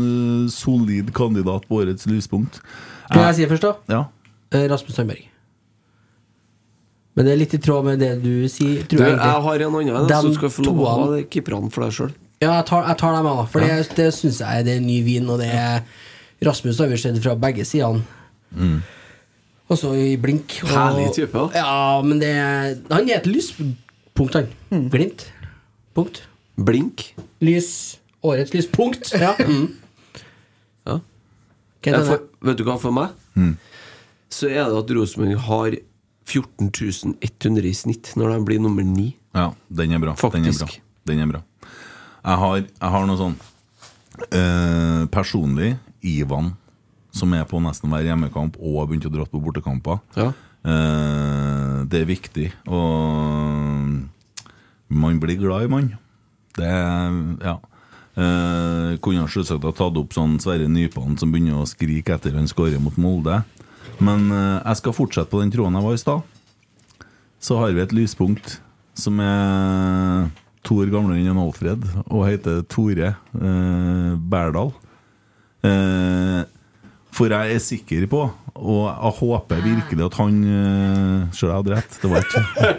eh, solid kandidat på årets lyspunkt. Kan jeg si først, da? Ja. Eh, Rasmus Sandberg. Men det er litt i tråd med det du sier. Du, Tror jeg egentlig. har en annen, så De du skal få lov å toene- ha keeperne for deg sjøl. Ja, jeg tar, jeg tar dem, jeg, da. For Ja. det, det syns jeg det er ny vin. Og det er Rasmus har vi sett fra begge sidene. Mm. Og så i blink. Og, Herlig type, da. Ja, men det er- Han er et lyspunkt, han. Glimt. Punkt. Mm. Blink. Lys. Årets lyspunkt. Ja. Mm. Ja. Hva Jeg heter For, vet du hva, for meg Mm. så er det at Rosenborg har 14.100 i snitt når de blir nummer ni. Ja, den er bra. Den er bra. Faktisk. Den er bra. Jeg har, jeg har noe sånn eh, Personlig, Ivan, som er på nesten hver hjemmekamp og har begynt å dra på bortekamper, eh, det er viktig. Og man blir glad i mann. Det er- Ja. Eh, kunne selvsagt ha tatt opp sånn Sverre Nypan som begynner å skrike etter han skårer mot Molde. Men eh, jeg skal fortsette på den tråden jeg var i stad så har vi et lyspunkt som er to år gamlere enn Alfred, og heter Tore eh, Bærdal. Eh, for jeg er sikker på, og jeg håper virkelig at han eh, Sjøl jeg hadde rett, det var ikke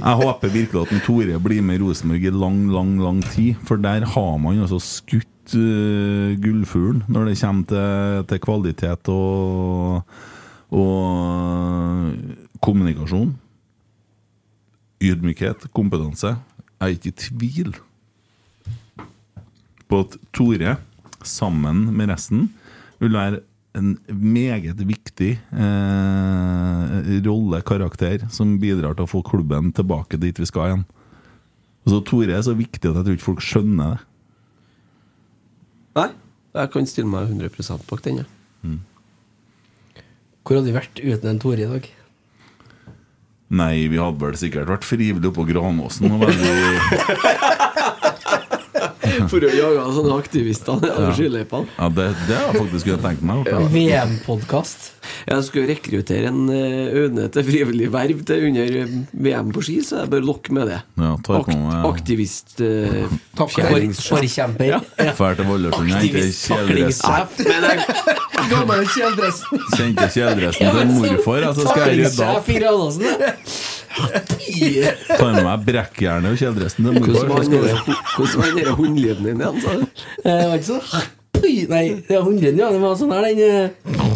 Jeg håper virkelig at en Tore blir med Rosenborg i lang, lang lang tid, for der har man altså skutt eh, gullfuglen når det kommer til, til kvalitet og, og eh, kommunikasjon ydmykhet, kompetanse. Jeg er ikke i tvil på at Tore, sammen med resten, vil være en meget viktig eh, rolle, karakter, som bidrar til å få klubben tilbake dit vi skal igjen. Altså, Tore er så viktig at jeg tror ikke folk skjønner det. Nei, jeg kan stille meg 100 bak den. jeg. Hvor hadde vi vært uten en Tore i dag? Nei, vi hadde vel sikkert vært frivillige oppå Granåsen og veldig For å jage sånne aktivister ned Ja. over skiløypene. Ja, det, det har jeg faktisk kunnet tenke meg. å gjøre. VM-podkast. Jeg skulle rekruttere en eh, Aune til frivillig verv til under eh, VM på ski, så jeg bør lokke med det. Ja, tar på meg Aktivist eh, For- forkjemper. Ja. Fær til Vålesund, jeg er Aktivist, ikke kjeledress. taklingssjef. Men jeg Gammel kjeledress. Sendte kjeledressen til morfar, altså skal jeg rydde opp. Ta med meg brekkjernet og kjeledressen til Hvordan morfar. var så den skal der- jeg- hvordan var den der hundelyden din igjen, sa du? Eh, var det ikke sånn? Pui! Nei, det var hundreden, ja. Det var sånn her, den eh.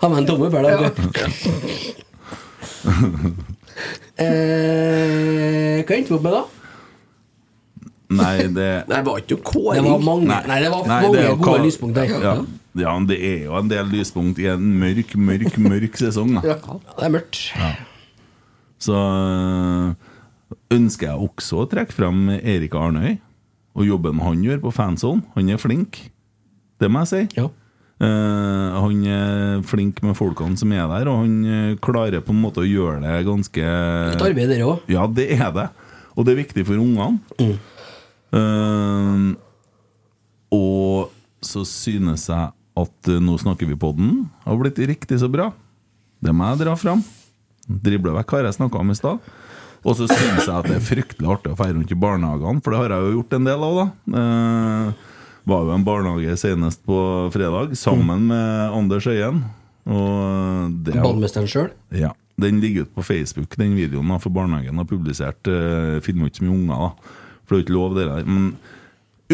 Har med en tomme hver dag. Eh, hva endte vi opp med, da? Nei, det Nei, det var ikke noe kåring. Det var mange, nei, det var Nei, mange det er jo gode ka- lyspunkt der. Ja, ja, men det er jo en del lyspunkt i en mørk, mørk, mørk sesong, da. Det er mørkt. Så øh, ønsker jeg også å trekke frem Erik Arnøy og jobben han gjør på fansonen. Han er flink, det må jeg si. Eh, han er flink med folkene som er der, og han eh, klarer på en måte å gjøre det ganske Litt arbeid der også. Ja, det er det. Og det er viktig for ungene. Eh, og så synes jeg at eh, nå snakker vi på den, har blitt riktig så bra. Det må jeg dra fram. Dribla vekk hva jeg snakka om i stad. Og så syns jeg at det er fryktelig artig å feire rundt i barnehagene, for det har jeg jo gjort en del av, da. Eh, var jo i en barnehage senest på fredag, sammen med Anders Øyen. Og eh, det er jo- Ballmesteren sjøl. ja. eh, Den ligger ute på Facebook, den videoen, da, for barnehagen har publisert uh, filmer ikke så mye unger. da For det er jo ikke lov, det der. Men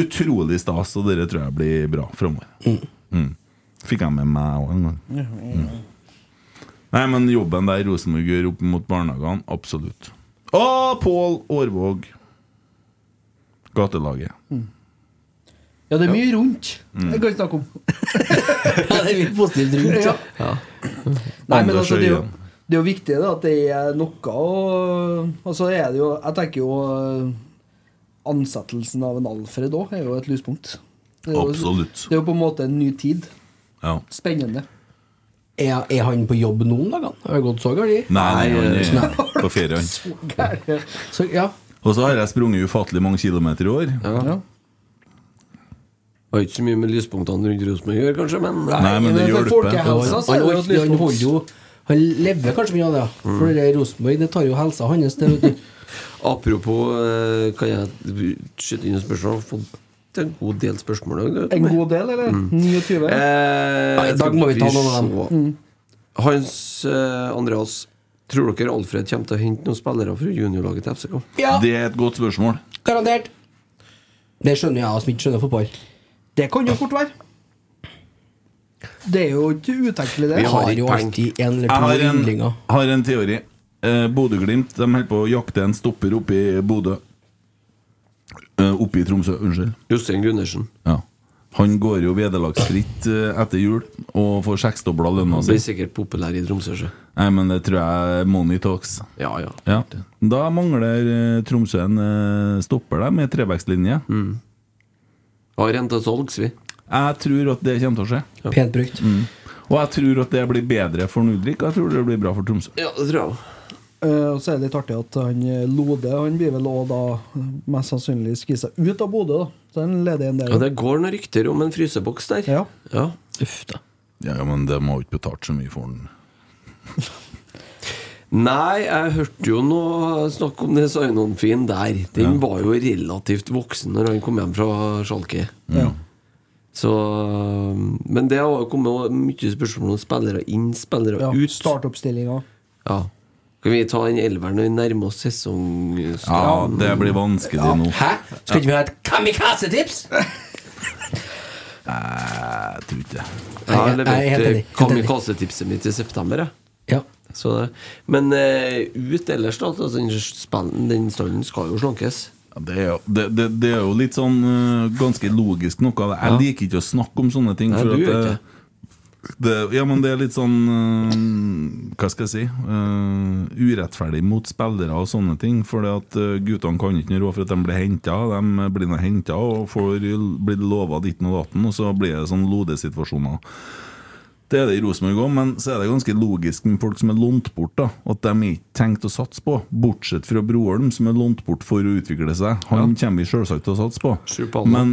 utrolig stas, og det tror jeg blir bra framover. Mm. Fikk jeg med meg òg en gang. Mm. Nei, men jobben der Rosenborg gjør opp mot barnehagene, absolutt. Og Pål Aarvåg. Gatelaget. Ja, det er mye rundt. Det kan vi snakke om. ja, det er litt positivt rundt. Ja. Nei, men altså, det er jo Anders Øyen. det er jo viktig da, at det er noe og, og så er det jo Jeg tenker jo eh, Ansettelsen av en Alfred òg er jo et lyspunkt. Det er jo- Absolutt. Det er jo på en måte en ny tid. Ja. Spennende. Er, er han på jobb noen dager? Har det gått så galt? Nei, han eh, er på ferie, han. Så, ja. Og så har jeg sprunget ufattelig mange kilometer i år. Ja. Det har ikke så mye med lyspunktene rundt Rosenborg å gjøre, kanskje, men Nei, men for det hjelper. Han, folkehelsa så han, er orker- det jo et han lyspunkt. holder jo Han lever kanskje mye av det. For det der Rosenborg det tar jo helsa hans. Det, vet du. apropos eh, Kan jeg skyte inn et spørsmål? Jeg har Fått en god del spørsmål i dag. du vet. En god del, eller? Mm. 29? Eh, Ja, i dag må vi ta noen av se. Hans eh, Andreas, tror dere Alfred kommer til å hente noen spillere fra juniorlaget til FCK? Ja, Det er et godt spørsmål. garantert! Det skjønner jeg, som ikke skjønner fotball. Det kan jo fort være. Det er jo ikke utenkelig, det. Vi har ikke jo peng. alltid en eller Jeg to har en, yndlinger. har en teori. Eh, Bodø-Glimt de holder på å jakte en stopper oppe i Bodø. Eh, oppe i Tromsø, unnskyld. Jostein Gundersen. Ja. Han går jo vederlagsfritt eh, etter jul og får seksdobla lønna si. Blir sikkert populær i Tromsø. sjø. Nei, men det tror jeg er Money Talks. Ja, ja. Ja. Da mangler eh, Tromsø en eh, stopper der med trebackslinje. Har renta salgs, vi. Jeg tror at det kommer til å skje. Pent brukt. Og jeg tror at det blir bedre for Nordrik, og jeg tror det blir bra for Tromsø. Ja, det tror jeg òg. Eh, Og så er det litt artig at han eh, Lode Han blir vel også da eh, mest sannsynlig skvisa ut av Bodø, da. Så han leder en Ja, del. det går noen rykter om en fryseboks der. Ja. ja. Uff, da. Ja, ja, men de har jo ikke betalt så mye for den. Nei, jeg hørte jo noe snakk om det Sainon-fin der. Den var jo relativt voksen når han kom hjem fra Schalke. Ja. Så, men det har jo kommet mye spørsmål om spillere inn, spillere Ja, ut. Startoppstillinga. Ja. Kan vi ta den elveren når vi nærmer oss sesongstart? Ja, det blir vanskelig nå. Hæ? Skal ikke vi ha et kamikaze-tips? Jeg tror ikke det. Jeg Nei, jeg er helt enig, leverte helt enig. kamikaze-tipset mitt i september, jeg. Ja. Så det. Men eh, ut ellers, da. Altså, den, spallen, den stallen skal jo slankes. Ja, Det er, jo, det, det, det er jo litt sånn øh, ganske logisk noe. av det. Jeg liker ikke å snakke om sånne ting. Nei, for du at gjør det, det, ja, men det er litt sånn øh, Hva skal jeg si? øh, urettferdig mot spillere og sånne ting. For at øh, guttene kan ikke noe råd for at de blir henta. De blir nå henta og får, blir lova ditten og datten, og så blir det sånn lodesituasjoner. Det er det i Rosenborg òg, men så er det ganske logisk med folk som er lånt bort. da At de er ikke tenkt å satse på, bortsett fra Broholm, som er lånt bort for å utvikle seg. Han kommer vi selvsagt til å satse på, Sju på alle. men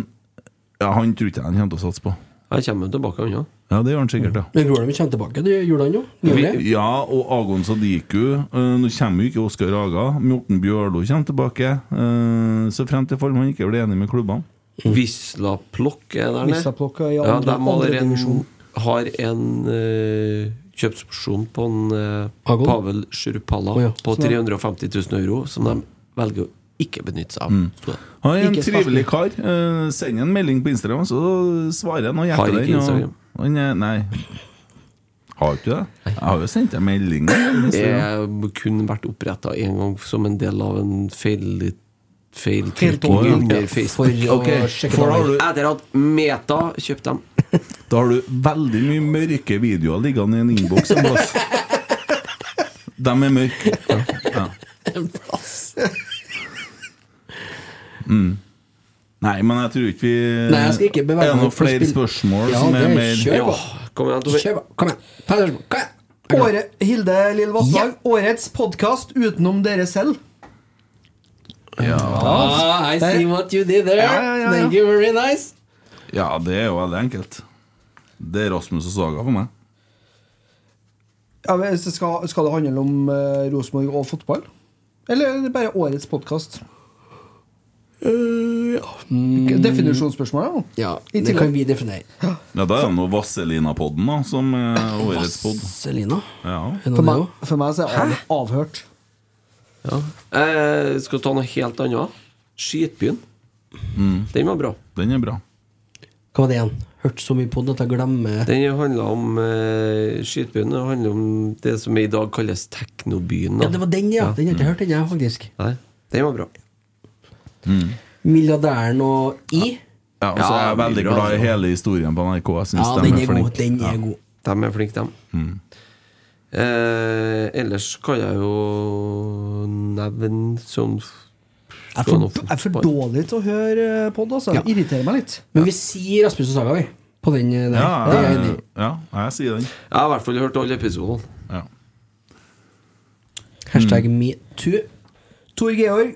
ja, han tror ikke jeg han kommer til å satse på. Jeg kommer jo tilbake unna. Ja, det gjør han sikkert, ja. Men broren min kommer tilbake. Det gjorde han jo. Gjorde han det? Ja, og Agon Sadiku. eh, nå kommer jo ikke Oskar Haga. Morten Bjørlo kommer tilbake. eh, så frem til formen ikke blir enig med klubbene. Wisla Plokk er der nede. Wisla-Plock er i Ja, andre- de har andre en, divisjon. har en eh, kjøpsopsjon på en eh, Agon? Pavel Shurpala Å ja, på sånn, 350 000 euro, som de velger å ikke benytte seg av. Sto det. Han er en Ikke trivelig kar. Eh, send en melding på Instagram, så svarer han og Har hjerter ikke den. Instagram. Og, han er, nei. Har ikke det? Jeg har jo sendt deg melding. Det Instagram. er kun vært oppretta én gang som en del av en feil Feiltolkning, feiltolkning under For Facebook. å Ok, sjekke for det har over. du, Etter at Meta kjøpte dem. da har du veldig mye mørke videoer liggende i en innboks. en plass. De er mørke. Ja. Nei, men jeg tror ikke vi Nei, jeg skal ikke bevege Er det meg noen opp på flere spill. spørsmål Ja, som det er er mer kjør. Ja, kom igjen, Tommy. Kjør på. Kom igjen. Ta det spørsmål. Kom igjen. Åre, Hilde Lill Vassdag, årets podkast utenom dere selv. Ah, I see what you did there. Ja, ja, ja, ja. Thank you, very nice. Ja, det er jo veldig enkelt. Det er Rasmus og Saga for meg. Ja, men så skal, skal det handle om uh, Rosenborg og fotball? Eller er det bare årets podkast? Definisjonsspørsmål, ja. Eh, Mm. Ja, I det tillegg. kan vi definere. Ja, da er det noe Vazelina-podden da, som Eh, er årets podd. Selina. Ja. Er For noe meg, det for meg så er av, avhørt. Ja. Eh, skal vi ta noe helt annet? Skitbyen. Den var bra. Den er bra. Hva var det igjen? Hørt så mye på den at jeg glemmer Den handla om eh, Skitbyen. Det handler om det som i dag kalles Teknobyen. da. Ja, det var den, ja. Den har jeg ikke hørt, den, jeg, faktisk. Nei, den var bra. Milliardæren og I. Ja, og så er jeg veldig glad i hele historien på NRK. Jeg synes altså. Ja, de den er er god, flink. den er Ja. god. De er flinke, dem. Eh, ellers kan jeg jo nevne sånn Jeg er for, jeg er for dårlig til å høre eh, pod, altså. Ja. Irriterer meg litt. Men vi sier Rasmus og Saga, vi. På den eh, der. Ja, det er jeg enig jeg, i. ja, jeg sier den. Jeg har i hvert fall hørt alle episodene. Ja. Hashtag metoo. Tor Georg,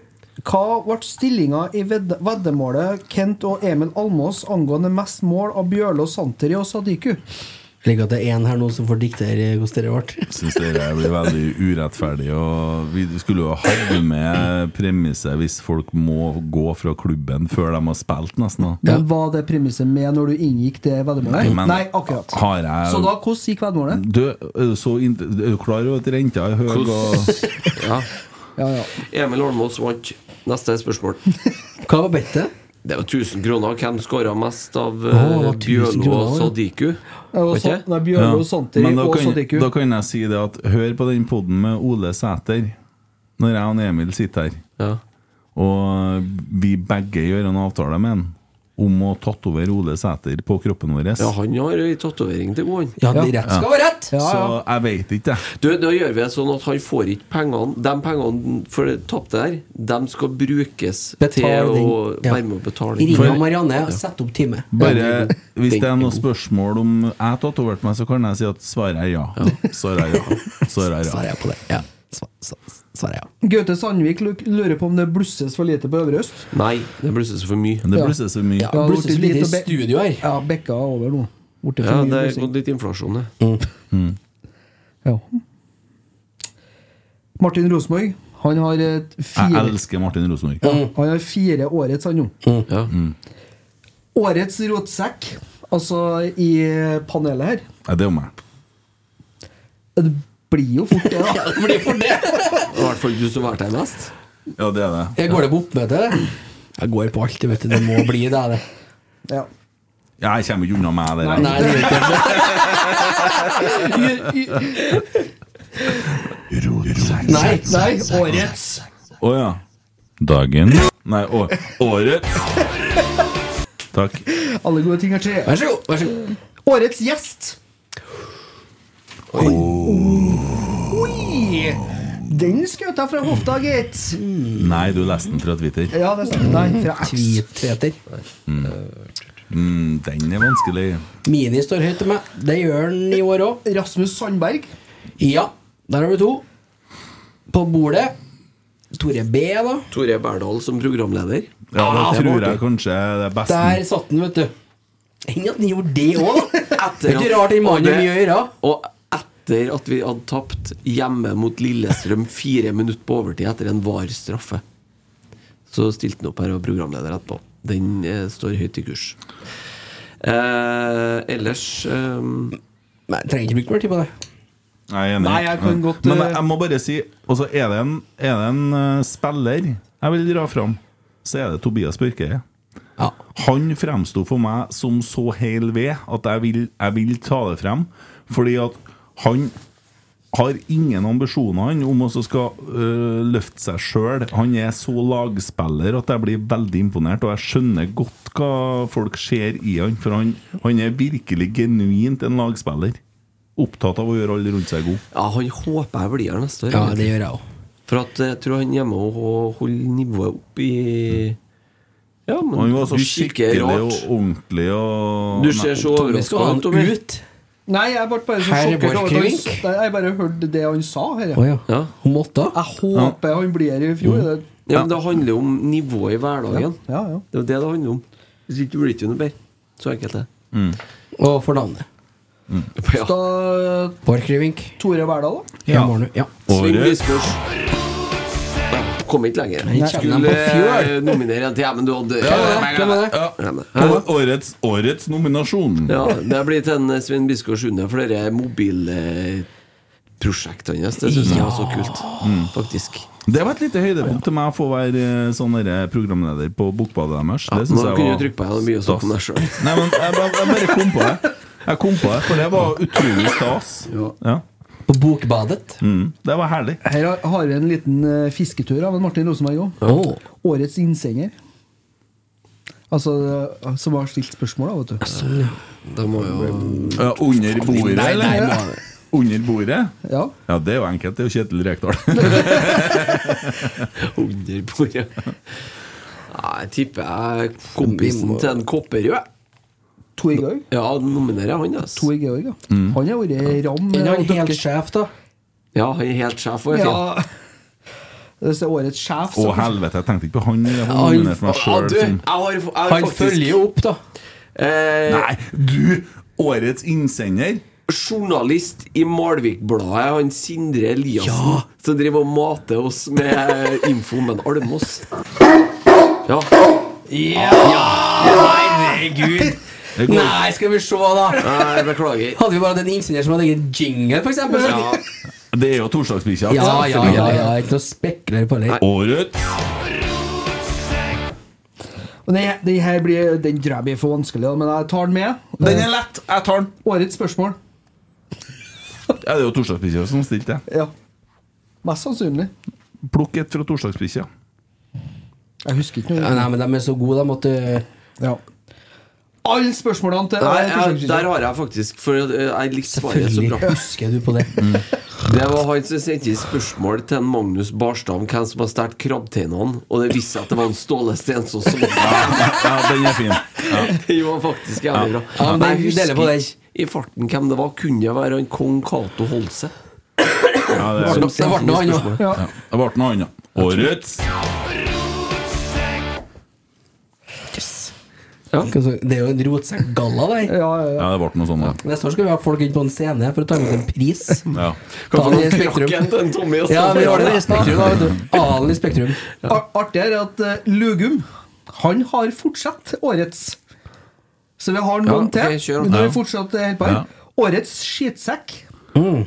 hva ble stillinga i ved veddemålet Kent og Emil Almås angående mest mål av Bjørlo Santeri og Sadiku? Slik at det er en her nå som får diktere hvordan det ble. Syns dere blir veldig urettferdig. Og vi skulle jo hatt med premisset hvis folk må gå fra klubben før de har spilt, nesten. da. Men Var det premisset med når du inngikk det veddemålet? men Nei, akkurat. Har jeg Så da, hvordan gikk veddemålet? Du, er du, så int- er du klar over at renta er høy? Og... Ja. Ja, ja. Emil Holmås vant. Neste spørsmål. Hva var bettet? Det er jo 1000 kroner. Hvem skåra mest av eh, Å, det var 1000 Bjørlo og kroner, ja. Sadiku? Ja, og Vet så, ikke? nei, Bjørlo Santeri Men da og kan, Sadiku. da kan jeg si det at hør på den poden med Ole Sæter når jeg og Emil sitter her, Ja. og vi begge gjør en avtale med han om å tatovere Ole Sæter på kroppen vår. ja, han har ei tatovering til gode, han. Ja, det rett skal være rett! Ja, Så ja. jeg veit ikke, jeg. Du, da gjør vi det sånn at han får ikke pengene De pengene for det tapte der, de skal brukes Betal til den. å Ja. være med å betale. Ring For- Marianne og sett opp time. Bare Ja, det er god. hvis det er Den er noen god. spørsmål om jeg tatoverte meg, så kan jeg si at svaret er ja. Svaret er ja. Svaret er Svarer ja. jeg på det. Ja. Sva- sva- Svarer jeg. Gaute Sandvik lu- lurer på om det blusses for lite på Øvre Øst. Nei, det blusser så for mye. Men det blusser så mye. Ja, det det blusser har så blitt lite i lite be- studio her. Ja, bekka er over nå. Borte for Ja, mye liksom. det er blussing. gått litt inflasjon, det. Mm. Ja. Martin Rosenborg, han har et Jeg fire elsker Martin Rosenborg. Han har fire årets, Mm. han nå. Ja. Årets rotsekk, altså i panelet her. Ja, det er jo meg. Det blir jo fort det, da. Blir for det. I hvert fall du som har vært her mest. Ja, det er det. Jeg går det på oppmøte? det? Jeg går på alt, vet du. Det må bli det. det. Ja. Jeg kommer ikke unna meg, det Nei, der. det gjør ikke det. Nei, Nei, årets. Å ja. Dagen Nei, å, året. Takk. Alle gode ting har tre. Vær så god. Vær så god. Årets gjest. Oi. Den skjøt jeg fra hofta, gitt. Nei, du leste den fra Twitter. Ja, det stemmer. Nei, fra X. Tweetreter. Mm, den er vanskelig. Mini står høyt til meg. Det gjør den i år òg. Rasmus Sandberg. Ja, der har vi to. På bordet. Tore B, da. Ah, Tore Berdal som programleder. Ja, det Ah, det var tror artig. jeg kanskje er det beste. Der satt den, vet du. Enn Mm. at den gjorde det òg, da. Det er at- ikke rart den og mannen det- har mye å gjøre. Og etter at vi hadde tapt hjemme mot Lillestrøm fire minutter på overtid etter en VAR-straffe, så stilte han opp her og var programleder etterpå. Den eh, står høyt i kurs. Eh, ellers eh, Nei, jeg trenger ikke bruke mer tid på det. Jeg er enig. Nei, jeg kan godt, Men eh, jeg, jeg må bare si Og så er det en, er det en eh, spiller jeg vil dra fram, så er det Tobias Børkeie. Ja. Han fremsto for meg som så hel ved at jeg vil, jeg vil ta det frem. Fordi at han har ingen ambisjoner han om å så skal øh, løfte seg sjøl. Han er så lagspiller at jeg blir veldig imponert, og jeg skjønner godt hva folk ser i han. For han, han er virkelig genuint en lagspiller. Opptatt av å gjøre alle rundt seg god. Ja, han håper jeg blir her neste år. ja, egentlig. det gjør jeg òg. For at eh, jeg tror han hjemme og og holder nivået opp i Ja, men Mm. Han var så du kikker skikkelig og rart. ordentlig og Du ser Vi skal så ha overraska ut, Tommy. den ut. Nei, jeg ble bare så Herre sjokkert over at han Borchgrevink. Nei, Jeg bare hørte det han sa her. Å ja. ja. Ja. Hun måtte. Jeg håper han blir her i fjor. det- Ja, men Det handler jo om nivået i hverdagen. Ja, ja. Det er jo det det handler om. Hvis ikke blir det ikke noe bedre. Så enkelt er det. Og for navnet. Ja. Da Borchgrevink. Tore Verdal, da. Ja. Mornu. Ja. Sving Året Biskors. Ja, kom ikke lenger. Nei, kjenner Skulle jeg på fjøl. eh, nominere en til, ja, men du hadde Hvem er det? Glem det. Å- Årets, årets nominasjon. Ja, det blir til en eh, Svein Biskårs Unde, for eh, det er mobilprosjektet hans. Det syns jeg var så kult, faktisk. Det var et lite høydepunkt til meg å få være eh, sånn derre programleder på Bokbadet deres. Ja, det synes nå jeg kunne var du trykke på her, det er mye å snakke om deg selv. Nei, men jeg, bare- jeg bare kom på det. Jeg kom på det, for det var utrolig stas. Ja. På Bokbadet? Mm, det var herlig. Her har- har vi en liten eh, fisketur av en Martin Rosenberg òg. Oh. Årets innsender. Altså, eh, som har stilt spørsmål, da, vet du. Altså, Da må jo Ja, under bordet, Nei, nei, eller? nei. Under bordet? Ja. ja, det er jo enkelt. Det er jo Kjetil Rekdal. Under bordet. Nei, jeg tipper jeg kompisen til en kopperød. Tor Georg? Ja, nominerer jeg han, altså. Tor Georg, ja. Han har vært ram. Er han helt sjef, da? Ja, han er helt sjef. Og er fin. Ja. Hvis det er årets sjef, Å, så helvete, jeg tenkte ikke på han. Jeg var Han- nominert for meg Ja, selv du, som- jeg har- jeg har faktisk- opp, da. eh, Eh, Nei, du! Årets innsender. Journalist i Malvik-bladet, han Sindre Eliassen, som driver og mater oss med info om en almås. Ja. Herregud! Det går. Nei, skal vi se, da. Nei, beklager. Hadde vi bare hatt en innsender som hadde egen jingle, for eksempel så- Ja. Det er jo torsdagsbikkja. Ja, ja, ja, ja, selvfølgelig. ikke noe spekler på det. Årets Og den, den her blir Den tror jeg blir for vanskelig, da, men jeg tar den med. Den er lett! Jeg tar den. Årets spørsmål. Ja, det er jo torsdagsbikkja som stilte det. Ja. Mest sannsynlig. Plukk et fra torsdagsbikkja. Jeg husker ikke noe. Ja, nei, men de er så gode, de, at eh, du Ja. Alle spørsmålene til Nei, jeg, der har jeg faktisk For eh, jeg likte svaret så Selvfølgelig bra. husker du på det. Mm. Det var han som sendte inn spørsmål til en Magnus Barstad om hvem som har stjålet krabbeteinene, og det viste seg at det var en Ståle Stensås som Ja, den er fin. Det var faktisk jævlig bra. Ja, men Nei, vi jeg deler på den. husker ikke I farten hvem det var, kunne det være han kong Cato Holse? Ja, det, Det er, ble det ble noe annet. Ja. ja, det ble noe annet. Årets Det er jo en rotsekkgalla der. Ja, ja, ja. Ja, det ble noe sånt, Neste år skal vi ha folk inn på en scene for å ta imot en pris. ja. Hva for Daniel noen Spektrum. krakken til en Tommy og Ja, vi har det i Stefan? Spektrum. da, vet du. Alen i Spektrum. Ar- Artig er at eh, Lugum Han har fortsatt årets. Så vi har noen Ja, ok, til. kjør. Men nå er Ja. vi fortsatt eh, helt på her. Ja. Årets skitsekk. Åh,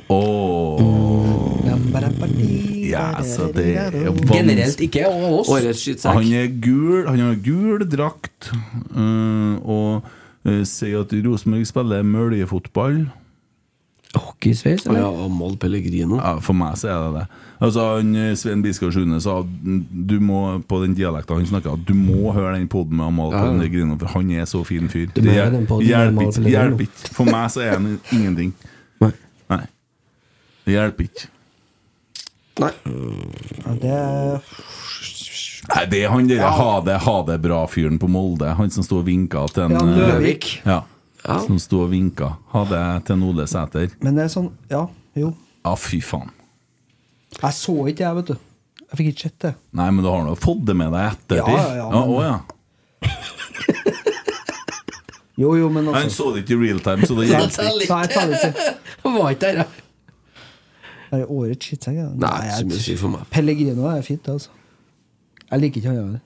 ja, så det er vanskelig. Generelt ikke, og oss. Årets Han skytsekk. er gul, han har gul drakt øh, og øh, sier at Rosenborg spiller møljefotball. Hockeysveis, Ja, eller? Amahl Pellegrino. Ja, for meg så er det det. Altså, han, eh, Svein Biskår Sune sa at du må, på den dialekten han snakka, du må høre den poden med Amahl Pellegrino, for han er så fin fyr. Du må høre den podden med Amahl hjelper ikke. Pellegrino. hjelper ikke. For meg så er han ingenting. Nei. Nei. Det hjelper ikke. Nei. Nei, det er han derre ha det, ha det bra-fyren på Molde. Han som sto og vinka til en Ja, eh, Løvik. Ja. Ja. Som sto og vinka. Ha det til en Ole Sæter. Men det er sånn Ja, jo. Ja, fy faen. Jeg så ikke jeg, vet du. Jeg fikk ikke sett det. Nei, men du har nå fått det med deg i ettertid. Ja, ja, ja, men- å, ja. Jo, jo, men Han altså så det ikke i real time, så det hjelper ikke. Nei, jeg tar det ikke. Var ikke der, ja. Er det årets skitsekk? ja? Nei, ikke så mye å jeg- si for meg. Pellegrino er fint, det, altså. Jeg liker ikke han der.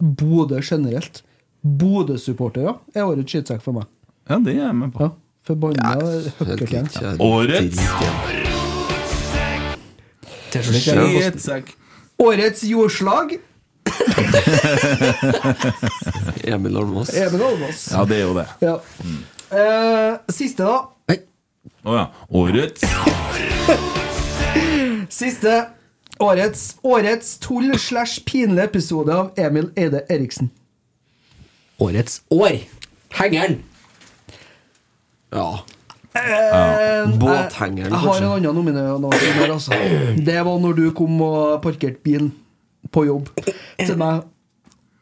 Bodø generelt. Bodø-supportere er årets skitsekk for meg. Ja, det er jeg med på. Ja. Forbanna Helt høkkertjern. likt, ja. Årets T-skjorte. Skitsekk. Årets jordslag Emil Almås. Even Almås. Ja, det er jo det. Ja. Eh, siste, da. Å ja. Årets Siste. Årets, årets tull slash pinlig episode av Emil Eide Eriksen. Årets år. Hengeren. Ja. Eh, Båthengeren, Jeg har en kanskje. annen nominasjon her, altså. Det var når du kom og parkerte bilen på jobb til meg.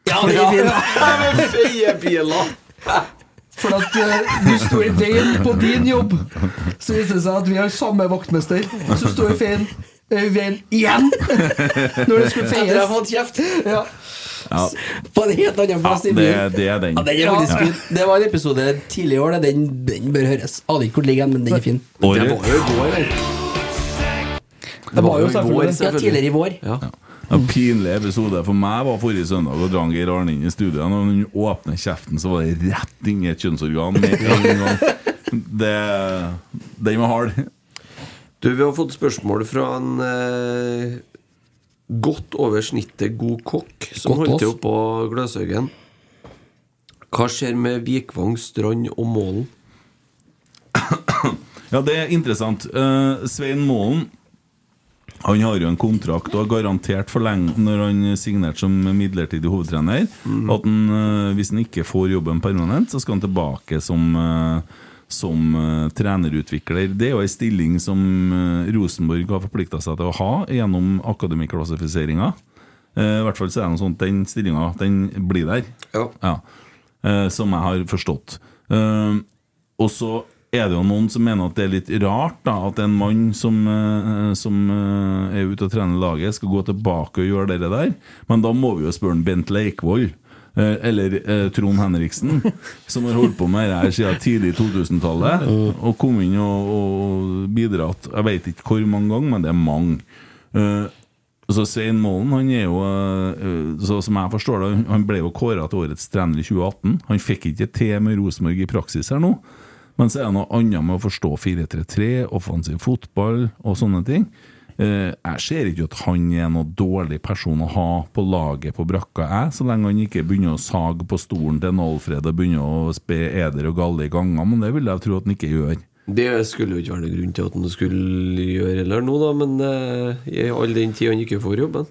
Ja, det er fint. Feiebiler! For at eh, du sto i veien på din jobb. Så viser det seg at vi har samme vaktmester. Så sto vi i feien, eh, i veien igjen når det skulle Etter å ha feies. fått kjeft Ja. Ja, på en helt annen ja plass i det, byen. det er den. Ja, den er faktisk fin. Det var en episode tidlig i år, det. den, den bør høres. Aner ikke hvor den ligger, men den er fin. Det var jo Årets i går, eller? Det var jo i går, selvfølgelig Ja, tidligere i vår. Ja. ja, pinlig episode for meg var forrige søndag og drang Geir Arne inn i studio. Og når han åpner kjeften, så var det rett inn i et kjønnsorgan. med en gang. Det, den var hard. Du, vi har fått spørsmål fra en eh, Godt over snittet god kokk som Godt holdt til oss. oppå Gløshaugen. Hva skjer med Vikvang, Strand og Målen? Ja, det er interessant. Eh, Svein Målen han har jo en kontrakt og har garantert for lenge når han signerte som midlertidig hovedtrener, at han, eh, hvis han ikke får jobben permanent, så skal han tilbake som, eh, som eh, trenerutvikler. Det er jo ei stilling som eh, Rosenborg har forplikta seg til å ha gjennom akademiklassifiseringa. Eh, I hvert fall så er det noe sånt den stillinga den blir der, Ja. Eh, som jeg har forstått. Eh, og så er det jo noen som mener at det er litt rart da, at en mann som, eh, som eh, er ute og trener laget, skal gå tilbake og gjøre det der. Men da må vi jo spørre en Bent Leikvoll. eh, Eller eh, Trond Henriksen, som har holdt på med det her siden tidlig 2000-tallet. Og kom inn og, og bidratt Jeg vet ikke hvor mange ganger, men det er mange. Eh, så Svein Målen han er jo eh, eh, så Som jeg forstår det, han ble jo kåra til årets trener i 2018. Han fikk ikke til med Rosenborg i praksis her nå. Men så er det noe annet med å forstå 4-3-3, offensiv fotball og sånne ting. Eh, Jeg ser ikke at han er noen dårlig person å ha på laget på brakka, jeg, så lenge han ikke begynner å sage på stolen til en Alfred og begynner å spe eder og galle i ganger, men det vil jeg tro at han ikke gjør. Det skulle jo ikke være noen grunn til at han skulle gjøre heller nå, da, men eh, i all den tid han ikke får jobben.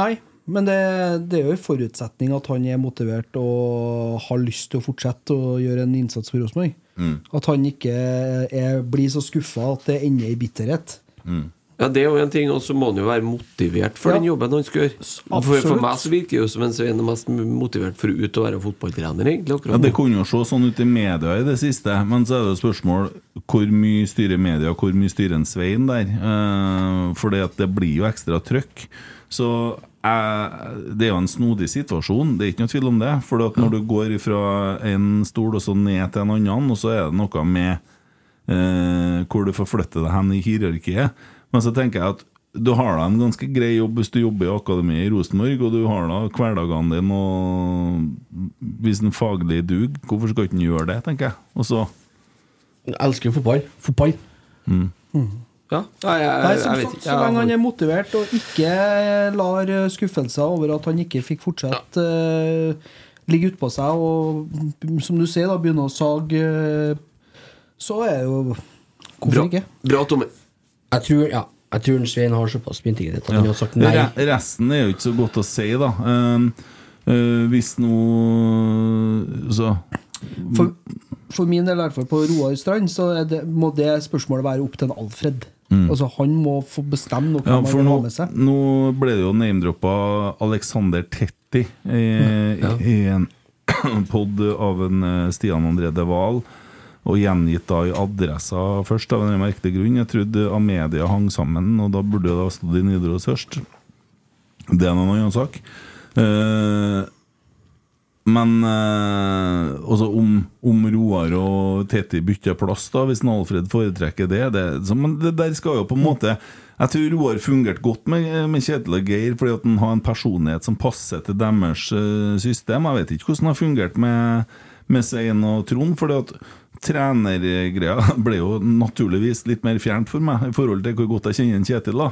Nei, men det, det er jo en forutsetning at han er motivert og har lyst til å fortsette å gjøre en innsats for Rosenborg. Mm. At han ikke er, blir så skuffa at det ender i bitterhet. Ja, Det er jo en ting, og så må han jo være motivert for Ja. den jobben han skal gjøre. For, absolutt. for meg så virker det jo som en Svein er mest motivert for å ut og være fotballtrener, egentlig. Ja, akkurat Det nå. kunne jo se sånn ut i media i det siste, men så er det jo spørsmål hvor mye styrer media, og hvor mye styrer en Svein der? Eh, For det blir jo ekstra trøkk. Så eh, det er jo en snodig situasjon, det er ikke noe tvil om det. For at når du går fra en stol og så ned til en annen, og så er det noe med eh, hvor du forflytter deg hen i hierarkiet. Men så tenker jeg at du har da en ganske grei jobb hvis du jobber i akademiet i Rosenborg, og du har da hverdagene dine og Hvis en faglig dug, hvorfor skal ikke en gjøre det, tenker jeg. Og så Jeg elsker jo fotball. Fotball. mm. Ja, ja, jeg, Nei, jeg, som vet sagt, ikke. så lenge han Jeg, er motivert og ikke lar eh, skuffelser over at han ikke fikk fortsette, eh, ligge utpå seg og, som du sier, da begynne å sage, eh, så er jo Hvorfor Bra. ikke? Bra, Tommy. Jeg tror, ja, jeg tror en Svein har såpass mye integritet at han har sagt nei. Re resten er jo ikke så godt å si, da. Um, eh, hvis nå Så For, for min del, i hvert fall på Roar Strand, så er det, må det spørsmålet være opp til en Alfred. Mm. Altså Han må få bestemme noe Ja, han for vil nå, ha med seg. nå ble det jo name-droppa Alexander Tetti eh, i en pod av en eh, Stian André De Wahl. Og gjengitt da i adressa først, av en merkelig grunn. Jeg trodde Amedia hang sammen, og da burde det ha stått i Nidaros først. Det er nå en annen sak. Eh, men eh, altså om, om Roar og Teti bytter plass, da hvis en Alfred foretrekker det, det så, Men det der skal jo på Mm. en måte Jeg tror Roar fungerte godt med, med Kjetil og Geir, fordi at han har en personlighet som passer til deres eh, system. Jeg vet ikke hvordan det har fungert med, med Svein og Trond. Fordi at trenergreia ble jo naturligvis litt mer fjernt for meg, i forhold til hvor godt jeg kjenner en Kjetil. da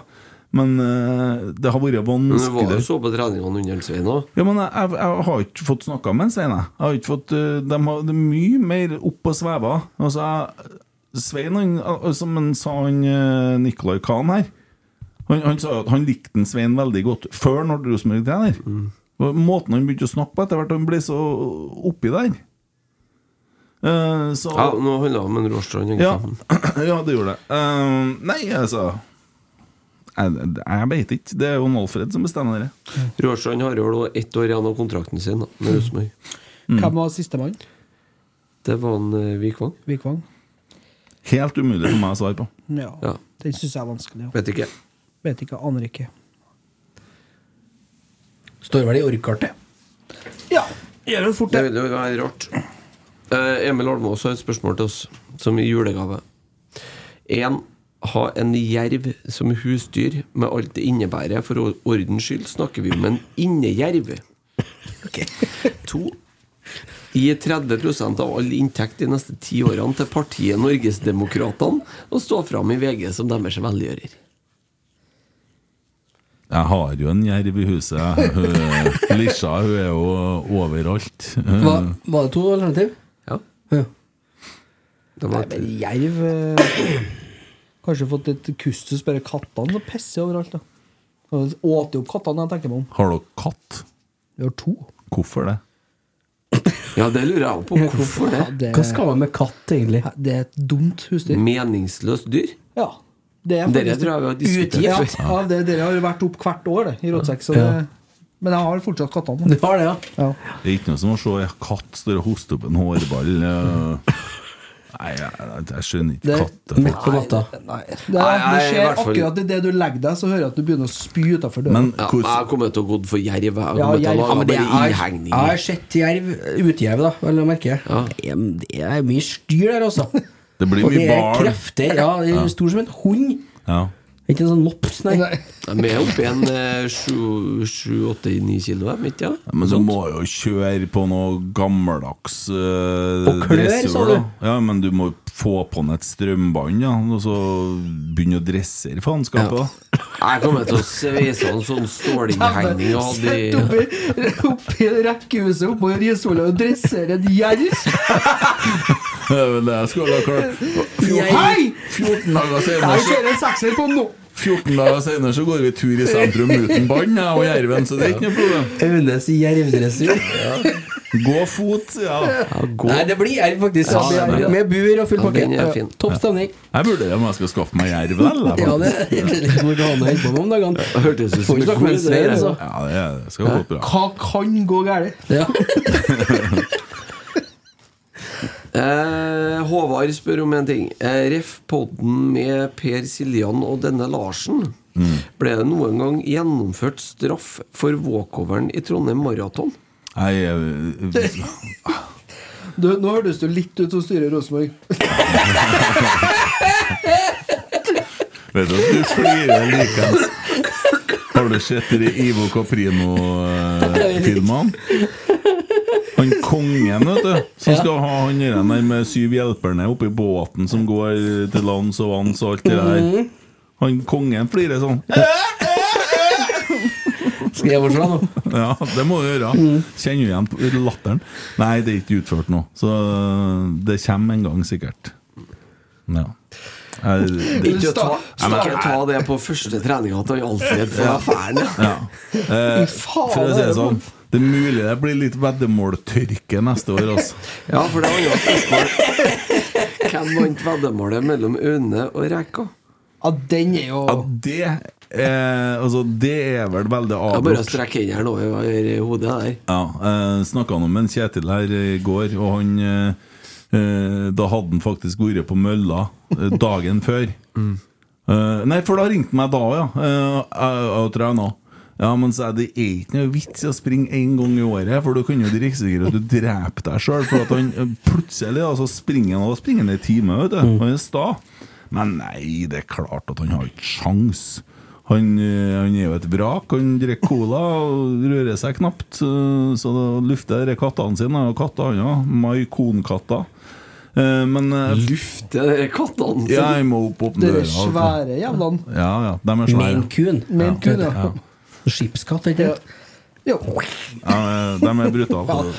Men eh, det har vært Men du var vanskelig. jo så på treningene under Svein òg. Ja, men jeg, jeg, jeg har ikke fått snakka med en Svein. Jeg. Jeg har ikke fått, eh, de har det er mye mer opp og sveva. Altså, jeg, Svein, han, eh, som han sa han eh, Nicolai Kahn her han, han sa jo at han likte en Svein veldig godt før han ble Rosenborg-trener. Og Måten han begynte å snakke på etter hvert, han ble så oppi der. Eh, så Ja, nå handler det om en Råstrand, egentlig. ja. ja, det gjorde det. Eh, nei, altså Jeg, jeg veit ikke. Det er jo en Alfred som bestemmer det. Råstrand har jo da ett år igjen av kontrakten sin da, med Rosenborg. mm. Hvem var sistemann? Det var en eh, Vikvang. Vikvang? Helt umulig for meg å svare på. Ja. Ja. Den syns jeg er vanskelig. Ja. Vet ikke. Vet ikke. Aner ikke. Står vel i orkkartet. Ja, gjør det fort, det. vil jo være rart. Eh, Emil Almås har et spørsmål til oss, som i julegave. En, Ha en jerv som husdyr, med alt det innebærer. For or- ordens skyld snakker vi om en innejerv. To, Gi 30 av all inntekt de neste ti årene til partiet Norgesdemokratene, og stå fram i VG som deres velgjører. Jeg har jo en jerv i huset. jeg. Hun- Lisha hun er jo overalt. Hva, var det to alternativ? Ja. Nei, men jerv eh, Kanskje fått litt kustus, bare kattene som pisser overalt. da Åt jo opp kattene, jeg tenker meg om. Har dere katt? Vi har to. Hvorfor det? Ja, det lurer jeg på. Hvorfor det? Hva skal man med katt, egentlig? Det er et dumt husdyr. Meningsløst dyr? Ja. Det er Dere faktisk tror jeg vi har diskutert utgift før. av det. Dere har jo vært opp hvert år det, i Rådsekk, så det, Ja. men jeg har fortsatt kattene. Du har det, ja? Det er ikke noe som å se en katt stå og hoste opp en hårball. eh. Nei, jeg, jeg, jeg skjønner ikke katter. Midt på natta. Det, Nei, er, det jeg er i skjer hvert fall- akkurat idet du legger deg, så hører jeg at du begynner å spy utafor døra. Men Ja, hvordan- jeg kommer til å gå for jerv. Jeg Ja, kommer til jerv. å Ja, lage men det bare Jeg- Jeg har innhegninger. sett jerv, utjerv, da, vel å merke. Det er- Det er mye styr der, altså. Det blir Og mye det er barn. krefter. Ja, det er stor som en hund. Ja. Ikke en sånn mops, nei. Vi er oppe i en eh, sju, sju, åtte, ni kilo, er vi ikke det? Men du må jo kjøre på noe gammeldags uh, På klør, sa du? Ja, men du må få på den et strømbånd, ja, og så begynne å dressere faenskapet. da. Jeg kommer til å sveise en sånn stålinnhegning og ha Sett de oppi, oppi rekkehuset oppå Risvolla og dressere et jerv! Det er vel det jeg skulle ha klart. Hei! 14 dager Jeg senere, kjører en sekser på nå! 14 dager senere så går vi tur i sentrum uten bånd, jeg og jerven, så det er ikke noe problem. Aunes jervdressur. Gå fot, sier jeg. da. Nei, det blir jerv, faktisk. Ja, det blir det. Med bur og full Ja, den er pakke. fin. Ja. Topp stemning. Jeg vurdere om jeg skal skaffe meg jerv, eller? Ja, det er litt hvor du har noe å holde på med om dagene. Hørtes Får ut som ikke en snakke med en god idé, svein, det. altså. Ja, det er- det skal gå bra. Hva kan gå galt? Ja. Eh, Håvard spør om en ting. Eh, ref. podden med Per Siljan og denne Larsen. Ble det noen gang gjennomført straff for walkoveren i Trondheim Maraton? Nei, jeg- Du, nå hørtes du litt ut som styrer i Rosenborg. Vet du at du flirer likeens? Har du sett de Ivo Caprino-filmene? Han kongen, vet du, som skal ha han der der med syv hjelperne oppi båten som går til lands og vanns og alt det der. Han kongen flirer sånn. Skal jeg overslå nå? Ja, det må du gjøre. Mm. Kjenner du igjen på latteren? Nei, det er ikke utført nå. Så det kommer en gang, sikkert. Ja. Jeg- det- Ikke å ta, Nei, men- ikke å ta det på første treninga til Alfred fra Færne. Ja. Eh, for å si det sånn, det er mulig det blir litt veddemåltørke neste år, altså. Ja, for det var jo et spørsmål. Hvem vant veddemålet mellom Aune og Reka? Ja, den er jo Ja, det eh, Altså, det er vel veldig Jeg bare avgjort. strekker hendene over i hodet der. Ja, eh, Snakka om en Kjetil her i går, og han eh, eh, Da hadde han faktisk vært på mølla eh, dagen før. Eh, nei, for da ringte han meg da, ja. Eh, jeg, jeg tror jeg nå. Ja, men så er det er ikke noe vits i å springe én gang i året, for da kan jo du risikere at du dreper deg sjøl. For at han eh, plutselig altså, springer han og springer han en time, vet du. Han er sta. Men nei, det er klart at han har ikke sjans. Han, eh, han er jo et vrak. Han drikker cola og rører seg knapt. eh, Så da lufter dere kattene sine, og katter han òg. Maikon-katter. Eh, Men eh, Lufte de kattene ja, jeg må opp opp den døra. vet du. svære jævlene. Ja, ja, de er svære. Maine Coon. Maine Coon, ja. Skipskatt, ikke sant? Jo. Ja, eh, de er brutale.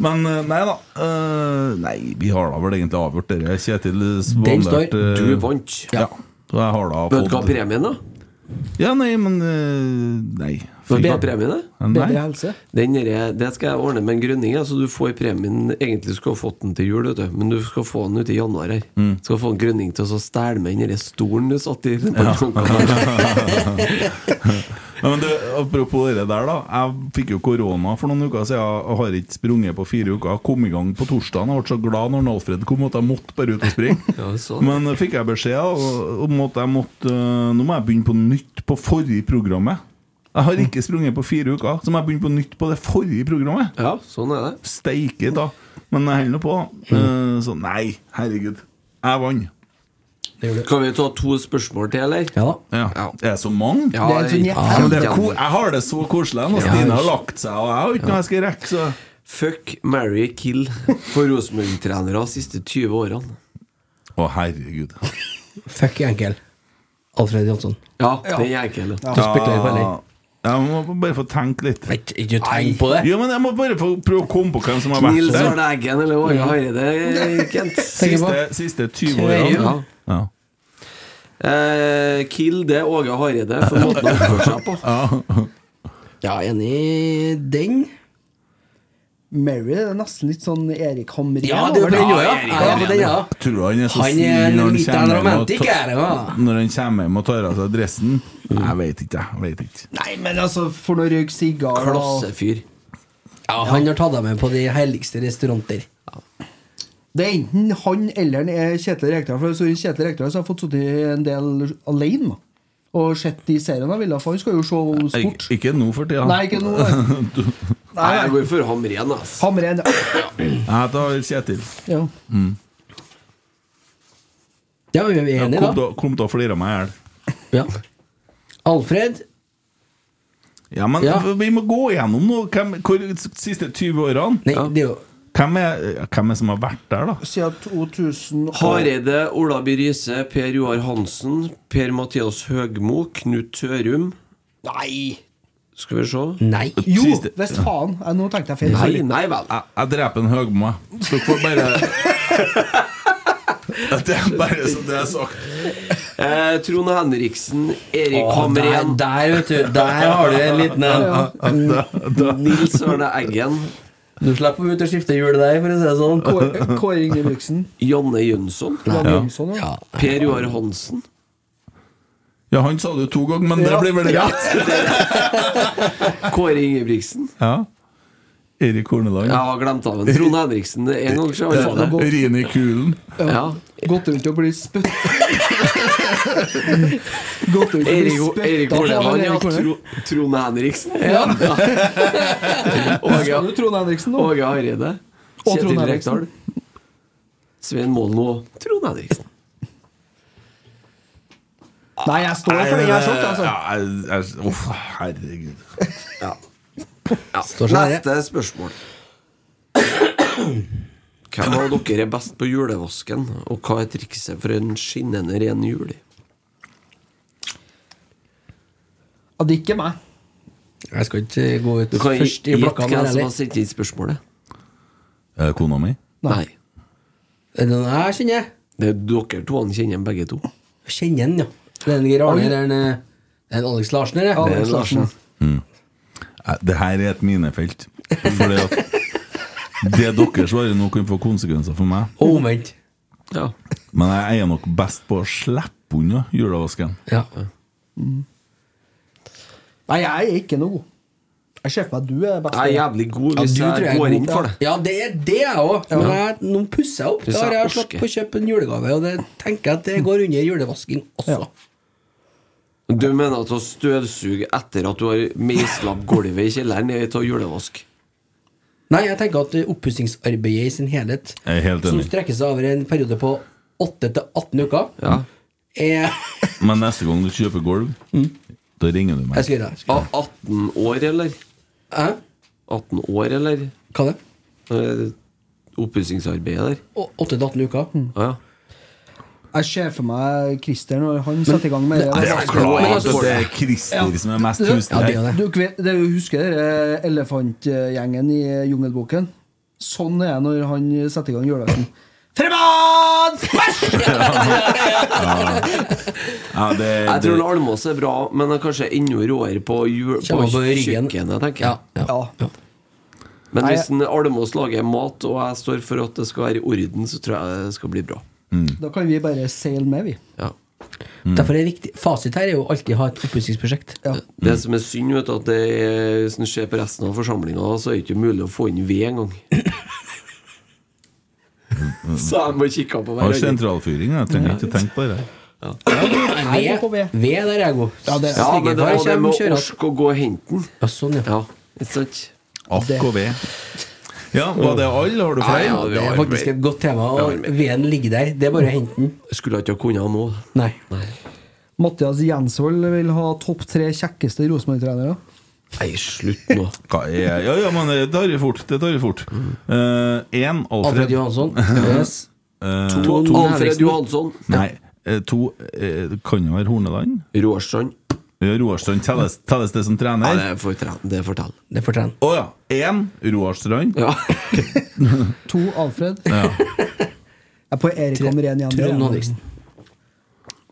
Men eh, nei da. eh, Nei, vi har da vel egentlig avgjort det. Kjetil Den står. spanderte eh, Du vant. Ja. Så jeg har da Mm. Vet du hva fått premien da? Ja, nei, men eh, Nei. Vet du hva premien er? Nei. Bedre helse. Den er, det skal jeg ordne med en grunning. Altså, du får premien Egentlig skulle du ha fått den til jul, vet du. men du skal få den ut i januar. her Skal få en grunning til å så stjele med den der stolen du satt i. Ja, men du, apropos det der, da. Jeg fikk jo korona for noen uker siden og har ikke sprunget på fire uker. Jeg Kom i gang på torsdag. Jeg ble så glad når Alfred kom at jeg måtte bare ut og springe. Ja, sånn. Men da fikk jeg beskjed av- om at jeg måtte øh, Nå må jeg begynne på nytt på forrige programmet. Jeg har ikke sprunget på fire uker, så må jeg begynne på nytt på det forrige programmet. Ja, sånn er det. Steike, da. Men jeg holder nå på. da. Eh, Så nei, herregud. Jeg vant. Kan vi ta to spørsmål til, eller? Ja da. Ja. Ja. Det er så mange. Ja, Det er en sånn jeg- Ja, men det er Ja. ko jeg har det så koselig. nå. Stine har lagt seg, og jeg har ikke noe jeg skal rekke. Så Fuck, marry, kill for Rosenborg-trenere de siste 20 årene. Å, herregud. Fuck enkel. Alfred Jansson. Ja, den er enkel. Du spekulerer på eller? Jeg må bare få tenke litt. Ikke tenk på det. Jo, men Jeg må bare få prøve å komme på hvem som har vært Nils Arne der. Eggen eller Åge Hareide, Kent. Siste, siste 20 årene. Ja. Eh, kill det Åge Hareide for måten han oppfører seg på. Ja, enig i den. Mary det er nesten litt sånn Erik Hamrin. Ja, det er over den jo, ja. Erik ja, ja, det er den, ja. Jeg tror han er så Han er snill en når han liten kommer hjem og romantiker, tar- ja. Når han kommer hjem og tar av seg dressen. Mm. Jeg vet ikke, jeg. vet ikke Nei, men altså, for noe røyk sigar og Klassefyr. Ja, han har tatt deg med på de helligste restauranter. Det er enten han eller han er Kjetil Rekdal. For så Kjetil Rekdal så har jeg fått sittet en del alene da. og sett de seriene han ville. For han skal jo se sport. Ik ikke nå for tida. Nei, ikke nå. nei. Nei, Nei, jeg nei. går for Hamren, ass. Hamren. Jeg tar Kjetil. Ja. Ja, vi er Jeg enige, da. Kom til å- kom til å flire meg i hjel. Ja. Alfred. Ja, men Ja. vi må gå gjennom nå. Hvem, hvor, siste 20 årene. Nei, det er jo Hvem er, hvem er som har vært der, da? Siden 2000 og- Hareide, Ola By Riise, Per Joar Hansen, Per Mathias Høgmo, Knut Tørum Nei! Skal vi se. Nei. Jo, Siste- visst faen. Ja, nå tenkte jeg feil. Nei, Sorry. nei vel. Jeg, jeg dreper en Høgmo, jeg. Dere får bare Det er bare så det er sagt. Eh, Trond Henriksen, Erik Å, der, Hamren, der, vet du. Der har du en liten en. Nils Arne Eggen, Du slipper ut å skifte hjul der, for å si det sånn. Kåre Kåre Ingebrigtsen. Janne Jønsson, Jan Jonsson. Ja. Ja. Per Joar Hansen. Ja, han sa det jo to ganger, men det Ja. blir vel rett? Kåre Ingebrigtsen. Ja. Erik Horneland. Jeg har glemt av en Trond Henriksen. det er En gang siden han var der. Rin i kulen. Ja. Gått rundt og blitt spytt Gått rundt og blitt Erik, spyttet Erik på av Horneland, ja. Erik Horneland. Tro, Trond Henriksen. Husker du Trond Henriksen nå? Åge Hareide. Og Trond Kjetil Henriksen. Rekdal. Svein Målen og Trond Henriksen. Nei, jeg står for den jeg er sjokk, altså. Ja, jeg- jeg- Uff, herregud. Står sånn her. Neste spørsmål. Hvem av dere er best på julevasken, og hva er trikset for en skinnende ren jul? Ja, det er ikke meg. Jeg skal ikke gå ut Du kan gi- først i gjette blokka hvem der som har heller. sendt inn spørsmålet. Er det kona mi? Nei. Er det noen jeg kjenner? Det er dere to han kjenner begge to. Jeg Kjenner han, ja. Det er en Geir Arne eller en eh, en Alex Larsen, eller? Alex Larsen. Nei, Eh, Det her er et minefelt. Fordi at det dere svarer nå, kan få konsekvenser for meg. Og omvendt. Ja. Men jeg er nok best på å slippe unna julevasken. Ja. Mm. Nei, jeg er ikke noe god. Jeg ser for meg at du er best. Jeg er jævlig god hvis jeg går inn for det. Ja, det er det jeg òg. Men jeg, nå pusser jeg opp. Hvis Da har jeg jeg slått orker. på å kjøpe en julegave, og det tenker jeg at det går under julevasking også. Du mener at å støvsuge etter at du har meisla gulvet i kjelleren, er til julevask? Nei, jeg tenker at eh, oppussingsarbeidet i sin helhet, Jeg er helt som enig. strekker seg over en periode på 8 til 18 uker, Ja. er Men neste gang du kjøper gulv, da ringer du Mm. Jeg meg. skal gjøre det. Ah, 18 år, eller? Hæ? 18 år, eller? Hva er det? Eh, Oppussingsarbeidet der. Å, 8 til 18 uker? Ah, ja. Jeg ser for meg Christer når han setter i gang med det. Nei, Det er skal gå inn, klart altså. at det er Christer som er mest Du, tusen Ja, det er her. det. du vet- det er jo- husker dere eh, elefantgjengen i eh, Jungelboken? Sånn er det når han setter i gang julaften. Fremad! Ja, det, Jeg det, tror Almås er bra, men han kanskje er enda råere på, jul, på Kjenner på ryggen. kjøkkenet, tenker Ja, jeg. ja. Ja. Men Nei, hvis en Almås lager mat, og jeg står for at det skal være i orden, så tror jeg det skal bli bra. Da kan vi bare seile med, vi. Ja. Derfor er det viktig. Fasit her er jo alltid ha et oppussingsprosjekt. Ja. Det som er synd, vet du, at det er, hvis en ser på resten av forsamlinga, så er det ikke mulig å få inn ved engang. så jeg må kikke på har hverandre. sentralfyring, jeg trenger ikke tenke på det. Ved, Jeg går på ved. ved der er jeg god. Ja, det er- Ja, men Svigerfar det, og det kommer med å kjørende. orke å gå og hente den. Ja, sånn, ja. Ja, ikke sant? AKV. Ja, var det alle? Har du flere? Ja, ja, vi Det har- er faktisk et godt tema, og veden ligger der. Det er bare å hente den. Jeg Skulle ikke ha kunnet nå. Nei. Mathias Jensvold vil ha topp tre kjekkeste Rosenborg-trenere. Nei, slutt nå. Hva er Ja, ja, men det tar vi fort. Det tar vi fort. Eh, Én, Alfred Alfred. Johansson. Yes. Eh, To- Alfred Henriksen. Johansson. Nei. eh, To eh, Kan det være Horneland? Råstrand. Roar Strand telles, telles det som trener? det er fortell. Det fortell. Å ja. Én Roar Strand. To Alfred. Ja. Jeg er på Erik Amrén igjen. Trond Henriksen.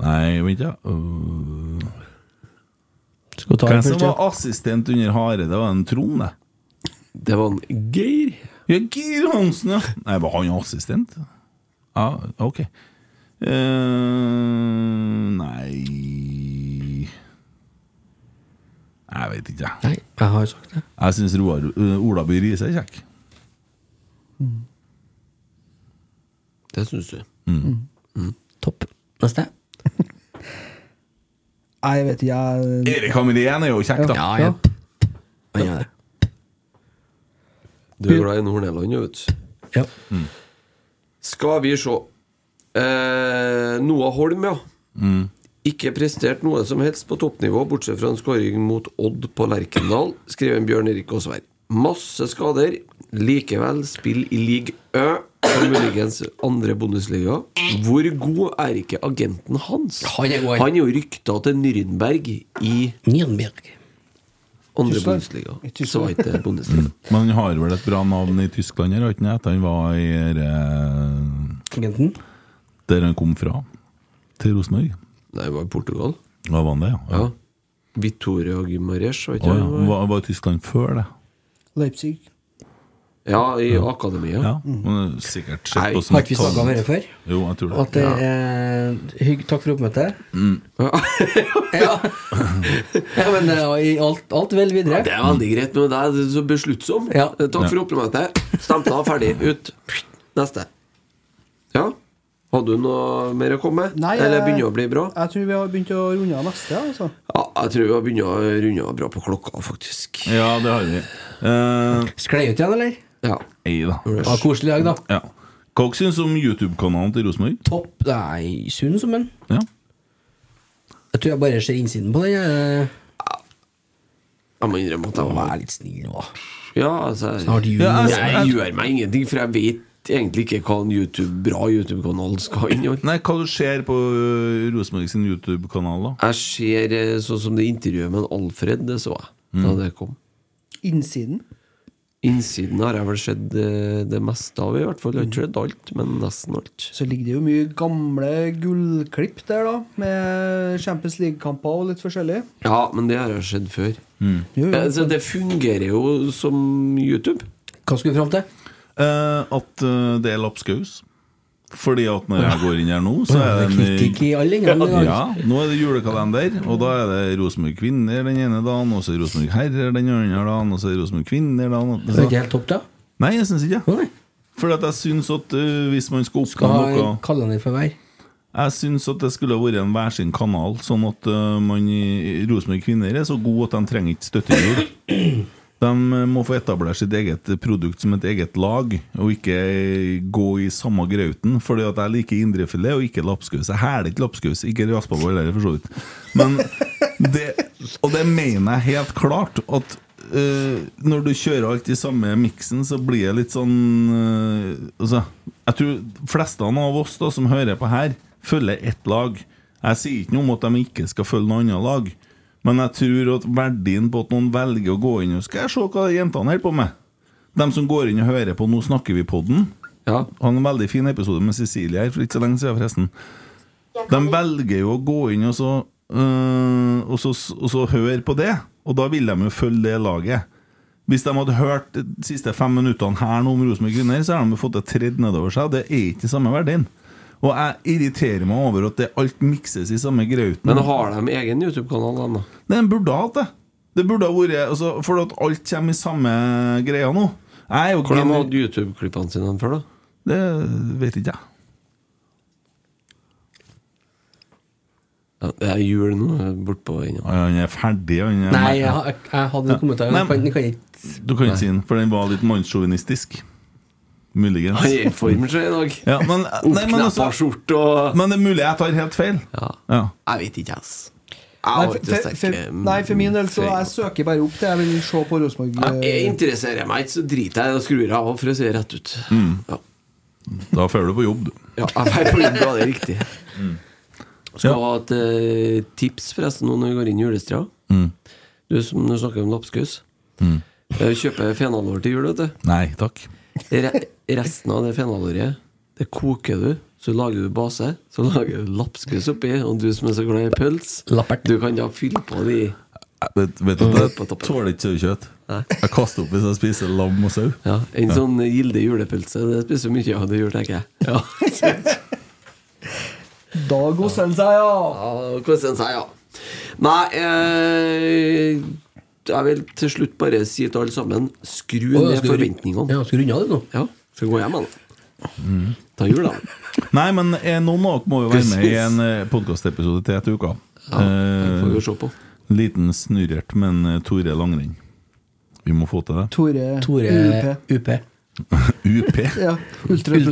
Nei, vent, ja. Øh. ta Hvem det som først, ja. var assistent under Hareide? Var det en Trond, det? Det var en Geir. Ja, Geir Hansen, ja. Nei, var han assistent? Ja, ok. Eh, nei Jeg vet ikke, jeg. Nei, jeg har jo sagt det. Jeg syns Roar uh, Ola By Riise er kjekk. Det syns du. Topp. Neste. Nei, jeg vet ikke. Jeg Erik Hamrén er jo kjekk, da. Ja, ja. Han gjør det. Du er glad i Nord-Nederland, jo, vet du. Ja. Skal vi se eh, Noah Holm, ja. Mm. Ikke prestert noe som helst på toppnivå, bortsett fra en skåring mot Odd på Lerkendal, skriver Bjørn Erik Aasvær. Masse skader. Likevel spill i league Ø, og muligens andre Bundesliga. Hvor god er ikke agenten hans? Han er god. Han er jo rykta til Nürnberg i Nienberg. andre Tyskland. Bundesliga. I Tyskland. Så var ikke det Bundesliga. Men han har vel et bra navn i Tyskland, her, har ikke han det? Han var i eh, Agenten. Der han kom fra. Til Rosenborg. Nei, det var i Portugal. Ja, var han det, ja? Ja. Vittoria Gumares, var ikke Å, ja. det? Han var, var i Tyskland før det. Leipzig. Ja, i akademiet. Ja, men sikkert Nei, sett på som Har ikke vi snakka om dette før? Jo, jeg tror det. At det er hygg, Takk for oppmøtet. ja. ja, men eh, i alt, alt vel videre. Det er veldig greit med deg, du er så besluttsom. Ja. Takk for oppmøtet. Stempla, ferdig, ut. Neste. Ja. Hadde du noe mer å komme med? Nei, Eller jeg- begynner å bli bra? Jeg tror vi har begynt å runde av neste. ja, Altså. Ja, jeg tror vi begynner å runde av bra på klokka, faktisk. Ja, det har vi. Eh, Sklei ut igjen, eller? Ja. ei da. Ja, koselig dag, da. Ja. Hva dere syns om YouTube-kanalen til Rosenborg? Topp. Nei, sunn som en. Ja. Jeg tror jeg bare ser innsiden på den. eh. jeg. Jeg må innrømme at jeg var Vær litt snill, da. Ja, altså Snart jul. Ja, jeg, altså, jeg- gjør meg ingenting, for jeg vet egentlig ikke hva en YouTube, bra YouTube-kanal skal inneholde. Nei, hva du ser på ø, Rosenborg sin YouTube-kanal, da? Jeg ser eh, sånn som det intervjuet med en Alfred, det så jeg da det kom. Innsiden. Innsiden har jeg vel sett eh, det meste av, i hvert fall. Jeg har ikke sett alt, men nesten alt. Så ligger det jo mye gamle gullklipp der, da. Med Champions League-kamper og litt forskjellig. Ja, men det har jeg sett før. Jo, Eh, jo. Så det fungerer jo som YouTube. Hva skulle vi fram til? Eh, at ø, det er lapskaus. Fordi at når jeg går inn her nå, så er det en Kritikk i alle endene. i dag. ja, nå er det julekalender, og da er det Rosenborg kvinner den ene dagen, og så er det Rosenborg herrer den andre dagen, og så er det Rosenborg kvinner den andre Altså- Det er ikke så- helt topp, da? Nei, jeg syns ikke Å, nei. For at jeg syns at ø, hvis man skal oppnå Skal ha en noe kalender for hver. Jeg syns at det skulle vært en hver sin kanal, sånn at eh, man i Rosenborg Kvinner er så gode at de trenger ikke støttehjul. De eh, må få etablere sitt eget produkt som et eget lag, og ikke eh, gå i samme grauten. Fordi at jeg liker indrefilet og ikke lapskaus. Jeg hæler ikke lapskaus, ikke raspaboll heller, for så vidt. Men det, og det mener jeg helt klart, at eh, når du kjører alt i samme miksen, så blir det litt sånn eh, altså, Jeg tror fleste av oss da, som hører på her, følger ett lag. Jeg sier ikke noe om at de ikke skal følge noe annet lag, men jeg tror at verdien på at noen velger å gå inn og Skal jeg se hva jentene holder på med? De som går inn og hører på 'Nå snakker vi'-podden, Ja. han har en veldig fin episode med Cecilie her for ikke så lenge siden, forresten. De velger jo å gå inn og så, øh, og så, og så høre på det, og da vil de jo følge det laget. Hvis de hadde hørt de siste fem minuttene her nå om Rosenborg Kvinner, så har de jo fått det tredd nedover seg, og det er ikke samme verdien. Og jeg irriterer meg over at det alt mikses i samme grauten. Men har de egen YouTube-kanal, de, da? Nei, Den burde ha hatt det. Det burde ha vært altså, For at alt kommer i samme greia nå. Jeg er jo Hvor de gener- hadde YouTube-klippene sine før, da? Det vet ikke jeg. Ja, det er jul nå, bortpå ennå. Han er ferdig, han er Nei, jeg, jeg, jeg hadde en kommentar. Nei, Jeg men- kan, kan ikke Du kan ikke si den, for den var litt mannssjåvinistisk. Muligens. Han er i form seg i dag. Ja, men, nei, men, Oppkneppa altså, skjorte og men det er mulig jeg tar helt feil. Ja. Ja. Jeg vet ikke, ass. Nei, Jeg har for, ikke for, sterke for, nei, for min del så jeg søker bare opp det. Jeg vil se på Rosenborg. Ja, Jeg eh, interesserer meg ikke, så driter jeg i det og skrur jeg av, for å si det rett ut. Ja. Da føler du på jobb, du. Ja, jeg er på jobb, ja, det er riktig. Skal ha et eh, tips forresten nå når vi går inn i julestria. Mm. Du som du snakker om lapskaus. Mm. Eh, Kjøper fenalår til jul, vet du. Nei takk. Re resten av det fenalåret, det koker du. Så lager du base, så lager du lapskaus oppi. Og du som er så glad i pøls, du kan da fylle på de Jeg Vet, vet du, hva, jeg tåler ikke sauekjøtt. Jeg kaster opp hvis jeg spiser lam og sau. Ja, En sånn Gilde julepølse, det spiser mye av det jul, tenker jeg. Ja. Da koser han seg, ja. Ja, koser han seg, ja. Nei, eh, jeg vil til slutt bare si til alle sammen skru Å, ned skal du- forventningene. Ja, Mm. skal du runde av det nå? Ja, skal gå hjem, da. Ta jul, da. Nei, men eh, noen av dere må jo være med i en eh, podkastepisode til etter uka. Ja, Eh, det får vi jo se på. Liten snurrert, men eh, Tore Langrenn. Vi må få til det. Tore, Tore UP. UP. UP. Ja, ultraprosessert.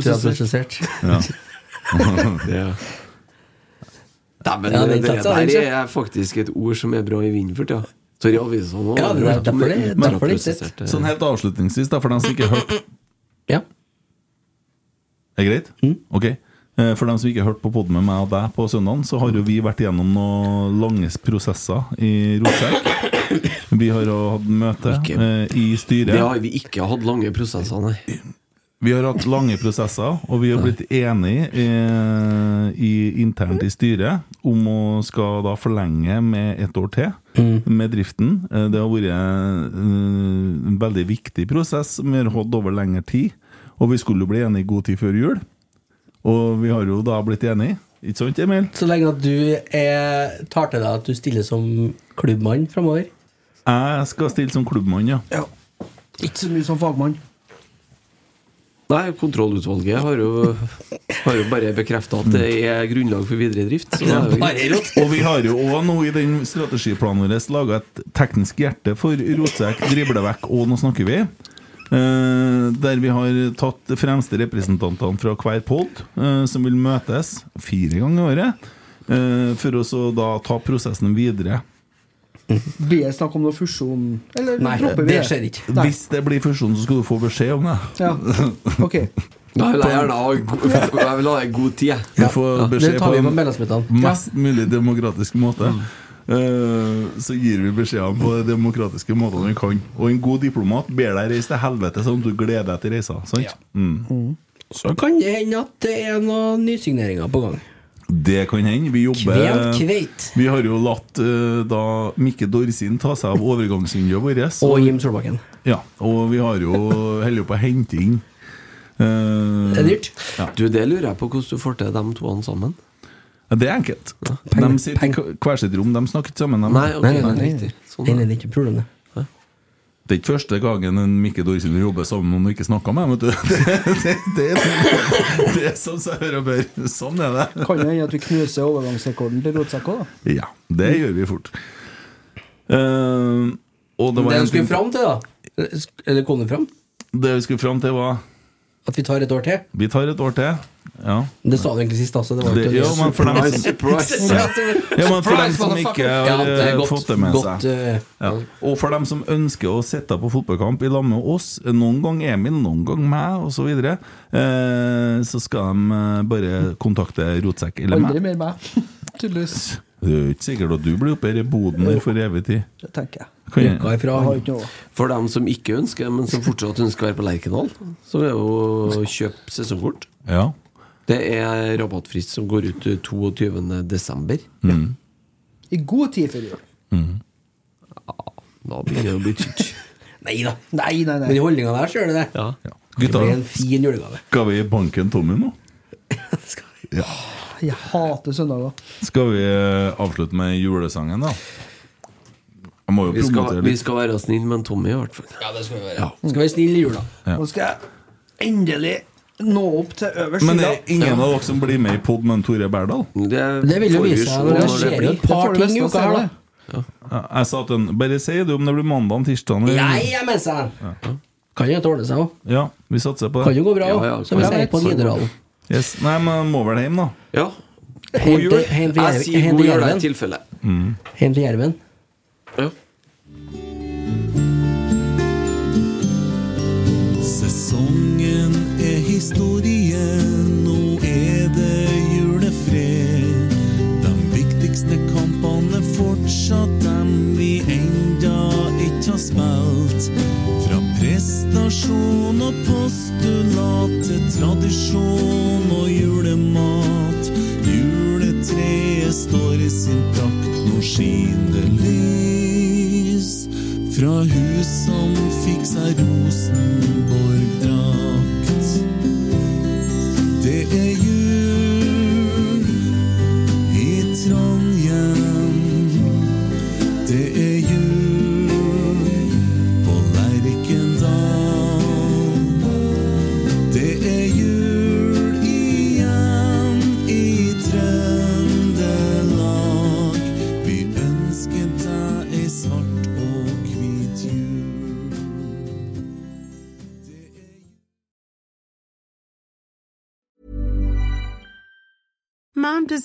Ultraprosessert. Ja. Ja. Dæven, Ja, den det, det tatt seg, den, der ikke? er faktisk et ord som er bra i vinden for tida. Sorry, avisa nå. Ja, det er derfor det- Men- derfor det ikke sett. prosesserte- Sånn helt avslutningsvis, da, for dem som ikke har hørt Ja. Er det greit? Mm. Ok. Eh, For dem som ikke har hørt på podden med meg og deg på søndagen, så har jo vi vært gjennom noen lange prosesser i Rotsekk. Vi har jo hatt møte Ikke- eh, i styret. Det har vi ikke hatt lange prosesser, nei. Vi har hatt lange prosesser, og vi har blitt enige eh, i, internt i styret om å skal da forlenge med et år til med driften. Eh, Det har vært eh, en veldig viktig prosess som vi har hatt over lengre tid. Og vi skulle jo bli enige i god tid før jul, og vi har jo da blitt enige. Ikke sant, Emil? Så lenge at du er, tar til deg at du stiller som klubbmann framover. Jeg skal stille som klubbmann, ja. Ikke så mye som fagmann. Nei, Kontrollutvalget har jo, har jo bare bekrefta at det er grunnlag for videre drift. Så det er jo greit. Og vi har jo òg nå i den strategiplanen vår laga et teknisk hjerte for rotsekk, driblevekk og nå snakker vi. Eh, der vi har tatt de fremste representantene fra hver pod, eh, som vil møtes fire ganger i året. eh, for å så da ta prosessen videre. Blir det snakk om noe fusjon? Eller Nei, dropper vi det skjer ikke. Nei. Hvis det blir fusjon, så skal du få beskjed om det. Ja. Ok. Da vil jeg gjerne ha go- Jeg vil ha en god tid, jeg. Du får Det beskjed tar vi på på en medlemsmøtene. mest mulig demokratisk måte. Eh, så gir vi beskjedene på de demokratiske måtene vi kan. Og en god diplomat ber deg reise til helvete, sånn at du gleder deg til reisa. Sant? Mm. Så kan det hende at det er noen nysigneringer på gang. Det kan hende. Vi jobber Kvelt, kveit. Vi har jo latt eh, da Mikke Dorsin ta seg av overgangslinja vår. så- Og Jim Solbakken. Ja, og vi har jo holder jo på å hente inn eh, Det er dyrt. Du, Det lurer jeg på hvordan du får til de to sammen. Det er enkelt. De sitter i hvert sitt rom, de snakker ikke sammen. De. Nei, ok, Nei, nei, det er nei. Nei, riktig. nei, Sånn, det er ikke problemet. Det er ikke første gangen en Mikke Dorsin jobber sammen med noen du ikke snakker med. Vet du. Det, det, det, er- det er sånn som jeg hører og bør. Sånn er det. Kan jo hende at vi knuser overgangsrekorden til Rotsekk òg, da. Ja, det gjør vi fort. Eh, og det Det var jeg en ting skulle fram til, da sk- Eller kom det fram? Det vi skulle fram til, var At vi tar et år til? Vi tar et år til. Ja, Det sa du egentlig sist, altså. Det var det, ikke ja men for dem som, ja. Ja, men for dem som ikke har Ja, det er eh, godt, fått det med godt, seg. eh, Ja. Og for dem som ønsker å sitte på fotballkamp i lag med oss, noen gang Emil, noen gang meg osv., så, videre, eh, så skal de eh, bare kontakte Rotsekk eller meg. Aldri mer meg. Tydeligvis. Det er jo ikke sikkert at du blir oppe her i boden her for evig tid. Det tenker jeg. Kan jeg- rykka ifra. Jeg har ikke noe. For dem som ikke ønsker, men som fortsatt ønsker å være på Lerkendal, så er jo å kjøpe sesongkort. Ja. Det er rabattfrist som går ut 22.12. Mm. I god tid før jul. Da blir det jo blitt tynt. Nei da. Nei, nei, Men nei. i holdninga der, så gjør det det. Ja. Det Gutta, blir en fin julegave. skal vi banke en Tommy nå? Jeg hater søndager. Skal vi eh, avslutte med julesangen, da? Jeg må Vi jo skal, promotere vi litt. skal være snille med en Tommy, i hvert fall. Skal være snill i jula. Ja. Nå skal jeg endelig nå opp til øverst Men hylla. det er ingen av dere som blir med i pod med en Tore Berdal? Det, Det vil jo får vi vise se seg når når det det skjer blir. jo et par Det får du ting i nesten uka her, se, da. Ja, Jeg sa til han Bare si det om det blir mandag, tirsdag eller Nei, jeg mener seg! Kan jo ordne seg òg. Ja, vi satser på Kan det. jo gå bra Ja, òg, ja, som vi kan- sier på kan- Nidaralen. Yes. Nei, men må vel hjem, da. Ja. God Hent- jul. hent i Jeg jerv- sier hent i god jul, det er jerven. et tilfelle. Hjem til Jerven. Ja. Sesongen er historie, nå er det julefred. De Religion og postulat, tradisjon og julemat. Juletreet står i sin prakt, nå skinner lys. Fra hus som fikk seg Rosenborg-drakt. Det er jul i Trondheim. Det er jul på Lerkendal. Det er jul igjen i Trøndelag. Vi ønsker deg ei er svart og hvit jul. Mom